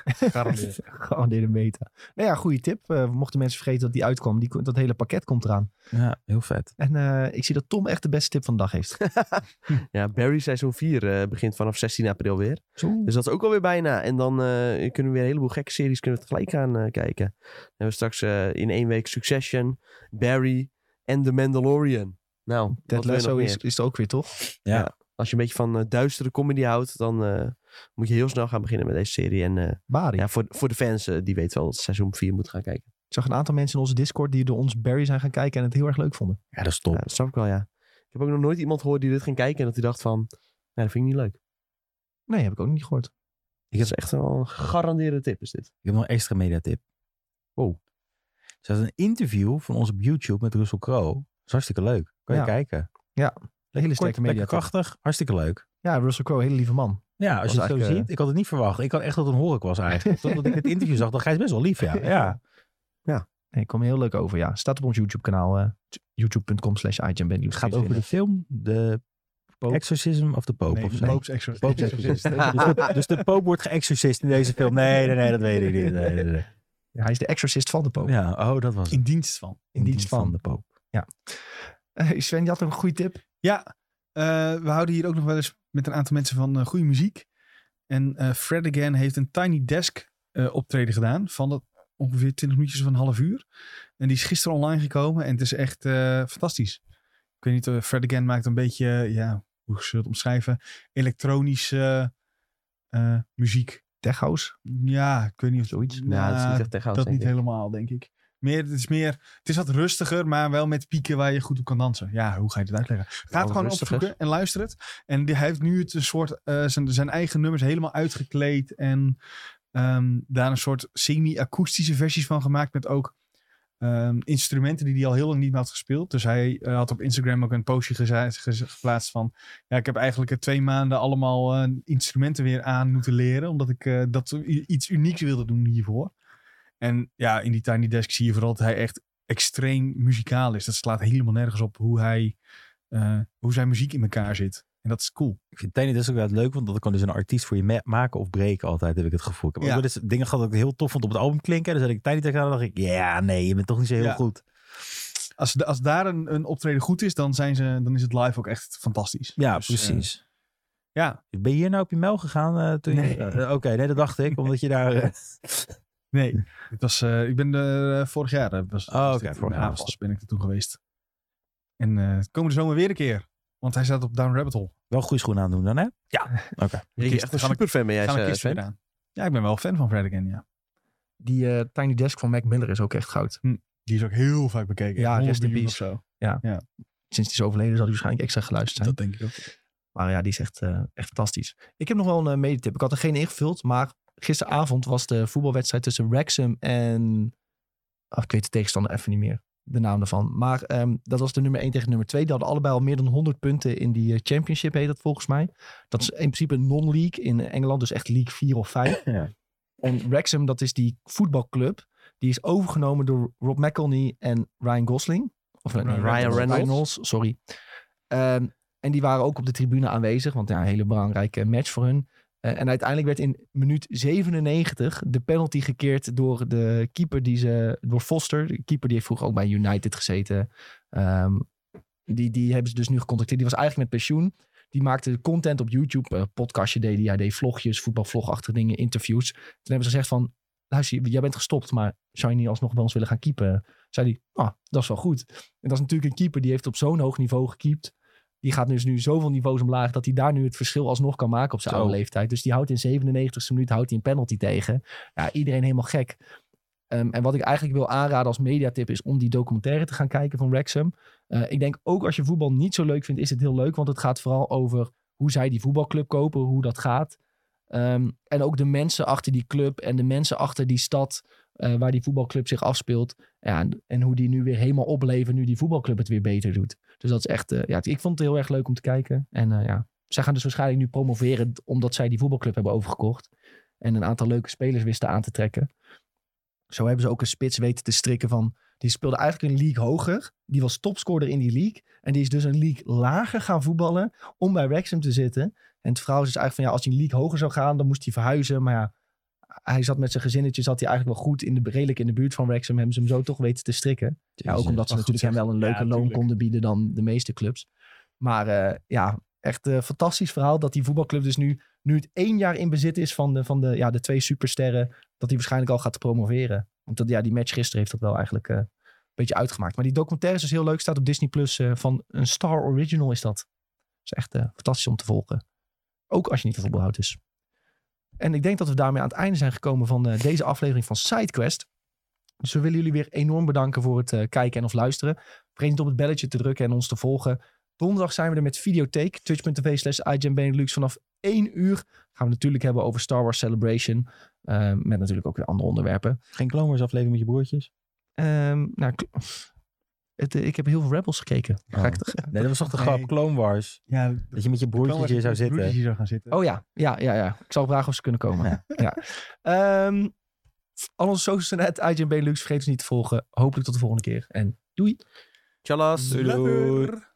D: Garandeerd.
A: Gegarandeerde meta. Nou ja, goede tip. Eh, mochten mensen vergeten dat die uitkwam, die, dat hele pakket komt eraan.
C: Ja, heel vet.
A: En eh, ik zie dat Tom echt de beste tip van de dag heeft.
B: Ja, Barry seizoen 4 eh, begint vanaf 16 april weer.
A: Zo.
B: Dus dat is ook alweer bijna. En dan eh, kunnen we weer een heleboel gekke series kunnen we tegelijk gaan eh, kijken. Dan hebben we straks eh, in één week Succession, Barry en The Mandalorian. Nou,
A: Dat
B: dat wil je nog
A: Lasso is,
B: meer?
A: is er ook weer, toch?
B: Als je een beetje van eh, duistere comedy houdt, dan eh, moet je heel snel gaan beginnen met deze serie. En eh,
A: Barry.
B: ja, voor, voor de fans, eh, die weten wel dat ze seizoen 4 moeten gaan kijken.
A: Ik zag een aantal mensen in onze Discord die door ons Barry zijn gaan kijken en het heel erg leuk vonden.
C: Ja, dat is
B: Ja,
C: top.
B: dat snap ik wel, ja. Ik heb ook nog nooit iemand gehoord die dit ging kijken en dat hij dacht van, nou, dat vind ik niet leuk.
A: Nee, heb ik ook niet gehoord.
B: Dat is echt wel een gegarandeerde tip, is dit.
C: Ik heb nog een extra mediatip.
B: Wow.
C: Er is een interview van ons op YouTube met Russell Crowe. Dat is hartstikke leuk. Kan je
A: Ja.
C: kijken.
A: Hele
C: Kort,
A: sterke
C: lekker
A: media.
C: krachtig. Hartstikke leuk.
A: Ja, Russell Crowe, hele lieve man.
C: Ja, als
A: Was
C: je het zo
A: eigenlijk, eh,
C: ziet. Ik had het niet verwacht. Ik had echt dat het een hork was eigenlijk. Totdat ik het interview zag, dacht hij is best wel lief, ja. Nou, ja.
A: Nee, kwam heel leuk over, ja. Staat op ons YouTube-kanaal, eh, youtube.com slash
C: Het gaat over de film The
A: Pope.
C: Exorcism of the Pope.
D: Nee,
C: of zo.
D: Pope's Exorcist.
C: Pope's
D: Exorcist.
C: dus, de, dus de Pope wordt geëxorcist in deze film. Nee, nee, nee, dat weet ik niet. Nee, nee, nee.
A: Hij is de exorcist van de poop.
C: Ja, oh, dat was het.
D: In dienst van.
A: in dienst van.
C: de Pope.
A: Eh, Sven, je had een goede tip.
D: Ja, eh, we houden hier ook nog wel eens met een aantal mensen van eh, goede muziek. En eh, Fred Again heeft een Tiny Desk eh, optreden gedaan van dat ongeveer 20 minuutjes van een half uur. En die is gisteren online gekomen en het is echt eh, fantastisch. Ik weet niet, eh, Fred Again maakt een beetje, eh, ja, hoe zullen we het omschrijven, elektronische eh, eh, muziek.
A: Tech House.
D: Ja, ik weet niet of zoiets.
B: Nou, dat is niet echt tegen
D: Dat niet helemaal, denk ik. Meer, het, is meer, het is wat rustiger, maar wel met pieken waar je goed op kan dansen. Ja, hoe ga je dat uitleggen? Ga
B: Wel
D: het gewoon
B: rustig is.
D: opzoeken en luister het. En die, hij heeft nu het een soort, eh, zijn, zijn eigen nummers helemaal uitgekleed. En eh, ehm, daar een soort semi-akoestische versies van gemaakt. Met ook ehm, instrumenten die hij al heel lang niet meer had gespeeld. Dus hij eh, had op Instagram ook een postje geze- geze- geplaatst van... Ja, ik heb eigenlijk eh, twee maanden allemaal eh, instrumenten weer aan moeten leren. Omdat ik eh, dat i- iets unieks wilde doen hiervoor. En ja, in die Tiny Desk zie je vooral dat hij echt extreem muzikaal is. Dat slaat helemaal nergens op hoe, hij, eh, hoe zijn muziek in elkaar zit. En dat is cool.
C: Ik vind Tiny Desk ook wel het leuk, want dat kan dus een artiest voor je ma- maken of breken altijd, heb ik het gevoel. Ik heb
D: Ja.
C: ook wel eens dingen gehad dat ik heel tof vond op het album klinken. En dan zet ik Tiny Desk aan en dacht ik, ja, nee, je bent toch niet zo heel
D: Ja.
C: goed.
D: Als, de- als daar een, een optreden goed is, dan, zijn ze, dan is het live ook echt fantastisch.
C: Ja,
D: Dus, eh,
C: precies.
D: ja.
C: Ben je hier nou op je mel gegaan? eh, toen je-
D: Nee.
C: Eh, Oké, nee, dat dacht ik, omdat je daar... eh,
D: Nee, het was, eh, ik ben er eh, vorig jaar. eh, Was,
C: Oh,
D: was
C: oké,
D: dit in
C: vorig jaar was
D: Avals ben ik er toen geweest. En eh komende zomer weer een keer. Want hij staat op Down Rabbit Hole.
C: wel goede schoenen aandoen dan, hè?
B: Ik
D: kist-
B: echt een
D: gaan we-
B: superfan ben jij,
D: Gaan we
B: eh,
D: kisten
B: Sven.
D: weer aan. Ja, ik ben wel fan van Fred again, ja.
A: Die eh, Tiny Desk van Mac Miller is ook echt goud.
D: Die is ook heel vaak bekeken.
A: Ja,
D: 100
A: rest in
D: miljoen
A: peace.
D: Of zo.
A: Sinds die is overleden zal hij waarschijnlijk extra geluisterd zijn.
D: Dat denk ik ook.
A: Maar ja, die is echt, eh, echt fantastisch. Ik heb nog wel een eh, medetip. Ik had er geen ingevuld, maar gisteravond was de voetbalwedstrijd tussen Wrexham en... Ah, ik weet de tegenstander even niet meer, de naam daarvan. Maar ehm, dat was de nummer 1 tegen nummer 2. Die hadden allebei al meer dan 100 punten in die eh, championship, heet dat volgens mij. Dat is in principe een non-league in Engeland, dus echt league 4 of 5.
C: Ja.
A: En Wrexham, dat is die voetbalclub. Die is overgenomen door Rob McElhenney en Ryan Gosling. Of nee,
D: Ryan
B: Reynolds.
A: sorry. Ehm, en die waren ook op de tribune aanwezig, want ja, een hele belangrijke match voor hun. Eh, en uiteindelijk werd in minuut 97 de penalty gekeerd door de keeper die ze, door Foster. De keeper die heeft vroeger ook bij United gezeten. Ehm, die, die hebben ze dus nu gecontacteerd. Die was eigenlijk met pensioen. Die maakte content op YouTube, eh, podcastje deed hij. Hij deed vlogjes, voetbalvlogachtige dingen, interviews. Toen hebben ze gezegd van, luister, jij bent gestopt, maar zou je niet alsnog bij ons willen gaan keepen? Zei hij, ah, dat is wel goed. En dat is natuurlijk een keeper die heeft op zo'n hoog niveau gekiept. Die gaat dus nu zoveel niveaus omlaag dat hij daar nu het verschil alsnog kan maken op zijn
C: Zo.
A: oude leeftijd. Dus die houdt in 97e minuut houdt hij een penalty tegen. Ja, iedereen helemaal gek. Ehm, en wat ik eigenlijk wil aanraden als mediatip is om die documentaire te gaan kijken van Wrexham. Eh, ik denk ook als je voetbal niet zo leuk vindt, is het heel leuk. Want het gaat vooral over hoe zij die voetbalclub kopen, hoe dat gaat. Ehm, en ook de mensen achter die club en de mensen achter die stad eh, waar die voetbalclub zich afspeelt. Ja, en, en hoe die nu weer helemaal opleven, nu die voetbalclub het weer beter doet. Dus dat is echt, eh, ja, ik vond het heel erg leuk om te kijken. En eh, ja, zij gaan dus waarschijnlijk nu promoveren omdat zij die voetbalclub hebben overgekocht. En een aantal leuke spelers wisten aan te trekken. Zo hebben ze ook een spits weten te strikken van die speelde eigenlijk een league hoger. Die was topscorer in die league. En die is dus een league lager gaan voetballen om bij Wrexham te zitten. En het verhaal is dus eigenlijk van ja, als hij een league hoger zou gaan, dan moest hij verhuizen. Maar ja, hij zat met zijn gezinnetje, zat hij eigenlijk wel goed in de, redelijk in de buurt van Wrexham. Hebben ze hem zo toch weten te strikken. Ja, ook omdat ze
D: Wat goed
A: natuurlijk hem
D: zeg.
A: wel een leuke
D: Ja,
A: loon
D: tuurlijk.
A: konden bieden dan de meeste clubs. Maar eh, ja, echt een fantastisch verhaal dat die voetbalclub dus nu, nu het één jaar in bezit is van de, van de, ja, de twee supersterren. Dat hij waarschijnlijk al gaat promoveren. Want dat, ja, die match gisteren heeft dat wel eigenlijk eh, een beetje uitgemaakt. Maar die documentaire is dus heel leuk. Staat op Disney Plus eh, van een Star Original is dat. is echt eh, fantastisch om te volgen. Ook als je niet van voetbal houdt dus. En ik denk dat we daarmee aan het einde zijn gekomen van eh, deze aflevering van SideQuest. Dus we willen jullie weer enorm bedanken voor het eh, kijken en of luisteren. Vergeet niet op het belletje te drukken en ons te volgen. Donderdag zijn we er met videotheek. Twitch.tv slash IGN Benelux vanaf 1 uur. Gaan we natuurlijk hebben over Star Wars Celebration. eh, met natuurlijk ook weer andere onderwerpen.
C: Geen Clone Wars aflevering met je broertjes?
A: Ehm, nou, kl- het, eh, ik heb heel veel Rebels gekeken. Ga ik het-
C: Nee, dat was toch de
D: Nee.
C: grap, Clone Wars.
D: Ja,
C: Dat je met je broertjes hier zou zitten.
D: Hier zou gaan zitten.
A: Oh ja, ja, ja, ja. Ik zal vragen of ze kunnen komen. Ja. Ehm, al onze socials zijn het IGN Benelux. Vergeet ons niet te volgen. Hopelijk tot de volgende keer. En doei.
B: Tjallas.
D: Lekker.